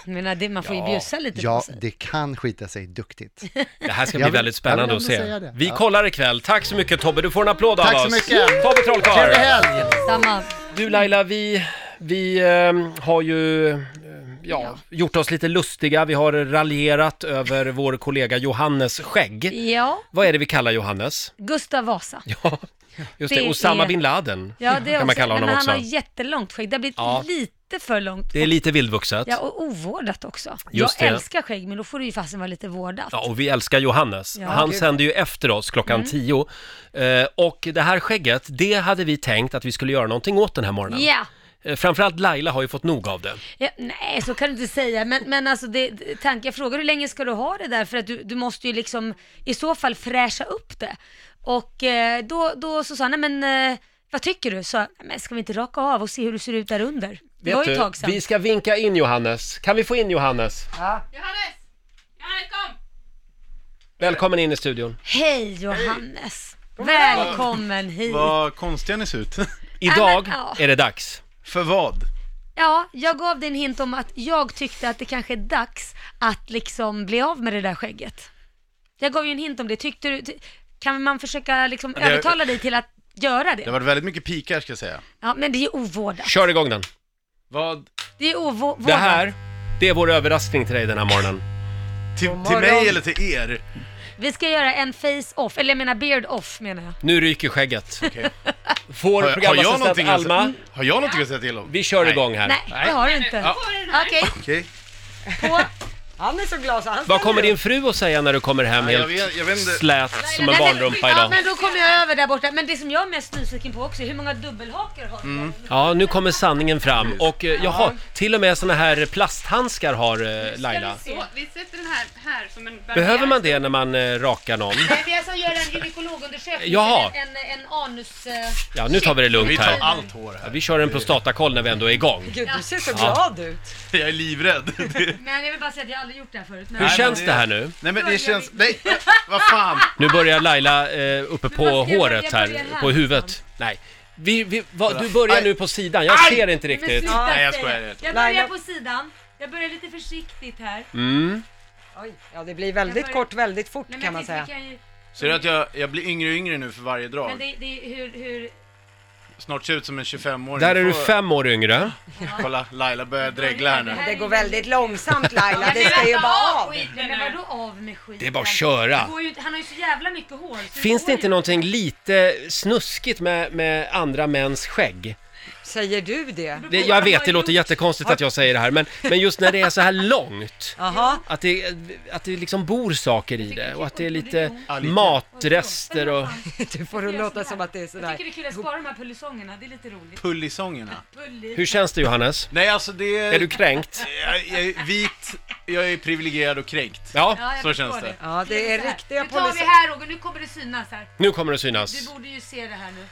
[SPEAKER 4] Jag menar, det, man får ju bjussa lite
[SPEAKER 8] Ja,
[SPEAKER 4] på sig.
[SPEAKER 8] det kan skita sig duktigt.
[SPEAKER 1] Det här ska
[SPEAKER 8] Jag
[SPEAKER 1] bli
[SPEAKER 8] vill-
[SPEAKER 1] väldigt spännande
[SPEAKER 8] jag
[SPEAKER 1] att
[SPEAKER 8] vill ändå
[SPEAKER 1] se.
[SPEAKER 8] säga det.
[SPEAKER 1] Vi
[SPEAKER 8] Ja.
[SPEAKER 1] kollar ikväll. Tack så mycket Tobbe, du får en applåd av
[SPEAKER 8] Tack
[SPEAKER 1] oss.
[SPEAKER 8] så mycket.
[SPEAKER 1] Tobbe Trollkarl!
[SPEAKER 8] Trevlig helg!
[SPEAKER 4] Samma.
[SPEAKER 1] Du Laila, vi, vi ehm, har ju eh, ja, gjort oss lite lustiga. Vi har raljerat över vår kollega Johannes skägg.
[SPEAKER 4] Ja,
[SPEAKER 1] Vad är det vi kallar Johannes?
[SPEAKER 4] Gustav Vasa.
[SPEAKER 1] Just det,
[SPEAKER 4] Det
[SPEAKER 1] Osama
[SPEAKER 4] är-
[SPEAKER 1] bin Laden
[SPEAKER 4] Ja, det är
[SPEAKER 1] kan man
[SPEAKER 4] också,
[SPEAKER 1] kalla honom
[SPEAKER 4] men
[SPEAKER 1] också.
[SPEAKER 4] Han har jättelångt skägg. Det har blivit
[SPEAKER 1] Ja.
[SPEAKER 4] lite för långt.
[SPEAKER 1] Det är lite vildvuxet.
[SPEAKER 4] Ja, och ovårdat också.
[SPEAKER 1] Just
[SPEAKER 4] jag
[SPEAKER 1] det.
[SPEAKER 4] älskar skägg, men då får det ju fasen vara lite vårdat.
[SPEAKER 1] Ja, och vi älskar Johannes.
[SPEAKER 4] Ja,
[SPEAKER 1] Han
[SPEAKER 4] gud.
[SPEAKER 1] sände ju efter oss klockan
[SPEAKER 4] Mm.
[SPEAKER 1] 10. Eh, och det här skägget, det hade vi tänkt att vi skulle göra någonting åt den här morgonen.
[SPEAKER 4] Ja.
[SPEAKER 1] Eh, Framförallt Laila har ju fått nog av det.
[SPEAKER 4] Ja, nej, så kan du inte säga. Men, men alltså, det, det- tanken, jag frågar hur länge ska du ha det där? För att du, du måste ju liksom i så fall fräscha upp det. Och eh, då, då så sa han, nej men eh, vad tycker du? Så men ska vi inte raka av och se hur du ser ut där under? Det var
[SPEAKER 1] Vet
[SPEAKER 4] ju ett
[SPEAKER 1] du,
[SPEAKER 4] tag sedan.
[SPEAKER 1] vi ska vinka in Johannes. Kan vi få in Johannes? Välkommen in i studion.
[SPEAKER 4] Hej Johannes! Välkommen hit!
[SPEAKER 13] Vad konstiga ni ser ut.
[SPEAKER 4] Idag men, ja. är
[SPEAKER 1] det dags.
[SPEAKER 13] För vad?
[SPEAKER 4] Ja, jag gav dig en hint om att jag tyckte att det kanske är dags att liksom bli av med det där skägget. Jag gav ju en hint om det. Tyckte du, ty- kan man försöka liksom
[SPEAKER 13] Det-
[SPEAKER 4] övertala dig till att göra
[SPEAKER 13] Det har
[SPEAKER 4] det?
[SPEAKER 13] varit väldigt mycket pikar ska jag säga.
[SPEAKER 4] Ja, men det är ovårdat.
[SPEAKER 1] Kör igång den.
[SPEAKER 13] Vad?
[SPEAKER 4] Det är ovårdat.
[SPEAKER 1] Det här, det är vår överraskning till dig den här morgonen.
[SPEAKER 13] Till,
[SPEAKER 4] morgon. mig eller
[SPEAKER 13] till er?
[SPEAKER 4] Vi ska göra en face-off, eller jag menar beard-off menar jag.
[SPEAKER 1] Nu ryker skägget.
[SPEAKER 13] Har-
[SPEAKER 1] Vår
[SPEAKER 13] har jag
[SPEAKER 1] programassistent
[SPEAKER 13] någonting att
[SPEAKER 1] Alma.
[SPEAKER 13] säga- Har jag någonting att säga till om?
[SPEAKER 1] Vi kör igång här.
[SPEAKER 4] Nej, det har du inte.
[SPEAKER 13] Ja.
[SPEAKER 4] Okej,
[SPEAKER 13] Okej.
[SPEAKER 2] Han är så glad så han
[SPEAKER 1] Vad kommer din fru att säga när du kommer hem
[SPEAKER 13] Ja, jag
[SPEAKER 1] helt
[SPEAKER 13] vet- jag vet inte.
[SPEAKER 1] slät som en barnrumpa
[SPEAKER 4] ja,
[SPEAKER 1] idag?
[SPEAKER 4] men då kommer jag över där borta. Men det som jag är mest nyfiken på också är hur många dubbelhakar har du?
[SPEAKER 1] Ja, nu kommer sanningen fram. Och eh, jaha, till och med såna här plasthandskar har eh, Laila.
[SPEAKER 9] Så, vi sätter den här här som en barriär.
[SPEAKER 1] Behöver man det när man eh, rakar någon?
[SPEAKER 4] Nej, vi alltså gör en gynekologundersökning,
[SPEAKER 1] Jaha.
[SPEAKER 4] en, en, en anus... eh,
[SPEAKER 1] Ja, nu tar vi det lugnt
[SPEAKER 13] Vi tar
[SPEAKER 1] här.
[SPEAKER 13] allt hår här.
[SPEAKER 1] Ja, vi kör en prostatakoll när vi ändå är igång.
[SPEAKER 4] Gud, du ser så
[SPEAKER 1] glad
[SPEAKER 2] ut.
[SPEAKER 13] Jag är livrädd.
[SPEAKER 4] Men jag vill bara säga att jag aldrig gjort det här förut. Men...
[SPEAKER 1] Hur känns det här nu?
[SPEAKER 13] Nej men det känns... Nej! Vad fan!
[SPEAKER 1] Nu börjar Laila eh, uppe på
[SPEAKER 4] vad ska jag
[SPEAKER 1] håret
[SPEAKER 4] börja
[SPEAKER 1] här,
[SPEAKER 4] här
[SPEAKER 1] på huvudet. Nej. Vi, vi, vad- du börjar
[SPEAKER 13] Aj.
[SPEAKER 1] nu på sidan, jag
[SPEAKER 13] Aj!
[SPEAKER 1] ser inte riktigt.
[SPEAKER 4] Men sluta säga det. Jag börjar på sidan. Jag börjar lite försiktigt här.
[SPEAKER 1] Mm.
[SPEAKER 2] Oj, ja det blir väldigt kort, väldigt fort
[SPEAKER 4] Nej, men
[SPEAKER 2] kan man
[SPEAKER 4] vi-
[SPEAKER 2] säga.
[SPEAKER 4] vi kan ju-
[SPEAKER 13] Ser du att jag, jag blir yngre och yngre nu för varje
[SPEAKER 4] Men
[SPEAKER 13] drag?
[SPEAKER 4] det, det är hur, hur...
[SPEAKER 13] Snart ser jag ut som en 25-åring.
[SPEAKER 1] Där är du
[SPEAKER 13] Får-
[SPEAKER 1] fem år yngre.
[SPEAKER 13] Kolla, Laila börjar dregla här nu.
[SPEAKER 2] Det går väldigt långsamt Laila, det
[SPEAKER 4] Men
[SPEAKER 2] ska ju
[SPEAKER 4] vänta,
[SPEAKER 2] bara av.
[SPEAKER 4] skiten nu. Men vadå av med skiten?
[SPEAKER 1] Det är bara att köra.
[SPEAKER 4] Det går ju inte- Han har ju så jävla mycket hår. så
[SPEAKER 1] Finns
[SPEAKER 4] går
[SPEAKER 1] det
[SPEAKER 4] ju
[SPEAKER 1] inte någonting lite snuskigt med, med andra mäns skägg?
[SPEAKER 2] Säger du det?
[SPEAKER 1] Det, jag vet, det låter jättekonstigt att jag säger det här, men, men just när det är så här långt.
[SPEAKER 2] Jaha.
[SPEAKER 1] Att det, att det liksom bor saker i det och att det är lite matrester och...
[SPEAKER 2] Du får det låta som att det är
[SPEAKER 4] Jag tycker det
[SPEAKER 2] sådär.
[SPEAKER 4] är kul att spara de här pullisongerna, det är lite roligt.
[SPEAKER 13] Pullisongerna.
[SPEAKER 4] Pulli.
[SPEAKER 1] Hur känns det Johannes?
[SPEAKER 13] Nej alltså det...
[SPEAKER 1] Är du kränkt?
[SPEAKER 13] Jag, jag är vit, jag är privilegierad och kränkt.
[SPEAKER 1] Ja.
[SPEAKER 4] Ja, jag
[SPEAKER 13] Så
[SPEAKER 4] förstår
[SPEAKER 13] känns det.
[SPEAKER 2] Ja, det är
[SPEAKER 4] Så här.
[SPEAKER 2] riktiga
[SPEAKER 4] Nu tar vi
[SPEAKER 2] poliser.
[SPEAKER 4] här Roger, nu kommer det synas här.
[SPEAKER 1] Nu kommer det synas.
[SPEAKER 4] Du borde ju se det här nu.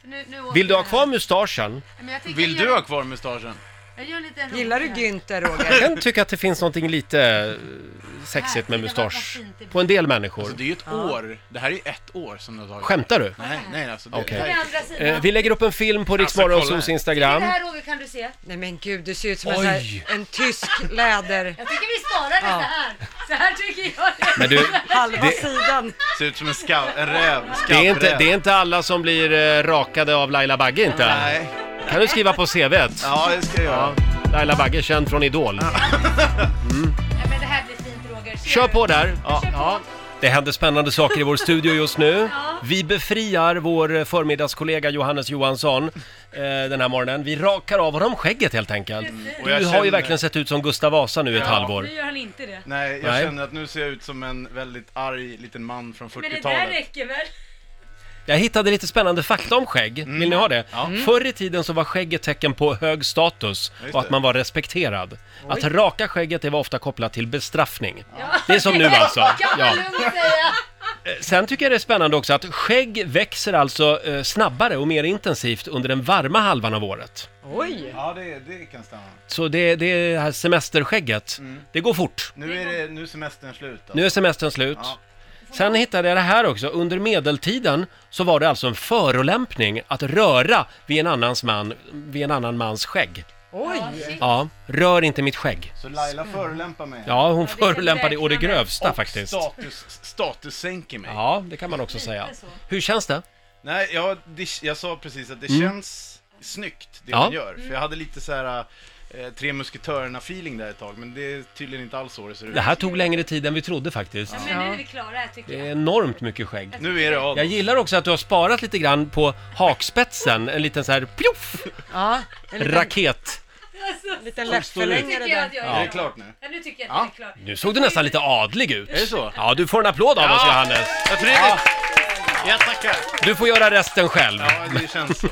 [SPEAKER 4] För nu, nu åker
[SPEAKER 1] Vill du ha
[SPEAKER 4] det här.
[SPEAKER 1] kvar mustaschen?
[SPEAKER 4] Men jag tänker
[SPEAKER 13] Vill
[SPEAKER 4] jag
[SPEAKER 13] du
[SPEAKER 4] gör-
[SPEAKER 13] ha kvar mustaschen?
[SPEAKER 4] Jag gör lite en
[SPEAKER 2] Gillar du
[SPEAKER 4] rolig här.
[SPEAKER 2] Günther
[SPEAKER 1] Jag
[SPEAKER 2] Roger?
[SPEAKER 1] kan tycka att det finns någonting lite eh, sexigt med mustasch på en del människor.
[SPEAKER 13] Alltså det är ju ett år, det här är ju ett år som du har tagit.
[SPEAKER 1] Skämtar du?
[SPEAKER 13] Nej, nej alltså. Det,
[SPEAKER 1] Okej.
[SPEAKER 13] det här är-
[SPEAKER 1] Eh, Vi lägger upp en film på Riksmorgonsols
[SPEAKER 4] Det
[SPEAKER 1] Instagram.
[SPEAKER 4] här Roger kan du se.
[SPEAKER 2] Nej men gud, du ser ut som en,
[SPEAKER 1] Oj.
[SPEAKER 2] sån här, en tysk läder...
[SPEAKER 4] Jag tycker vi sparar
[SPEAKER 2] Ja.
[SPEAKER 4] det så här. Så här tycker jag det.
[SPEAKER 1] Men du,
[SPEAKER 2] Halva
[SPEAKER 1] det-
[SPEAKER 2] sidan.
[SPEAKER 13] Ser ut som en, scout, en räv,
[SPEAKER 1] Det är, inte,
[SPEAKER 13] scouträv.
[SPEAKER 1] det är inte alla som blir eh, rakade av Laila Bagge inte.
[SPEAKER 13] Nej.
[SPEAKER 1] Kan du skriva på CVet?
[SPEAKER 13] Ja, det ska jag göra.
[SPEAKER 1] Laila Bagge, känd från Idol. Mm.
[SPEAKER 4] Nej, men det här blir fint Roger. Ser
[SPEAKER 1] Kör
[SPEAKER 4] du?
[SPEAKER 1] på där! Ja,
[SPEAKER 4] Kör på.
[SPEAKER 1] ja. Det händer spännande saker i vår studio just nu. Vi befriar vår eh, förmiddagskollega Johannes Johansson eh, den här morgonen. Vi rakar av honom skägget helt enkelt.
[SPEAKER 13] Och
[SPEAKER 1] Du
[SPEAKER 13] jag
[SPEAKER 1] har ju
[SPEAKER 13] känner-
[SPEAKER 1] verkligen sett ut som Gustav Vasa nu i ett
[SPEAKER 13] Ja.
[SPEAKER 1] halvår.
[SPEAKER 4] Nu gör han inte det.
[SPEAKER 13] Nej, jag
[SPEAKER 1] Nej.
[SPEAKER 13] känner att nu ser jag ut som en väldigt arg liten man från
[SPEAKER 4] Men det där
[SPEAKER 13] 40-talet.
[SPEAKER 4] räcker väl?
[SPEAKER 1] Jag hittade lite spännande fakta om skägg. Vill ni ha det?
[SPEAKER 4] Mm.
[SPEAKER 1] Förr i tiden så var skägget tecken på hög status
[SPEAKER 13] Just
[SPEAKER 1] och att
[SPEAKER 13] det.
[SPEAKER 1] man var respekterad.
[SPEAKER 13] Oj.
[SPEAKER 1] Att raka skägget det var ofta kopplat till bestraffning. Det är som nu alltså.
[SPEAKER 4] Kan man
[SPEAKER 1] Ja.
[SPEAKER 4] lugnt säga.
[SPEAKER 1] Eh, Sen tycker jag det är spännande också att skägg växer alltså eh, snabbare och mer intensivt under den varma halvan av året.
[SPEAKER 2] Oj!
[SPEAKER 13] Ja, det, det kan stämma.
[SPEAKER 1] Så det, det här semesterskägget, det går fort.
[SPEAKER 13] Nu är, det, nu är semestern slut. Alltså.
[SPEAKER 1] Nu är semestern slut.
[SPEAKER 13] Ja.
[SPEAKER 1] Sen hittade jag det här också. Under medeltiden så var det alltså en förolämpning att röra vid en, annans man, vid en annan mans skägg.
[SPEAKER 2] Oj!
[SPEAKER 1] Ja, rör inte mitt skägg.
[SPEAKER 13] Så Laila förolämpar mig.
[SPEAKER 1] Ja, hon förolämpar dig å det grövsta
[SPEAKER 13] Och
[SPEAKER 1] faktiskt.
[SPEAKER 13] Status, status sänker mig.
[SPEAKER 1] Ja, det kan man också säga. Hur känns det?
[SPEAKER 13] Nej, jag, det, jag sa precis att det
[SPEAKER 1] Mm.
[SPEAKER 13] känns snyggt det
[SPEAKER 1] Ja.
[SPEAKER 13] man gör. För jag hade lite så här eh, Tre musketörerna-feeling där ett tag, men det är tydligen inte alls så det ser ut.
[SPEAKER 1] Det här tog längre tid än vi trodde faktiskt.
[SPEAKER 4] Ja, men nu är vi klara här tycker
[SPEAKER 1] Det är
[SPEAKER 4] jag.
[SPEAKER 1] enormt mycket skägg.
[SPEAKER 13] Nu är det av.
[SPEAKER 1] Jag gillar också att du har sparat lite grann på hakspetsen, en liten så här pjoff!
[SPEAKER 2] Ja, en liten-
[SPEAKER 1] Raket.
[SPEAKER 4] Alltså, en
[SPEAKER 2] liten
[SPEAKER 1] läppförlängare
[SPEAKER 4] tycker jag
[SPEAKER 1] där.
[SPEAKER 4] att jag
[SPEAKER 1] Ja.
[SPEAKER 4] klar.
[SPEAKER 1] Är det klart nu?
[SPEAKER 4] Ja, nu tycker jag att jag är klar.
[SPEAKER 1] Nu såg du nästan lite adlig ut.
[SPEAKER 13] Är det så?
[SPEAKER 1] Ja, du får en applåd av oss
[SPEAKER 13] Ja.
[SPEAKER 1] Johannes.
[SPEAKER 13] Vad trevligt! Jag tackar!
[SPEAKER 1] Du får göra resten själv.
[SPEAKER 13] Ja, det känns så.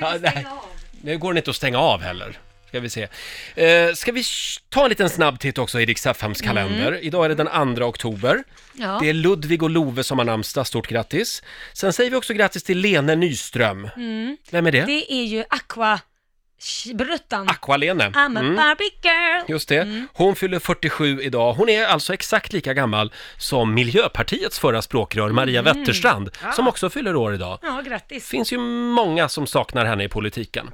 [SPEAKER 1] Ja, nej. Nu går det inte att stänga av heller. Ska vi se. Eh, ska vi sh- ta en liten snabb titt också i Rix FMs kalender.
[SPEAKER 4] Mm.
[SPEAKER 1] Idag är det den 2 oktober.
[SPEAKER 4] Ja.
[SPEAKER 1] Det är Ludvig och Love som har namnsdag. Stort grattis. Sen säger vi också grattis till Lene Nyström.
[SPEAKER 4] Mm.
[SPEAKER 1] Vem är det?
[SPEAKER 4] Det är ju Aqua Sh- Bruttan.
[SPEAKER 1] Aqua-Lene.
[SPEAKER 4] I'm a
[SPEAKER 1] Mm.
[SPEAKER 4] Barbie girl.
[SPEAKER 1] Just det.
[SPEAKER 4] Mm.
[SPEAKER 1] Hon fyller 47 idag. Hon är alltså exakt lika gammal som Miljöpartiets förra språkrör Maria
[SPEAKER 4] Mm.
[SPEAKER 1] Wetterstrand,
[SPEAKER 4] Ja.
[SPEAKER 1] som också fyller år idag.
[SPEAKER 4] Ja, grattis.
[SPEAKER 1] finns ju många som saknar henne i politiken.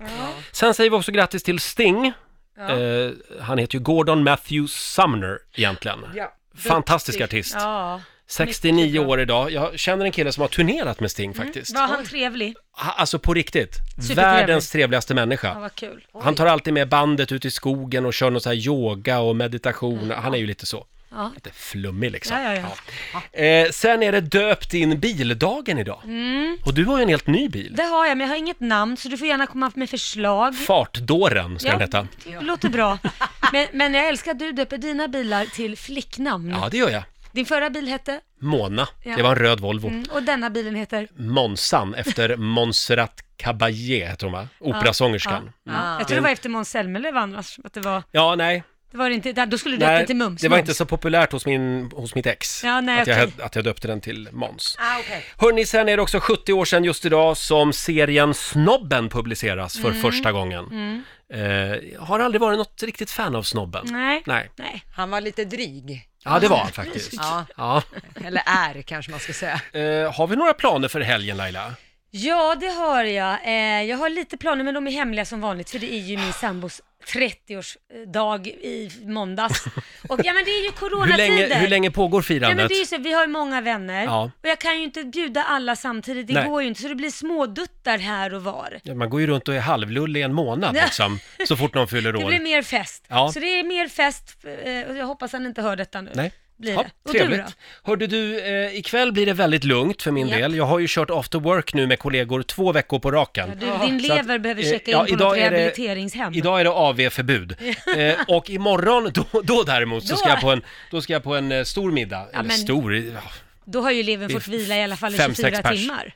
[SPEAKER 1] Sen säger vi också grattis till Sting.
[SPEAKER 4] Ja.
[SPEAKER 1] Eh, han heter ju Gordon Matthew Sumner egentligen.
[SPEAKER 4] Ja.
[SPEAKER 1] Fantastisk artist.
[SPEAKER 4] Ja.
[SPEAKER 1] 69 år idag. Jag känner en kille som har turnerat med Sting faktiskt.
[SPEAKER 4] Var han trevlig?
[SPEAKER 1] Ha- Alltså på riktigt.
[SPEAKER 4] Mm, Supertrevlig.
[SPEAKER 1] Världens trevligaste människa.
[SPEAKER 4] Ja, vad kul.
[SPEAKER 1] Han tar alltid med bandet ut i skogen och kör någon så här yoga och meditation. Han är ju lite så.
[SPEAKER 4] Mm. Ja.
[SPEAKER 1] Lite flummig liksom.
[SPEAKER 4] Ja, ja, ja.
[SPEAKER 1] Ja. Eh, sen är det döpt in bildagen idag.
[SPEAKER 4] Mm.
[SPEAKER 1] Och du har ju en helt ny bil.
[SPEAKER 4] Det har jag, men jag har inget namn så du får gärna komma med förslag.
[SPEAKER 1] Fartdåren ska
[SPEAKER 4] Ja.
[SPEAKER 1] den heta.
[SPEAKER 4] Det låter bra. Men, men jag älskar att du döper dina bilar till flicknamn.
[SPEAKER 1] Ja, det gör jag.
[SPEAKER 4] Din förra bil hette?
[SPEAKER 1] Mona.
[SPEAKER 4] Ja.
[SPEAKER 1] Det var en röd Volvo.
[SPEAKER 4] Mm, och denna bilen heter?
[SPEAKER 1] Monsan efter Montserrat Caballé heter hon va? Operasångerskan.
[SPEAKER 4] Ja, ja. Jag tror det var efter Måns Zelmerlöw annars. Att det var,
[SPEAKER 1] Ja, nej.
[SPEAKER 4] det var det inte, där- då skulle du döpt
[SPEAKER 1] nej
[SPEAKER 4] den till Mums.
[SPEAKER 1] det var
[SPEAKER 4] Mums.
[SPEAKER 1] inte så populärt hos, min, hos mitt ex.
[SPEAKER 4] Ja, nej,
[SPEAKER 1] att, jag,
[SPEAKER 4] okej.
[SPEAKER 1] att jag döpte den till Mons.
[SPEAKER 4] Ah, okej.
[SPEAKER 1] Hörni, sen är det också 70 år sedan just idag som serien Snobben publiceras för
[SPEAKER 4] Mm.
[SPEAKER 1] första gången.
[SPEAKER 4] Mm.
[SPEAKER 1] Eh, har aldrig varit något riktigt fan av Snobben.
[SPEAKER 4] Nej.
[SPEAKER 1] Nej.
[SPEAKER 2] Han var lite dryg.
[SPEAKER 1] Ja, det var han faktiskt.
[SPEAKER 2] Ja.
[SPEAKER 1] Ja.
[SPEAKER 2] Eller är kanske man ska säga.
[SPEAKER 1] Eh, har vi några planer för helgen Laila?
[SPEAKER 4] Ja, det har jag. Eh, jag har lite planer, men de är hemliga som vanligt, för det är ju min sambos 30-årsdag i måndags. Och ja, men det är ju
[SPEAKER 1] Hur
[SPEAKER 4] coronatider.
[SPEAKER 1] länge, hur länge pågår
[SPEAKER 4] Nej,
[SPEAKER 1] firandet?
[SPEAKER 4] men det är ju så, vi har ju många vänner
[SPEAKER 1] Ja.
[SPEAKER 4] och jag kan ju inte bjuda alla samtidigt, det
[SPEAKER 1] Nej.
[SPEAKER 4] går ju inte, så det blir småduttar här och var.
[SPEAKER 1] Ja, man går ju runt och är halvlullig i en månad
[SPEAKER 4] Nej.
[SPEAKER 1] liksom, så fort någon fyller
[SPEAKER 4] Det
[SPEAKER 1] år.
[SPEAKER 4] blir mer fest.
[SPEAKER 1] Ja.
[SPEAKER 4] Så det är mer fest, eh, och jag hoppas han inte hör detta nu.
[SPEAKER 1] Nej.
[SPEAKER 4] Blir
[SPEAKER 1] Ja,
[SPEAKER 4] det. Och
[SPEAKER 1] trevligt.
[SPEAKER 4] du då?
[SPEAKER 1] Hörde du, eh, ikväll blir det väldigt lugnt för min
[SPEAKER 4] Japp.
[SPEAKER 1] del. Jag har ju kört after work nu med kollegor två veckor på raken.
[SPEAKER 4] Ja, du, din
[SPEAKER 1] Så
[SPEAKER 4] lever behöver
[SPEAKER 1] eh,
[SPEAKER 4] checka in
[SPEAKER 1] ja,
[SPEAKER 4] på
[SPEAKER 1] idag
[SPEAKER 4] något
[SPEAKER 1] är det-
[SPEAKER 4] rehabiliteringshem.
[SPEAKER 1] Idag är det AV-förbud. Eh, och imorgon, då, då däremot, så
[SPEAKER 4] Då-
[SPEAKER 1] ska jag på en, då ska jag på en eh, stor middag.
[SPEAKER 4] Ja,
[SPEAKER 1] Eller
[SPEAKER 4] men-
[SPEAKER 1] stor, ja,
[SPEAKER 4] Då har ju levern
[SPEAKER 1] Det är
[SPEAKER 4] fått vila i alla fall i
[SPEAKER 1] fem, sex
[SPEAKER 4] 24
[SPEAKER 1] pers.
[SPEAKER 4] timmar.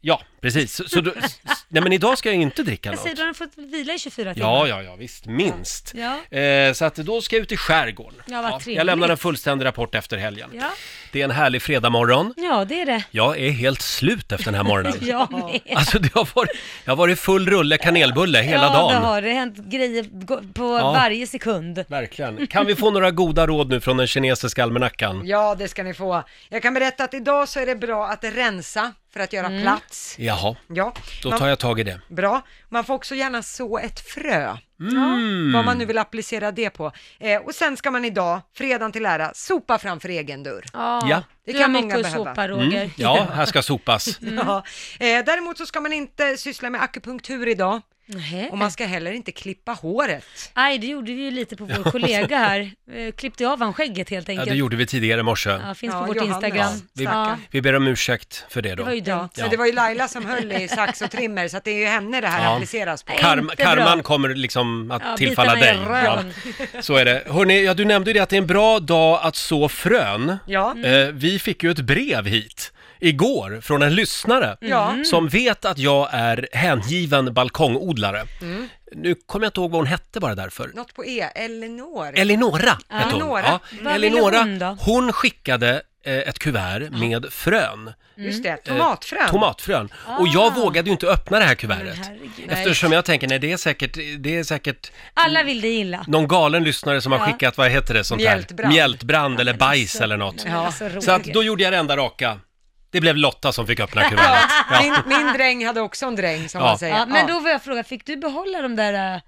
[SPEAKER 1] ja precis. Så, så, då- s- s- nej men idag ska jag inte dricka
[SPEAKER 4] Jag
[SPEAKER 1] något.
[SPEAKER 4] säger, då har den fått vila i 24 timmar.
[SPEAKER 1] Ja, ja, ja, visst, minst.
[SPEAKER 4] Ja.
[SPEAKER 1] Eh, så att då ska jag ut i skärgården.
[SPEAKER 4] Ja, vad trevligt.
[SPEAKER 1] jag lämnar en fullständig rapport efter helgen.
[SPEAKER 4] Ja.
[SPEAKER 1] Det är en härlig fredagmorgon.
[SPEAKER 4] ja, det är det.
[SPEAKER 1] Jag är helt slut efter den här morgonen.
[SPEAKER 4] Jag med.
[SPEAKER 1] Alltså det har varit, jag har varit full rulle kanelbulle hela
[SPEAKER 4] ja,
[SPEAKER 1] dagen.
[SPEAKER 4] det har det hänt grejer go- på
[SPEAKER 1] Ja.
[SPEAKER 4] varje sekund.
[SPEAKER 1] Verkligen. Kan vi få några goda råd nu från den kinesiska almanackan?
[SPEAKER 2] Ja, det ska ni få. Jag kan berätta att idag så är det bra att rensa för att
[SPEAKER 4] Mm.
[SPEAKER 2] göra plats.
[SPEAKER 1] Jaha,
[SPEAKER 2] Ja,
[SPEAKER 1] då
[SPEAKER 2] man-
[SPEAKER 1] tar jag tag i det.
[SPEAKER 2] Bra. Man får också gärna så ett frö.
[SPEAKER 1] Mm.
[SPEAKER 2] Vad man nu vill applicera det på. Eh, och sen ska man idag, fredagen till ära, sopa framför egen dörr.
[SPEAKER 1] Ja. Mm,
[SPEAKER 2] Det
[SPEAKER 4] Du
[SPEAKER 2] kan
[SPEAKER 4] har
[SPEAKER 2] många
[SPEAKER 4] mycket att
[SPEAKER 2] behöva.
[SPEAKER 4] sopa, Roger.
[SPEAKER 1] Ja, här ska sopas.
[SPEAKER 4] Mm.
[SPEAKER 2] Ja. Eh, däremot så ska man inte syssla med akupunktur idag.
[SPEAKER 4] Nähä.
[SPEAKER 2] Och man ska heller inte klippa håret.
[SPEAKER 4] Nej, det gjorde vi ju lite på vår kollega här. Eh, Klippte av han skägget helt
[SPEAKER 1] Ja,
[SPEAKER 4] enkelt.
[SPEAKER 1] det gjorde vi tidigare i morse.
[SPEAKER 4] Ja, finns på vårt Instagram.
[SPEAKER 1] Vi,
[SPEAKER 4] Ja.
[SPEAKER 1] vi ber om ursäkt för det då.
[SPEAKER 4] Det var ju dumt.
[SPEAKER 2] Så det var ju Laila som höll i sax och trimmer, så att det är ju henne det här
[SPEAKER 1] Ja.
[SPEAKER 2] appliceras på.
[SPEAKER 1] Karm, karman kommer liksom att
[SPEAKER 2] Ja,
[SPEAKER 1] tillfalla
[SPEAKER 2] bitarna i
[SPEAKER 1] dig.
[SPEAKER 2] röven.
[SPEAKER 1] Så är det. Hörrni, ja, du nämnde ju det att det är en bra dag att så frön.
[SPEAKER 2] Ja.
[SPEAKER 4] Mm.
[SPEAKER 1] Eh, vi fick ju ett brev hit igår från en lyssnare
[SPEAKER 2] Mm. Ja.
[SPEAKER 1] som vet att jag är hängiven balkongodlare.
[SPEAKER 2] Mm.
[SPEAKER 1] Nu kommer jag inte ihåg vad hon hette bara därför.
[SPEAKER 2] Något på E, Elinor.
[SPEAKER 1] Elinora
[SPEAKER 2] Ja.
[SPEAKER 1] hette hon.
[SPEAKER 2] Elinora. Vad ville hon
[SPEAKER 1] Elinora,
[SPEAKER 2] då?
[SPEAKER 1] hon skickade eh, ett kuvert med frön.
[SPEAKER 2] Just det,
[SPEAKER 1] Eh,
[SPEAKER 2] tomatfrön.
[SPEAKER 1] Tomatfrön. Och
[SPEAKER 2] Ah.
[SPEAKER 1] jag vågade ju inte öppna det här kuvertet.
[SPEAKER 4] Herregud.
[SPEAKER 1] Eftersom jag tänker, nej det är säkert, det är säkert
[SPEAKER 4] Alla vill dig illa.
[SPEAKER 1] någon galen lyssnare som har
[SPEAKER 4] Ja.
[SPEAKER 1] skickat, vad heter det, sånt här?
[SPEAKER 4] Mjältbrand.
[SPEAKER 1] Mjältbrand eller bajs eller något.
[SPEAKER 2] men Ja. alltså,
[SPEAKER 1] Så att
[SPEAKER 2] Roger.
[SPEAKER 1] då gjorde jag det enda raka. Det blev Lotta som fick öppna kuvertet.
[SPEAKER 2] Min,
[SPEAKER 1] Ja.
[SPEAKER 2] min dräng hade också en dräng som
[SPEAKER 1] Ja.
[SPEAKER 2] man säger.
[SPEAKER 4] Ja, men då vill jag fråga, fick du behålla de där...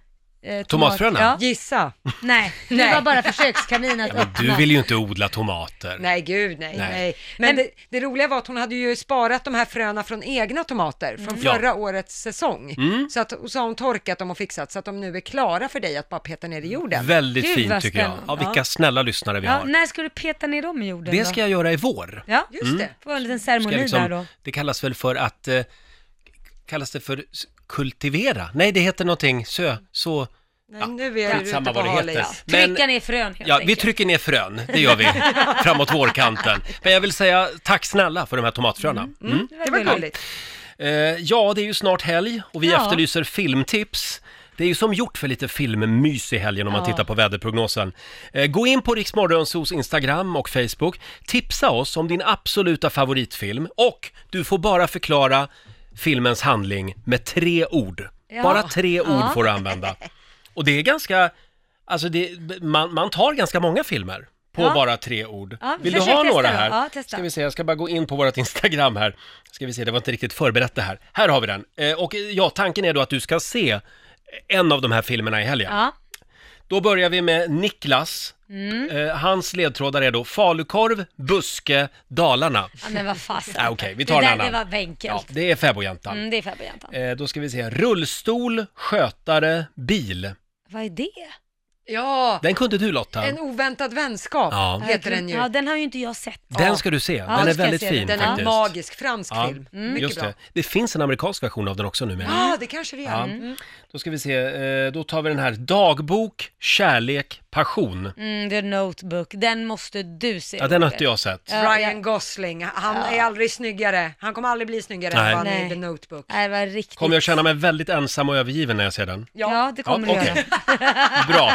[SPEAKER 4] Eh,
[SPEAKER 1] Tomatfröna?
[SPEAKER 4] Ja.
[SPEAKER 2] Gissa.
[SPEAKER 4] Nej, det
[SPEAKER 2] Nej.
[SPEAKER 4] var bara försökskanin att
[SPEAKER 1] Men du
[SPEAKER 4] öppna.
[SPEAKER 1] vill ju inte odla tomater.
[SPEAKER 2] Nej, gud nej.
[SPEAKER 1] Nej.
[SPEAKER 2] nej. Men det, det roliga var att hon hade ju sparat de här fröna från egna tomater från
[SPEAKER 1] Mm.
[SPEAKER 2] förra
[SPEAKER 1] Ja.
[SPEAKER 2] årets säsong.
[SPEAKER 1] Mm.
[SPEAKER 2] Så, att, och så har hon torkat dem och fixat så att de nu är klara för dig att bara peta ner i jorden.
[SPEAKER 1] Väldigt fint tycker jag. Ja, vilka snälla lyssnare vi
[SPEAKER 4] Ja,
[SPEAKER 1] har.
[SPEAKER 4] när ska du peta ner dem i jorden
[SPEAKER 1] Det
[SPEAKER 4] då?
[SPEAKER 1] ska jag göra i vår.
[SPEAKER 4] Ja,
[SPEAKER 1] just Mm. det.
[SPEAKER 4] Får en liten
[SPEAKER 1] Ska
[SPEAKER 4] ceremoni
[SPEAKER 1] jag liksom-
[SPEAKER 4] där då.
[SPEAKER 1] Det kallas väl för att, eh, kallas det för s- kultivera? Nej, det heter någonting, sö, så,
[SPEAKER 2] Nej, nu är du
[SPEAKER 1] skitsamma
[SPEAKER 2] ute på
[SPEAKER 1] vad det
[SPEAKER 2] hal
[SPEAKER 1] heter.
[SPEAKER 2] is.
[SPEAKER 1] Men-
[SPEAKER 4] Trycka ner frön helt
[SPEAKER 1] Ja, vi
[SPEAKER 4] enkelt.
[SPEAKER 1] trycker ner frön, det gör vi, framåt vårkanten. Men jag vill säga tack snälla för de här tomatfröna. Mm.
[SPEAKER 2] Det var gulligt.
[SPEAKER 1] Eh, ja, det är ju snart helg och vi
[SPEAKER 2] Ja.
[SPEAKER 1] efterlyser filmtips. Det är ju som gjort för lite filmmys i helgen om man
[SPEAKER 14] Ja.
[SPEAKER 1] tittar på väderprognosen. Eh, gå in på Riksmorgonsos Instagram och Facebook. Tipsa oss om din absoluta favoritfilm och du får bara förklara filmens handling med tre ord.
[SPEAKER 14] Ja.
[SPEAKER 1] Bara tre ord
[SPEAKER 14] Ja.
[SPEAKER 1] får du använda. Och det är ganska, alltså det, man, man tar ganska många filmer på
[SPEAKER 4] Ja.
[SPEAKER 1] bara tre ord.
[SPEAKER 4] Ja,
[SPEAKER 1] Vill du
[SPEAKER 4] försök
[SPEAKER 1] ha
[SPEAKER 4] testa
[SPEAKER 1] några
[SPEAKER 4] då.
[SPEAKER 1] här?
[SPEAKER 4] Ja, testa.
[SPEAKER 1] Ska vi se, jag ska bara gå in på vårt Instagram här. Ska vi se, det var inte riktigt förberett det här. Här har vi den. Eh, Och eh, ja, tanken är då att du ska se en av de här filmerna i helgen.
[SPEAKER 4] Ja.
[SPEAKER 1] Då börjar vi med Niklas.
[SPEAKER 4] Mm.
[SPEAKER 1] Eh, Hans ledtrådar är då falukorv, buske, Dalarna.
[SPEAKER 4] Ja, men vad fasen.
[SPEAKER 1] Ja, Okej, vi tar
[SPEAKER 4] det
[SPEAKER 1] en
[SPEAKER 4] där,
[SPEAKER 1] annan.
[SPEAKER 4] Det var enkelt.
[SPEAKER 1] Ja, det är fäbodjäntan.
[SPEAKER 4] Mm, det är fäbodjäntan.
[SPEAKER 1] Eh, Då ska vi se, rullstol, skötare, bil.
[SPEAKER 4] Vad är det?
[SPEAKER 2] Ja,
[SPEAKER 1] Den kunde du Lotta.
[SPEAKER 2] en oväntad vänskap
[SPEAKER 1] Ja.
[SPEAKER 2] heter den ju.
[SPEAKER 4] Ja, den har ju inte jag sett.
[SPEAKER 1] Den ska du se, den är väldigt fin
[SPEAKER 2] Den är en
[SPEAKER 1] faktiskt.
[SPEAKER 2] magisk fransk film. Mm, Mycket
[SPEAKER 1] just
[SPEAKER 2] bra.
[SPEAKER 1] det. Det finns en amerikansk version av den också numera.
[SPEAKER 2] Ja, det kanske det
[SPEAKER 1] Ja.
[SPEAKER 2] är. Mm.
[SPEAKER 1] Då ska vi se, eh, då tar vi den här dagbok, kärlek, passion.
[SPEAKER 4] Mm, The Notebook. Den måste du se.
[SPEAKER 1] Ja, den har
[SPEAKER 4] Roger.
[SPEAKER 1] inte jag sett.
[SPEAKER 4] Ja,
[SPEAKER 2] Ryan Gosling, han
[SPEAKER 4] Ja.
[SPEAKER 2] är aldrig snyggare. Han kommer aldrig bli snyggare
[SPEAKER 1] Nej.
[SPEAKER 2] än vad han är
[SPEAKER 1] Nej.
[SPEAKER 2] i The Notebook.
[SPEAKER 4] Nej, det var riktigt.
[SPEAKER 1] Kommer jag känna mig väldigt ensam och övergiven när jag ser den?
[SPEAKER 4] Ja, det kommer du
[SPEAKER 1] okej.
[SPEAKER 4] göra.
[SPEAKER 1] Bra,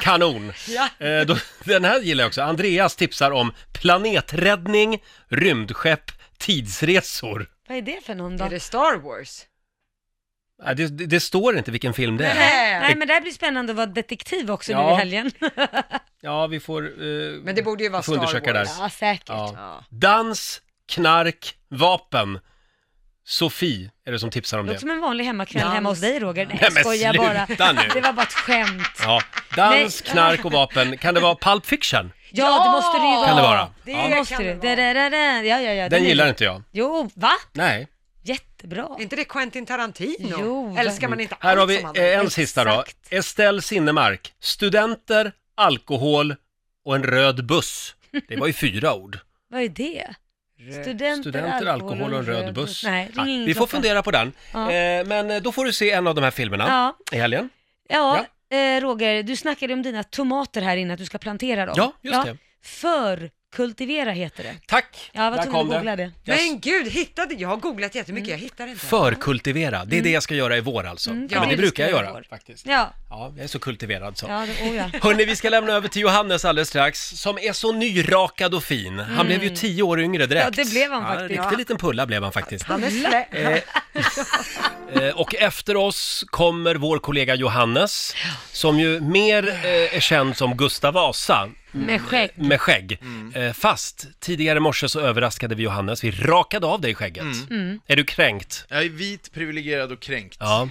[SPEAKER 1] kanon.
[SPEAKER 4] Ja.
[SPEAKER 1] Eh, då, den här gillar jag också. Andreas tipsar om planeträddning, rymdskepp, tidsresor.
[SPEAKER 4] Vad är det för någon då?
[SPEAKER 2] Är det Star Wars?
[SPEAKER 1] Nej, Det, det, det står inte vilken film det är.
[SPEAKER 4] Nej,
[SPEAKER 1] Det-
[SPEAKER 4] nej, men det här blir spännande att vara detektiv också nu
[SPEAKER 1] Ja.
[SPEAKER 4] i helgen.
[SPEAKER 1] Ja, vi får... men
[SPEAKER 2] det borde ju vara
[SPEAKER 1] får undersöka
[SPEAKER 2] Star Wars.
[SPEAKER 1] Där.
[SPEAKER 4] Ja, säkert.
[SPEAKER 1] Ja. Dans, knark, vapen. Sofie är det som tipsar om
[SPEAKER 4] Det
[SPEAKER 1] det.
[SPEAKER 4] låter som en vanlig hemmakväll
[SPEAKER 2] Dans.
[SPEAKER 4] hemma hos dig Roger. Nej,
[SPEAKER 1] Nej, men
[SPEAKER 4] jag skojar bara.
[SPEAKER 1] sluta nu.
[SPEAKER 4] Det var bara ett skämt.
[SPEAKER 1] Ja. Dans,
[SPEAKER 4] Nej.
[SPEAKER 1] knark och vapen. Kan det vara Pulp Fiction?
[SPEAKER 4] Ja, det måste det ju vara.
[SPEAKER 1] Kan det vara?
[SPEAKER 4] Det
[SPEAKER 1] Ja.
[SPEAKER 4] måste det. Da, da, da, da. Ja, ja, ja.
[SPEAKER 1] Den
[SPEAKER 4] är-
[SPEAKER 1] gillar inte jag.
[SPEAKER 4] Jo, va?
[SPEAKER 1] Nej.
[SPEAKER 4] Jättebra.
[SPEAKER 2] Är inte det Quentin Tarantino?
[SPEAKER 4] Jo.
[SPEAKER 2] Eller ska man inte
[SPEAKER 1] Här
[SPEAKER 2] allt
[SPEAKER 1] har vi
[SPEAKER 2] som han
[SPEAKER 1] eh, en sista då. Estelle Sinnemark. Studenter, alkohol och en röd buss. Det var ju fyra ord.
[SPEAKER 4] Vad är det? Studenter,
[SPEAKER 1] Studenter, alkohol och en röd buss.
[SPEAKER 4] Nej,
[SPEAKER 1] Ja,
[SPEAKER 4] ring ingen
[SPEAKER 1] vi får
[SPEAKER 4] klocka.
[SPEAKER 1] fundera på den.
[SPEAKER 4] Ja.
[SPEAKER 1] Eh, Men eh, då får du se en av de här filmerna
[SPEAKER 4] Ja.
[SPEAKER 1] i helgen.
[SPEAKER 4] Ja, Eh, Roger, du snackade om dina tomater här innan, att du ska plantera dem.
[SPEAKER 1] Ja, just det.
[SPEAKER 4] Förkultivera heter det.
[SPEAKER 1] Tack!
[SPEAKER 4] Ja, jag var
[SPEAKER 1] Där
[SPEAKER 4] tvungen
[SPEAKER 1] kom
[SPEAKER 4] att googla det.
[SPEAKER 1] Yes.
[SPEAKER 2] Men gud, hittade jag har googlat jättemycket, jag hittar inte.
[SPEAKER 1] Förkultivera, det är det jag ska göra i vår alltså.
[SPEAKER 2] Mm,
[SPEAKER 1] Ja, men det
[SPEAKER 2] det
[SPEAKER 1] brukar jag
[SPEAKER 2] ska jag
[SPEAKER 1] göra
[SPEAKER 2] i vår.
[SPEAKER 1] faktiskt.
[SPEAKER 4] Ja,
[SPEAKER 1] Ja, jag är så kultiverad så.
[SPEAKER 4] ja, det, oh, ja.
[SPEAKER 1] Hörni, vi ska lämna över till Johannes alldeles strax, som är så nyrakad och fin. Han
[SPEAKER 4] Mm.
[SPEAKER 1] blev ju tio år yngre direkt.
[SPEAKER 4] Ja, det blev han
[SPEAKER 1] Ja,
[SPEAKER 4] faktiskt.
[SPEAKER 1] riktig
[SPEAKER 4] Ja.
[SPEAKER 1] liten pulla blev han faktiskt.
[SPEAKER 2] Han är slä...
[SPEAKER 1] Eh, och efter oss kommer vår kollega Johannes, som ju mer eh, är känd som Gustav Vasa.
[SPEAKER 4] Med skägg.
[SPEAKER 1] Med skägg. Eh, fast tidigare i morse så överraskade vi Johannes, vi rakade av dig skägget.
[SPEAKER 4] Mm.
[SPEAKER 1] Är du kränkt?
[SPEAKER 13] Jag är vit, privilegierad och kränkt.
[SPEAKER 1] Ja.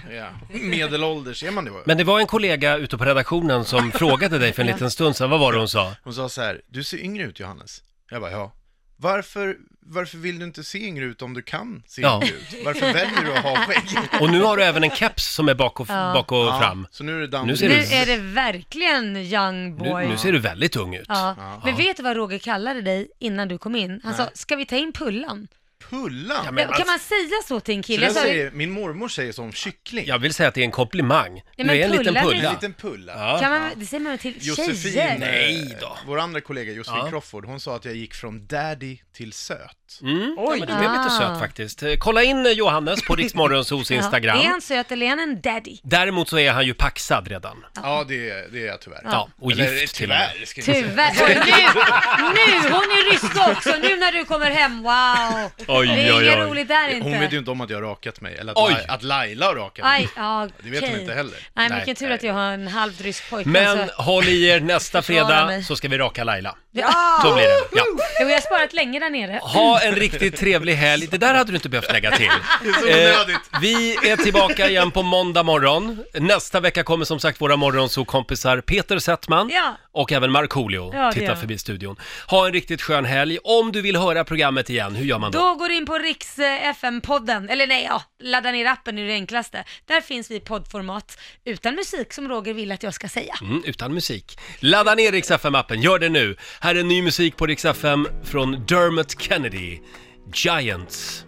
[SPEAKER 13] Medelålders, är man det?
[SPEAKER 1] Men det var en kollega ute på redaktionen som frågade dig för en
[SPEAKER 13] Ja.
[SPEAKER 1] liten stund sedan, vad var det hon sa?
[SPEAKER 13] Hon sa så här, du ser yngre ut Johannes. Jag bara, ja. Varför, varför vill du inte se yngre ut om du kan se
[SPEAKER 1] Ja.
[SPEAKER 13] yngre ut? Varför väljer du att ha skägg?
[SPEAKER 1] Och nu har du även en keps som är bak och,
[SPEAKER 4] Ja.
[SPEAKER 1] bak och
[SPEAKER 13] Ja,
[SPEAKER 1] fram.
[SPEAKER 13] Så nu är det dans.
[SPEAKER 1] Nu
[SPEAKER 4] Nu
[SPEAKER 1] ser du,
[SPEAKER 4] är det verkligen young boy.
[SPEAKER 1] nu, nu ser du väldigt ung ut.
[SPEAKER 4] Ja. Men vet du vad Roger kallade dig innan du kom in? Han sa,
[SPEAKER 13] Nej.
[SPEAKER 4] ska vi ta in Pullan?
[SPEAKER 13] Pullan?
[SPEAKER 4] kan man säga så till en
[SPEAKER 13] Så
[SPEAKER 4] kille? Alltså,
[SPEAKER 13] jag
[SPEAKER 4] Jag sa,
[SPEAKER 13] säger, min mormor säger som kyckling.
[SPEAKER 1] Jag vill säga att det är en komplimang.
[SPEAKER 4] men
[SPEAKER 1] du är en liten
[SPEAKER 4] pullar är-
[SPEAKER 1] pulla.
[SPEAKER 4] En liten
[SPEAKER 13] pulla.
[SPEAKER 4] kan man, det säger man till tjejer?
[SPEAKER 13] Josefin,
[SPEAKER 1] Nej
[SPEAKER 13] då. vår andra kollega Josefin
[SPEAKER 1] Ja.
[SPEAKER 13] Crawford, hon sa att jag gick från daddy till söt.
[SPEAKER 1] Mm. Oj, ja, men det är lite
[SPEAKER 4] Ah.
[SPEAKER 1] söt faktiskt. Eh, Kolla in eh, Johannes på Riksmorgonsos Instagram.
[SPEAKER 4] Ja, är han söt eller är han en daddy?
[SPEAKER 1] Däremot så är han ju paxad redan.
[SPEAKER 13] Ja, det är, det är jag tyvärr.
[SPEAKER 1] Ja, och
[SPEAKER 13] Eller,
[SPEAKER 1] gift till och med.
[SPEAKER 13] tyvärr, ska jag säga.
[SPEAKER 4] Tyvärr. Oj, nu, nu! Hon är ryska också, nu när du kommer hem, wow!
[SPEAKER 13] Oj,
[SPEAKER 4] det är
[SPEAKER 13] oj,
[SPEAKER 4] inget
[SPEAKER 13] oj.
[SPEAKER 4] roligt där inte.
[SPEAKER 13] Hon vet ju inte om att jag har rakat mig, eller att,
[SPEAKER 1] Oj.
[SPEAKER 13] Lai- att Laila har rakat mig.
[SPEAKER 4] Aj, ja,
[SPEAKER 13] Det vet hon
[SPEAKER 4] okej.
[SPEAKER 13] inte heller.
[SPEAKER 4] Nej, men
[SPEAKER 1] Nej,
[SPEAKER 4] vilken tur att jag har en halvrysk pojkvän.
[SPEAKER 1] Men
[SPEAKER 4] så-
[SPEAKER 1] håll i er, nästa
[SPEAKER 4] Försvara
[SPEAKER 1] fredag
[SPEAKER 4] alltså- mig.
[SPEAKER 1] så ska vi raka Laila.
[SPEAKER 4] Ja!
[SPEAKER 1] Så blir det. Ja.
[SPEAKER 4] Jo, jag har sparat länge där nere.
[SPEAKER 1] Ha en riktigt trevlig helg. Det där hade du inte behövt lägga till.
[SPEAKER 4] Det är så onödigt.
[SPEAKER 1] Eh, vi är tillbaka igen på måndag morgon. Nästa vecka kommer som sagt våra morgonsokompisar Peter Settman
[SPEAKER 4] Ja.
[SPEAKER 1] och även Markoolio
[SPEAKER 4] Ja, det gör
[SPEAKER 1] titta
[SPEAKER 4] jag.
[SPEAKER 1] förbi studion. Ha en riktigt skön helg. Om du vill höra programmet igen, hur gör man då?
[SPEAKER 4] Då går du in på Riks eh, FM-podden, eller nej, ja, ladda ner appen är det enklaste. Där finns vi i poddformat, utan musik som Roger vill att jag ska säga.
[SPEAKER 1] Mm, utan musik. Ladda ner Rix FM-appen, gör det nu. Här är ny musik på Rix FM från Dermot Kennedy, Giants.